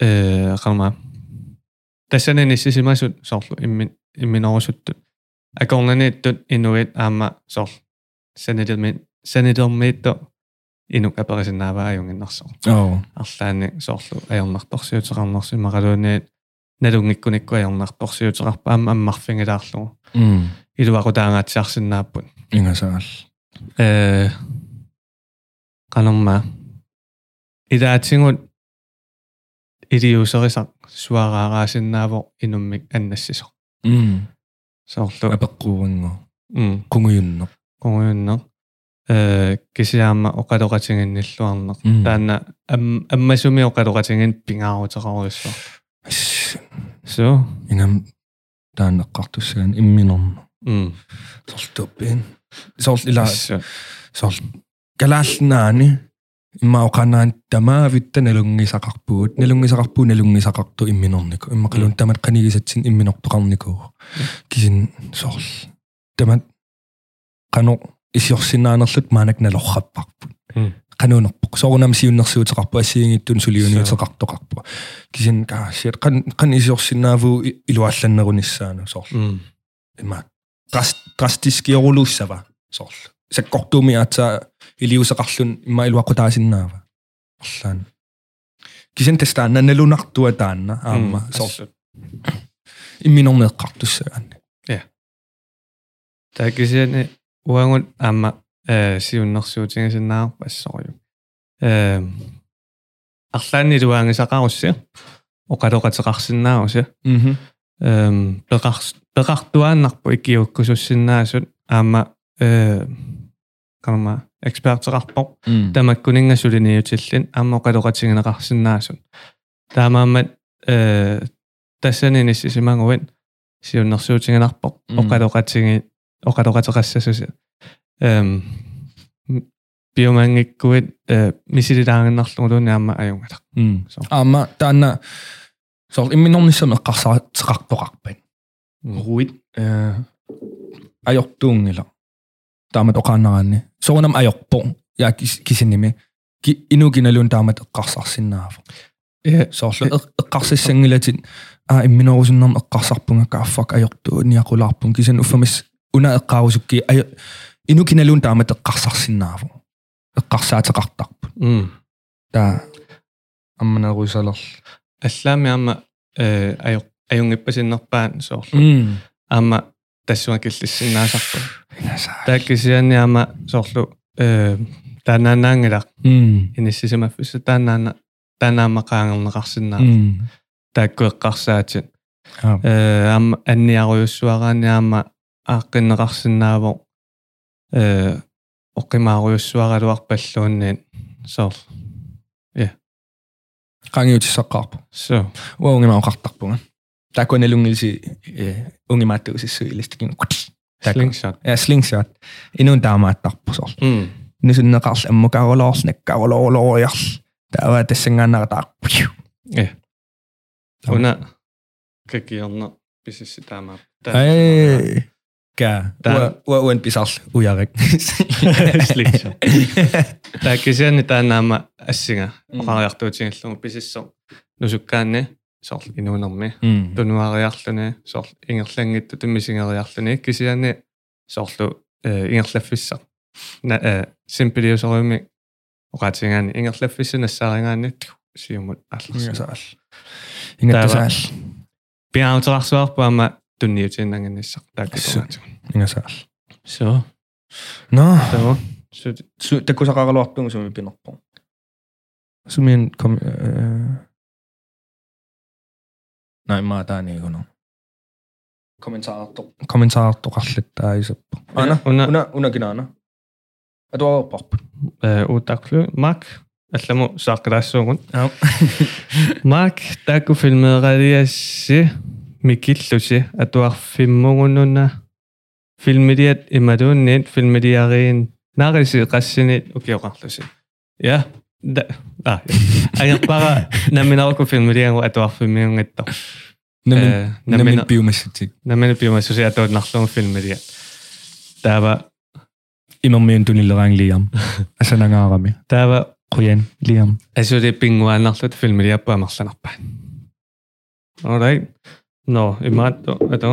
S2: э қама тассанениссисимасут соорлу иммин имминорусуттут акорнаниттут инуит аама соорлу санидермит санидермитто инук апарисинаавааюнгиннарсоо
S1: аа
S2: арлаани соорлу аярнарторсиутеқарнарси маралууниит налунгиккуникку аярнарторсиутеқарпа аама аммарфингилаарлугу
S1: м
S2: илуакутаангаатсиарсинааппут
S1: ингасаалла
S2: э канамма идаатингут илиусерисақ суараараассинаавоо инуммик аннассисо
S1: м
S2: соорлу
S1: апеққуунго
S2: м
S1: кунгуйунно
S2: конгуйуннер э кисиаама оқалоқатингинниллуарнер
S1: Мм.
S2: таана ам аммасуми оқалоқатингин пингаарутераруйссо соо
S1: ингам таанеққартуссаан имминорно
S2: м
S1: сортуппин сор ила
S2: Ассо.
S1: сор калаалнаани иммаоқанаан тамаавитта налунгисақарпугут налунгисақарпуу налунгисақарту имминорнику иммақалун тамат қанигисатсин имминортоқарникуу кисин сор тамат қано исиорсинааанерлут маанак налорраппарпут
S2: Мм.
S1: қануунерпоқ соорунам сиуннерсиутеқарпу ассиингиттун сулиуниутеқартоқарпу кисин каасиат қан қан исиорсинаавуу и- илуаалланнерунissaану сор
S2: м
S1: има драс- драстискиорулууссава соорлу саккортууми аата илиусеқарлун има илуаққутаасиннаава орлаан кисен тестаанна налунартуа таанна
S2: Mm,
S1: аама соорлу имминорнеққартуссагаан
S2: такисиани уангут аама э сиуннэрсуутингисиннаар пассорю э арлаани луангисақаруссиа оқалоқатеқарсиннааруси
S1: мхм
S2: эм пеқарс пеқартуааннарпу икиуккусуссиннаасут аама э канама экспертерарпо
S1: Mm.
S2: тамаккунинга сулиниутиллин аама оқалоқатингинеқарсиннаасут таамааммат э тассанини сисимангуин сиуннэрсуутингинарпо
S1: Мм.
S2: оқалоқатсиги оқалоқатеқассасуси эм биомангиккуит э мисилилаангиннарлугулууни аама аюнгалаа
S1: Mm.
S2: Så.
S1: Amma tänne se oli minun missä me kasa traktorarpen.
S2: Mm.
S1: Ruit. Ajoktuungilla. Taamat okannaanni. niin Se on ajokpo. Ja kisinimi. Ki, inukin elyn taamat kasa sinna.
S2: э
S1: Se on kasa sengille. Ah, en minä olisin nam kasarpunga kaffak ajoktu. Niin aku larpun kisin uffamis. Una kausukki. Inukin elyn taamat kasa sinna. Kasa traktorarpen.
S2: м
S1: Tää. Ammana ruisalar.
S2: аллаами аама э аю аюнгиппасиннерпаан соор
S1: Mm.
S2: аама тассуа киллиссиннаасарпу
S1: Minä
S2: тааккисианни аама соорлу э тананаангила
S1: mm.
S2: иниссисимаффисса танаана
S1: Mm.
S2: танаамақаангернеқарсинаа тааккуэққарсаатин э аама анниаруйуссуараани аама ааққиннеқарсинаавоо э оққимааруйуссуаралуарпаллуунниин соор
S1: qangiutissaqqaarpu
S2: соо
S1: уа унгимаоқартарпунга такуаналунгилси э унгимааттуусиссуилистикин Tack.
S2: слингшот
S1: я слингсаат инун таамааттарпу сор
S2: м
S1: Niin нисуннеқарл аммукаарлоорснаккаарлоолоориарл таава тассангааннара таа
S2: уна какиорна писисси таамаа
S1: эй ка
S2: Tää-
S1: уа уан писарл уярик
S2: [LAUGHS] слингшот тааккисианни танаама ассига оқариартуутингиллугу писиссо нусуккаанни соор инуунэрми
S1: м
S2: тунуариарлуни соор ингерлангитту туммисингериарлуни кисианни соорлу э, ингерлаффисса на э, симпилиусориуми оқатингаани ингерлаффисса нассаарингаани тху, сиумут аллерсу
S1: ингасаал ингатсаал
S2: пиаутерарсуарпу ама тунниутииннангинниссар тааккисунаатигу
S1: ингасаал
S2: соо
S1: но
S2: тоо суу
S1: Su- такусақаралуарпугу суми пинерпо сумиан ком най маатаани гуно комментаартоқ комментаартоқарлаттаа исаппо ана
S2: уна
S1: уна уна кинаана атуарпарпу
S2: э уутаклу мак алламу саақилаассуугун
S1: Ау.
S2: мак таку филмеэриасси микиллуси атуарфиммугунуна филмилиат ималуунниит филмилиариин нариси қассинит укиоқарлуси я да а аярпара наминарку филмилиангу атуарфиммиунгатто Э,
S1: намин намин биумассатик
S2: намин пиумассуси атуунарлугу филмилиат таава
S1: имермиун туниллераан лиам асанангаарами
S2: таава
S1: қуян лиам
S2: Asuri pinguanarlut filmiliappa marlanarpaan. Alright. No, imaatto, ato.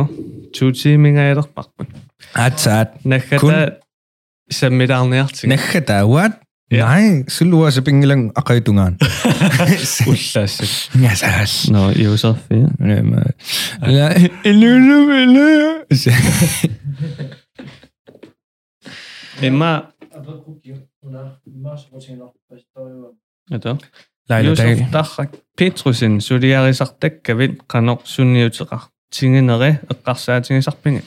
S2: Chuchi minga edarparpun.
S1: атсаат
S2: Nähkätä
S1: Kun-
S2: sammidaarniartsin.
S1: наххата уат
S2: Ja.
S1: най сулуаса пингилан ақаитунгаан
S2: Ullaassit.
S1: ингасаал
S2: No, Josefi.
S1: Nema. La ilulu
S2: Imma, ato. Josef Dachak Petrusin, suliarisartakkavit qanor sunniutiqar. Tinginere, eqqarsaatingisarpingi.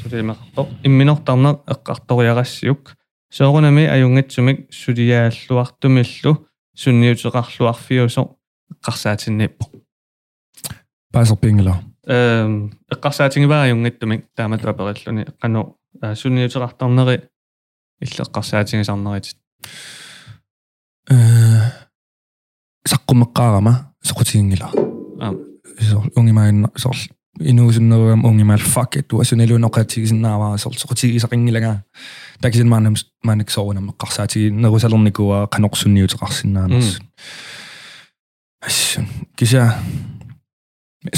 S2: сулимақарто имминортарнер эққарториарассиук соорунами аюнгатсумик сулиааллуартумиллу сунниутеқарлуарфиусо эққарсаатинниппо
S1: Passer pingler.
S2: эм эққарсаатингиваа аюнгатсумик тааматуа периллуни эққану аа, сунниутеқартарнери илле эққарсаатингисарнерит
S1: Äh, Saqqumeqqaarama soqutiingila.
S2: Ам.
S1: Sor ungimain sor inuusunneruam ungimaal fuck it uasuneluun oqatigisinnaavaa sor soqutigisaqingilaga. Takisin maanam maanik soorunam eqqarsaatigi nerusalernikuaa qanoqsunniuteqarsinnaanas. Assun kisa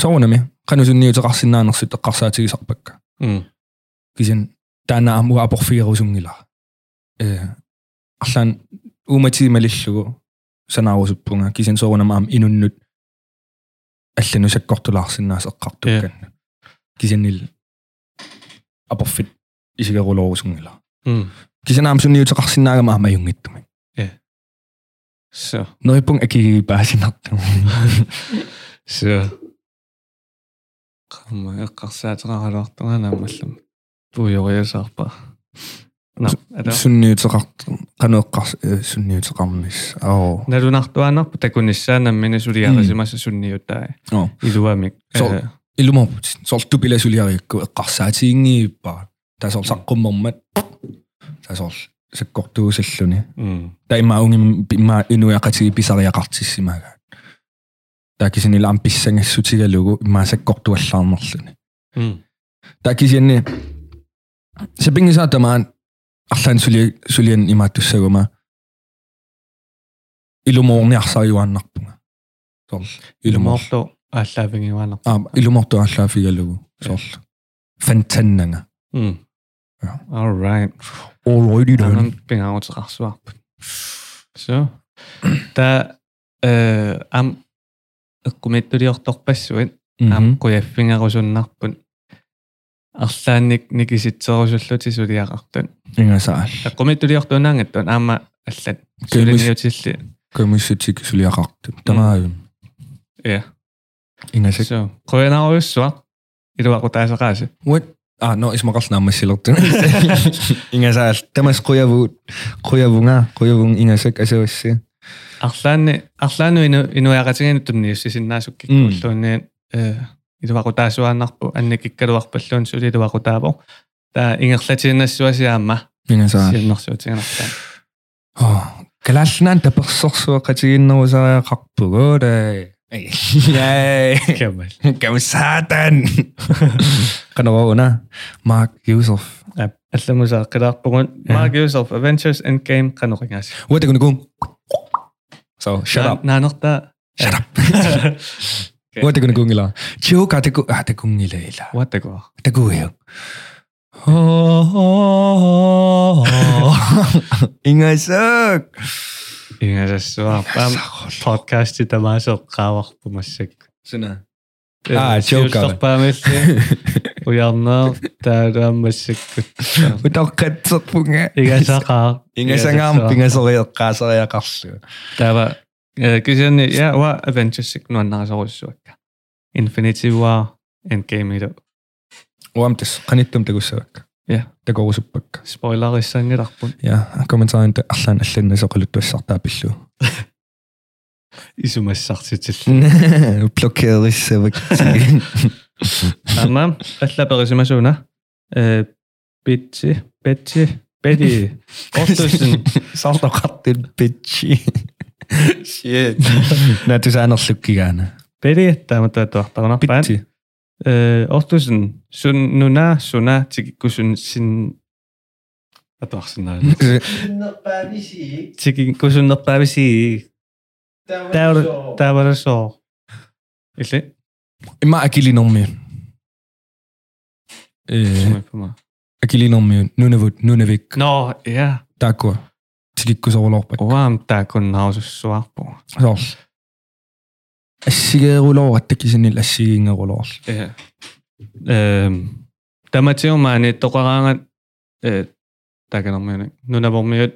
S1: soorunami qanusunniuteqarsinnaanersut eqqarsaatigisarpakka.
S2: м
S1: kisin taana amua aporfiirusungila э арлаан ууматигималиллугу санаарусуппунга кисин соорунамаам инуннут алланусаккортулаарсинаас эққартуккан кисиннил апорфит исигерулоорусунгила
S2: м
S1: кисинаам сунниутеқарсинаагама амаюнгиттуми
S2: со
S1: нориппун акигипаасинарту
S2: со қама эққарсаатеқаралуартуна наммаллам буйориасаарпа No, ada.
S1: sunniuteqart qanueqqars eh, sunniuteqarmis aa
S2: Nalunartuanarpu takunissaanam minasuliaqasimassa sunniutaa.
S1: Joo.
S2: Iluamik.
S1: So-
S2: Äh,
S1: ilumorput sol tupilassuliariikku eqqarsaatiingiippa ta sol saqqummermat ta sol sakkortuusalluni
S2: mm.
S1: taima ungim pimma inuaqatigi pisariaqartissimaga takisinila ampissangassutigalugu imma sakkortuallaarnerluni
S2: Mm.
S1: такисианни сапингисаатамаан арлаан сули сулиан имааттуссагума илумоорниарсариуааннарпунга сорл илумоор
S2: Ilumorlu aallaavingivaanar.
S1: аа илумоортуарлаа фигалугу сорл фантаннанга
S2: Mm.
S1: Ja.
S2: All right.
S1: олройди дэн
S2: Анан пингаутеқарсуарпут. So. Та э ам эккумиттулиорторпассуит
S1: Mhm.
S2: ам куяффингарусуннарпут. Арлаанник никиситсерусуллути сулиақартун.
S1: ингасаал
S2: Эккумиттулиортунаангаттун аама аллат
S1: Кэмис-
S2: сулиниутилли.
S1: комиссутик сулиақарту тамаавим
S2: Е.
S1: ингасак
S2: So. Куянаруйссуа илуақутаасақааси.
S1: what а но исмақарнаамассилертун ингасаал тамас қуявуут қуявунга қуявун ингасак асавасси
S2: арлаанни арлаану ину инуяақатигинуттум ниуссисиннаасукки
S1: Мм.
S2: куллуунниат э илуақутаасуааннарпу анникиккалуарпаллуун сулилуақутаавоо таа ингерлатигиннассуасиаама
S1: ингасаал
S2: сиуннэрсуутигинартаа
S1: калаалнаан таперсорсуа қатигиннерусариақарпугоо таа [LAUGHS] яй
S2: кэмэл
S1: [LAUGHS] камсатан канароона марк юсов
S2: алламусаа қилаарпугун
S1: Ja.
S2: Mark Yusuf Adventures in Game канорингаас
S1: уатагунукун so shut up
S2: наанерта
S1: shut up уатагунукун ила чиу катагу атагун ила ила
S2: уатагуа
S1: атагуё ингасак
S2: ингасассуа пам подкасти тамаасоо қааварпумассак
S1: сина Аа, joke аа.
S2: памэлли уярнаа тараамассаккут
S1: утаққатсерпунга
S2: Игасагаа.
S1: ингасангаам пингасориаққаасариақарлу
S2: Тава э кисяни я ва Avengers нуаннарасоруссуакка. Infinity War Endgame niin иду.
S1: уамтис каниттум тагуссавак
S2: Ja.
S1: тагорусуппак
S2: Spoilerissaангиларпун.
S1: я комментарин арлаан алланна соқалуттуассартаа пиллу
S2: Исумассартитил.
S1: блокеерissavak
S2: Амма аллаперисимасуна. Э Битси, Бетси, Беди. Остусин
S1: сартоқартин питчи shit натусаанерлуккигаана
S2: Беди тааматаатуартарнарпаан.
S1: питчи
S2: Э Остусин сун нуна суна тиккусун син атуарсинаа.
S3: Nopavisi.
S2: Тиккусун нэртаависи
S3: Taur.
S2: Таварасоо. Илли.
S1: има акилинорми э акилинорми нунавут нунавик
S2: Но я
S1: тако тигиккусорлорпак
S2: уам таакун наусуссуарпу.
S1: сорл ассигеерулоор аттакисинил ассигингерулоор
S2: Э. Эм таматиумаани тоқараангат э тааканэрмиуник нунавормиут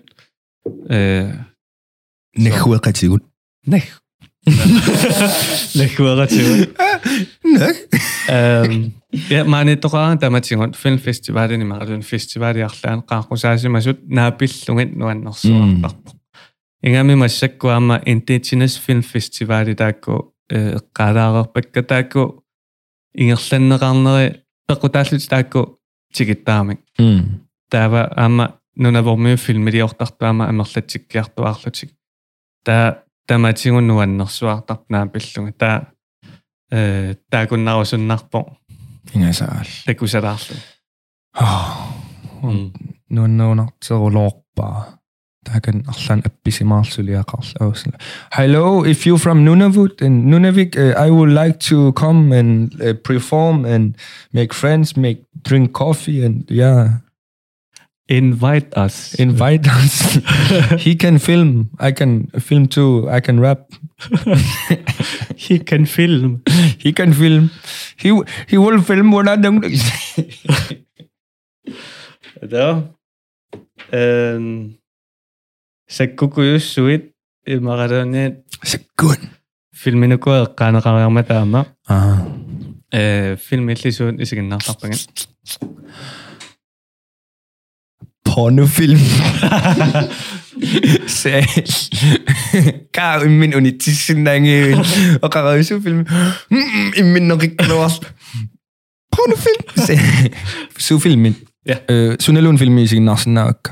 S2: э [LAUGHS]
S1: нэхуэкатигут Ne.
S2: нэх. Нэхвэратиу.
S1: нэх
S2: Эм я маани тоқараан таматингут фильм фестивалини маратун фестивалиарлаан қааққусаасимасут наапиллугит нуаннэрсуарпарпу. Ingami massakkuaama Indigenous Film Festivali taakku qaalaagerpakka taakku ingerlanneqarneri pequtaallut taakku tigittaamik
S1: м
S2: taava aama nunavormiu filmiliortartuama amerlatsikkiartuarlutik taa tamatigun nuannersuartarnaapillunga taa э таагуннаруссуннарпо
S1: ингасаал
S2: такусалаарлу
S1: Ah. нуннуунартерулоорпаа таакан арлаан апписимаарсулиақарла аусна hello if you from nunavut and nunavik uh, i would like to come and uh, perform and make friends make drink coffee and yeah
S2: invite us
S1: invite us [LAUGHS] he can film i can film too i can rap
S2: [LAUGHS] he can film
S1: he can film he w- he will film when i don't [LAUGHS]
S2: Да. Эм саккукуйуссуит имагалуунниат
S1: second
S2: филминукуа канакариарма таама Uh-huh.
S1: ah
S2: э филм иллисуут исигиннаартарпагин
S1: [LAUGHS] pornofilm. Selv. Kar i min unitissen nange. Og kar i så film. Mm, I min nok ikke noget. Pornofilm. Selv. Så filmen.
S2: Ja.
S1: Øh, Sunelun film i sin nasen nok.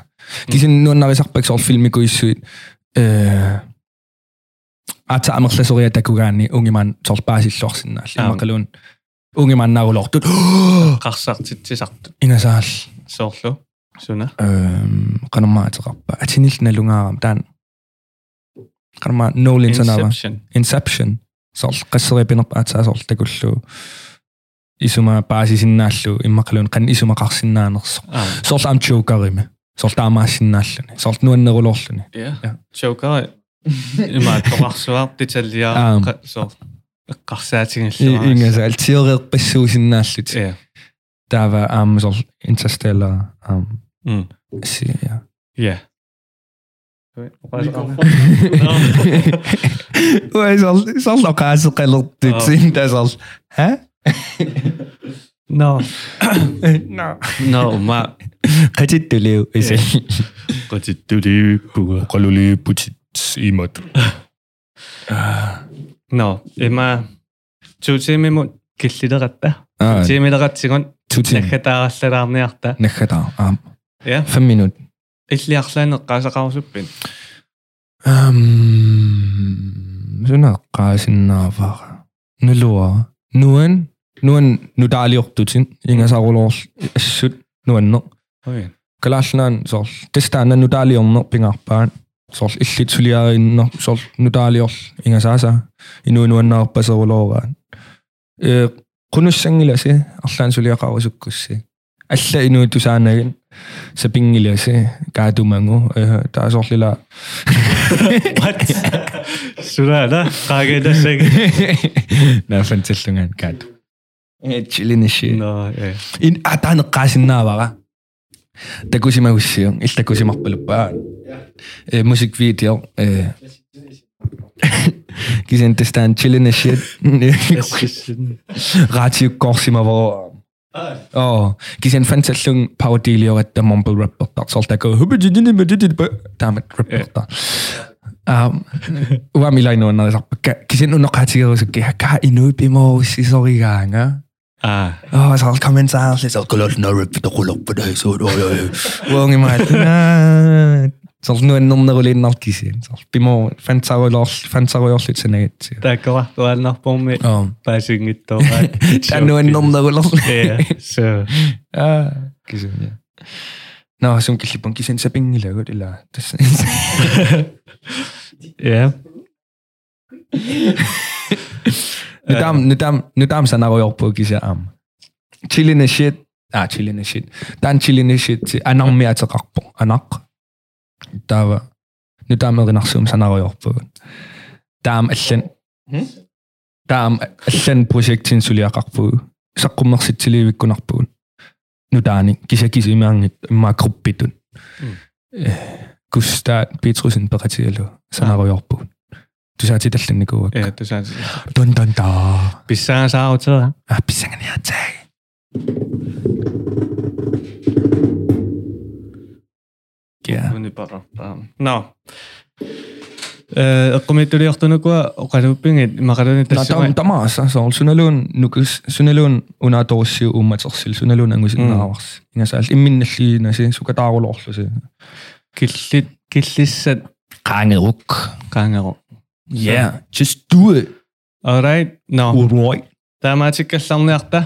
S1: De sin nu når vi sagt på film i går i sød. Øh. At tage amerklæs og rette kugani unge mand tåls bare sit lort sin nal.
S2: Ам.
S1: Amerklæs. altså, Unge mand når lort. [GASPS]
S2: qarsaartitsisartu
S1: Inasal.
S2: soorlu suna
S1: Øhm, qanermaatiqarpa atinilnalungaaram taan qarma Nolan sanava
S2: inception
S1: Inception sorl qasseripinerpa ataa sorl takullu isuma paasisinnaalluu immaqaluun qan isuma qarsinnaanerso
S2: ah
S1: sorl am jokerime sorl taamaasinnaalluni sorl nuannerulorluni
S2: yeah
S1: Ja.
S2: joker ima toqarsuar titalliaa
S1: Аам.
S2: soor qarsaatiginillaa
S1: ingasa altioreerpassuusinnaallut
S2: yeah
S1: taava am sorl interstellar am
S2: mm
S1: si ja
S2: yeah
S1: Ой, сол сол локаас
S2: Аа.
S1: qelertut sinta sol. Hä?
S2: no
S1: No.
S2: no ma
S1: Qatittulu ise.
S2: qatituli puga
S1: Qaluli putit imat.
S2: no ima tuutimimu killileqatta
S1: Аа,
S2: tiimileqatsigun
S1: tutin.
S2: nakkataarallalaarniarta
S1: Nakhata. Аа,
S2: yeah
S1: 5 minut.
S2: illiarlaaniqqaasaqarsuppin
S1: Ähm, Ehm, suna qaasinnaavara. Nulua. Nuan, nuan nutaaliortutin ingasarulor assut nuanno.
S2: oi
S1: kalaasnaan soorl tastaana nutaaliorner pingarpaan soorl illituliarinner soorl nutaaliorl ingasaasa inuinuannaarpaseruloraan ee qunussangilasi arlaan suliaqarusukkussi alla inuitusaanagin sapingilasi kaatumangu ee E, taa soorlila
S2: What? Sura da qaageda seg.
S1: naafantallugaan kaatu E, chilinishi
S2: No, eh.
S1: in атаанеққаасиннаавара такусимагуссиун иллакусимарпалуппаа э музиквидео э [LAUGHS] кисен тестан чилинешит ратиуккорсимавоо оо кисен фанталлун пародилиоратта момбл рэппертар сортако хубидидинимадидидба таамат рэппертар аа уамилайнуаннарисарпакка кисен унеқаатигерусукки хакка инуипиморуссисоригаанга
S2: Ah,
S1: Åh, så kommentarer lidt, så kolot norrøp, der ruller på dig, så du er unge mig. Så nu er nogen, der ruller ind og kisse. Så vi må fandt sig også lidt sådan et.
S2: ta kohtuu anna pommi
S1: Åh,
S2: pääsingit tuohon.
S1: der er nu en nogen, der ruller.
S2: Eh, so.
S1: Ja, kisse, ja. Nå, så hun kan slippe, hun kan sende sig penge i lavet, eller...
S2: Yeah.
S1: Nu dam, nu dam, nu dam, så når jeg på kisse am. Chillende shit. Ah, chillende shit. Der er en chillende shit til anak mere til rakbo. Anak. Der var... Nu dam er det nok som, så når jeg på. Der er allan. Der er allan projekt til en sulia rakbo. Så kommer sig til livet kun rakbo. Nu der er en kisse kisse i mange makrobidun. Э, Gustav Petrusen berättade så när jag på. Du sa till den igår.
S2: Eh, tuossa
S1: Dun dun dun.
S2: pissään saa otsaa.
S1: Ah, pisangan yatsay. Yeah.
S2: Muni parottaa. No. Eh, qumituliortunukua oqaluppingit maqaluni tassuma.
S1: Натам тамааса соор суналуун нукус суналуун унааторуссиу уумматерсил суналуун ангусиннааварс. Ингасаал имминналлиинаси сукатаарулоорлуси.
S2: Killit killissat
S1: Qaangeruк.
S2: qaangeru.
S1: Yeah, just do it.
S2: All right. No.
S1: Уруай.
S2: Tämä tikkallarniarta.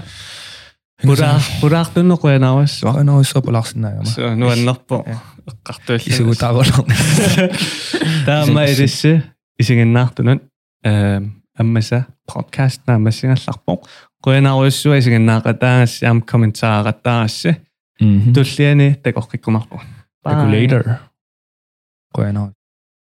S2: Pura puraartunnuquanaavas.
S1: Варанаусса паларсинаагама.
S2: Se on nuon nappo. [LAUGHS] Qartuillis.
S1: Сукатаарулоор.
S2: Tämä edessä isingen nahtunut. Э, Ämmässä podcast nämässä larpo. Quanaavassu isingen naqataas am kommentaarataas.
S1: Мгм.
S2: Mm-hmm. este, Tulliani tekorrikkumarpu.
S1: Regulator. Qoyanaa.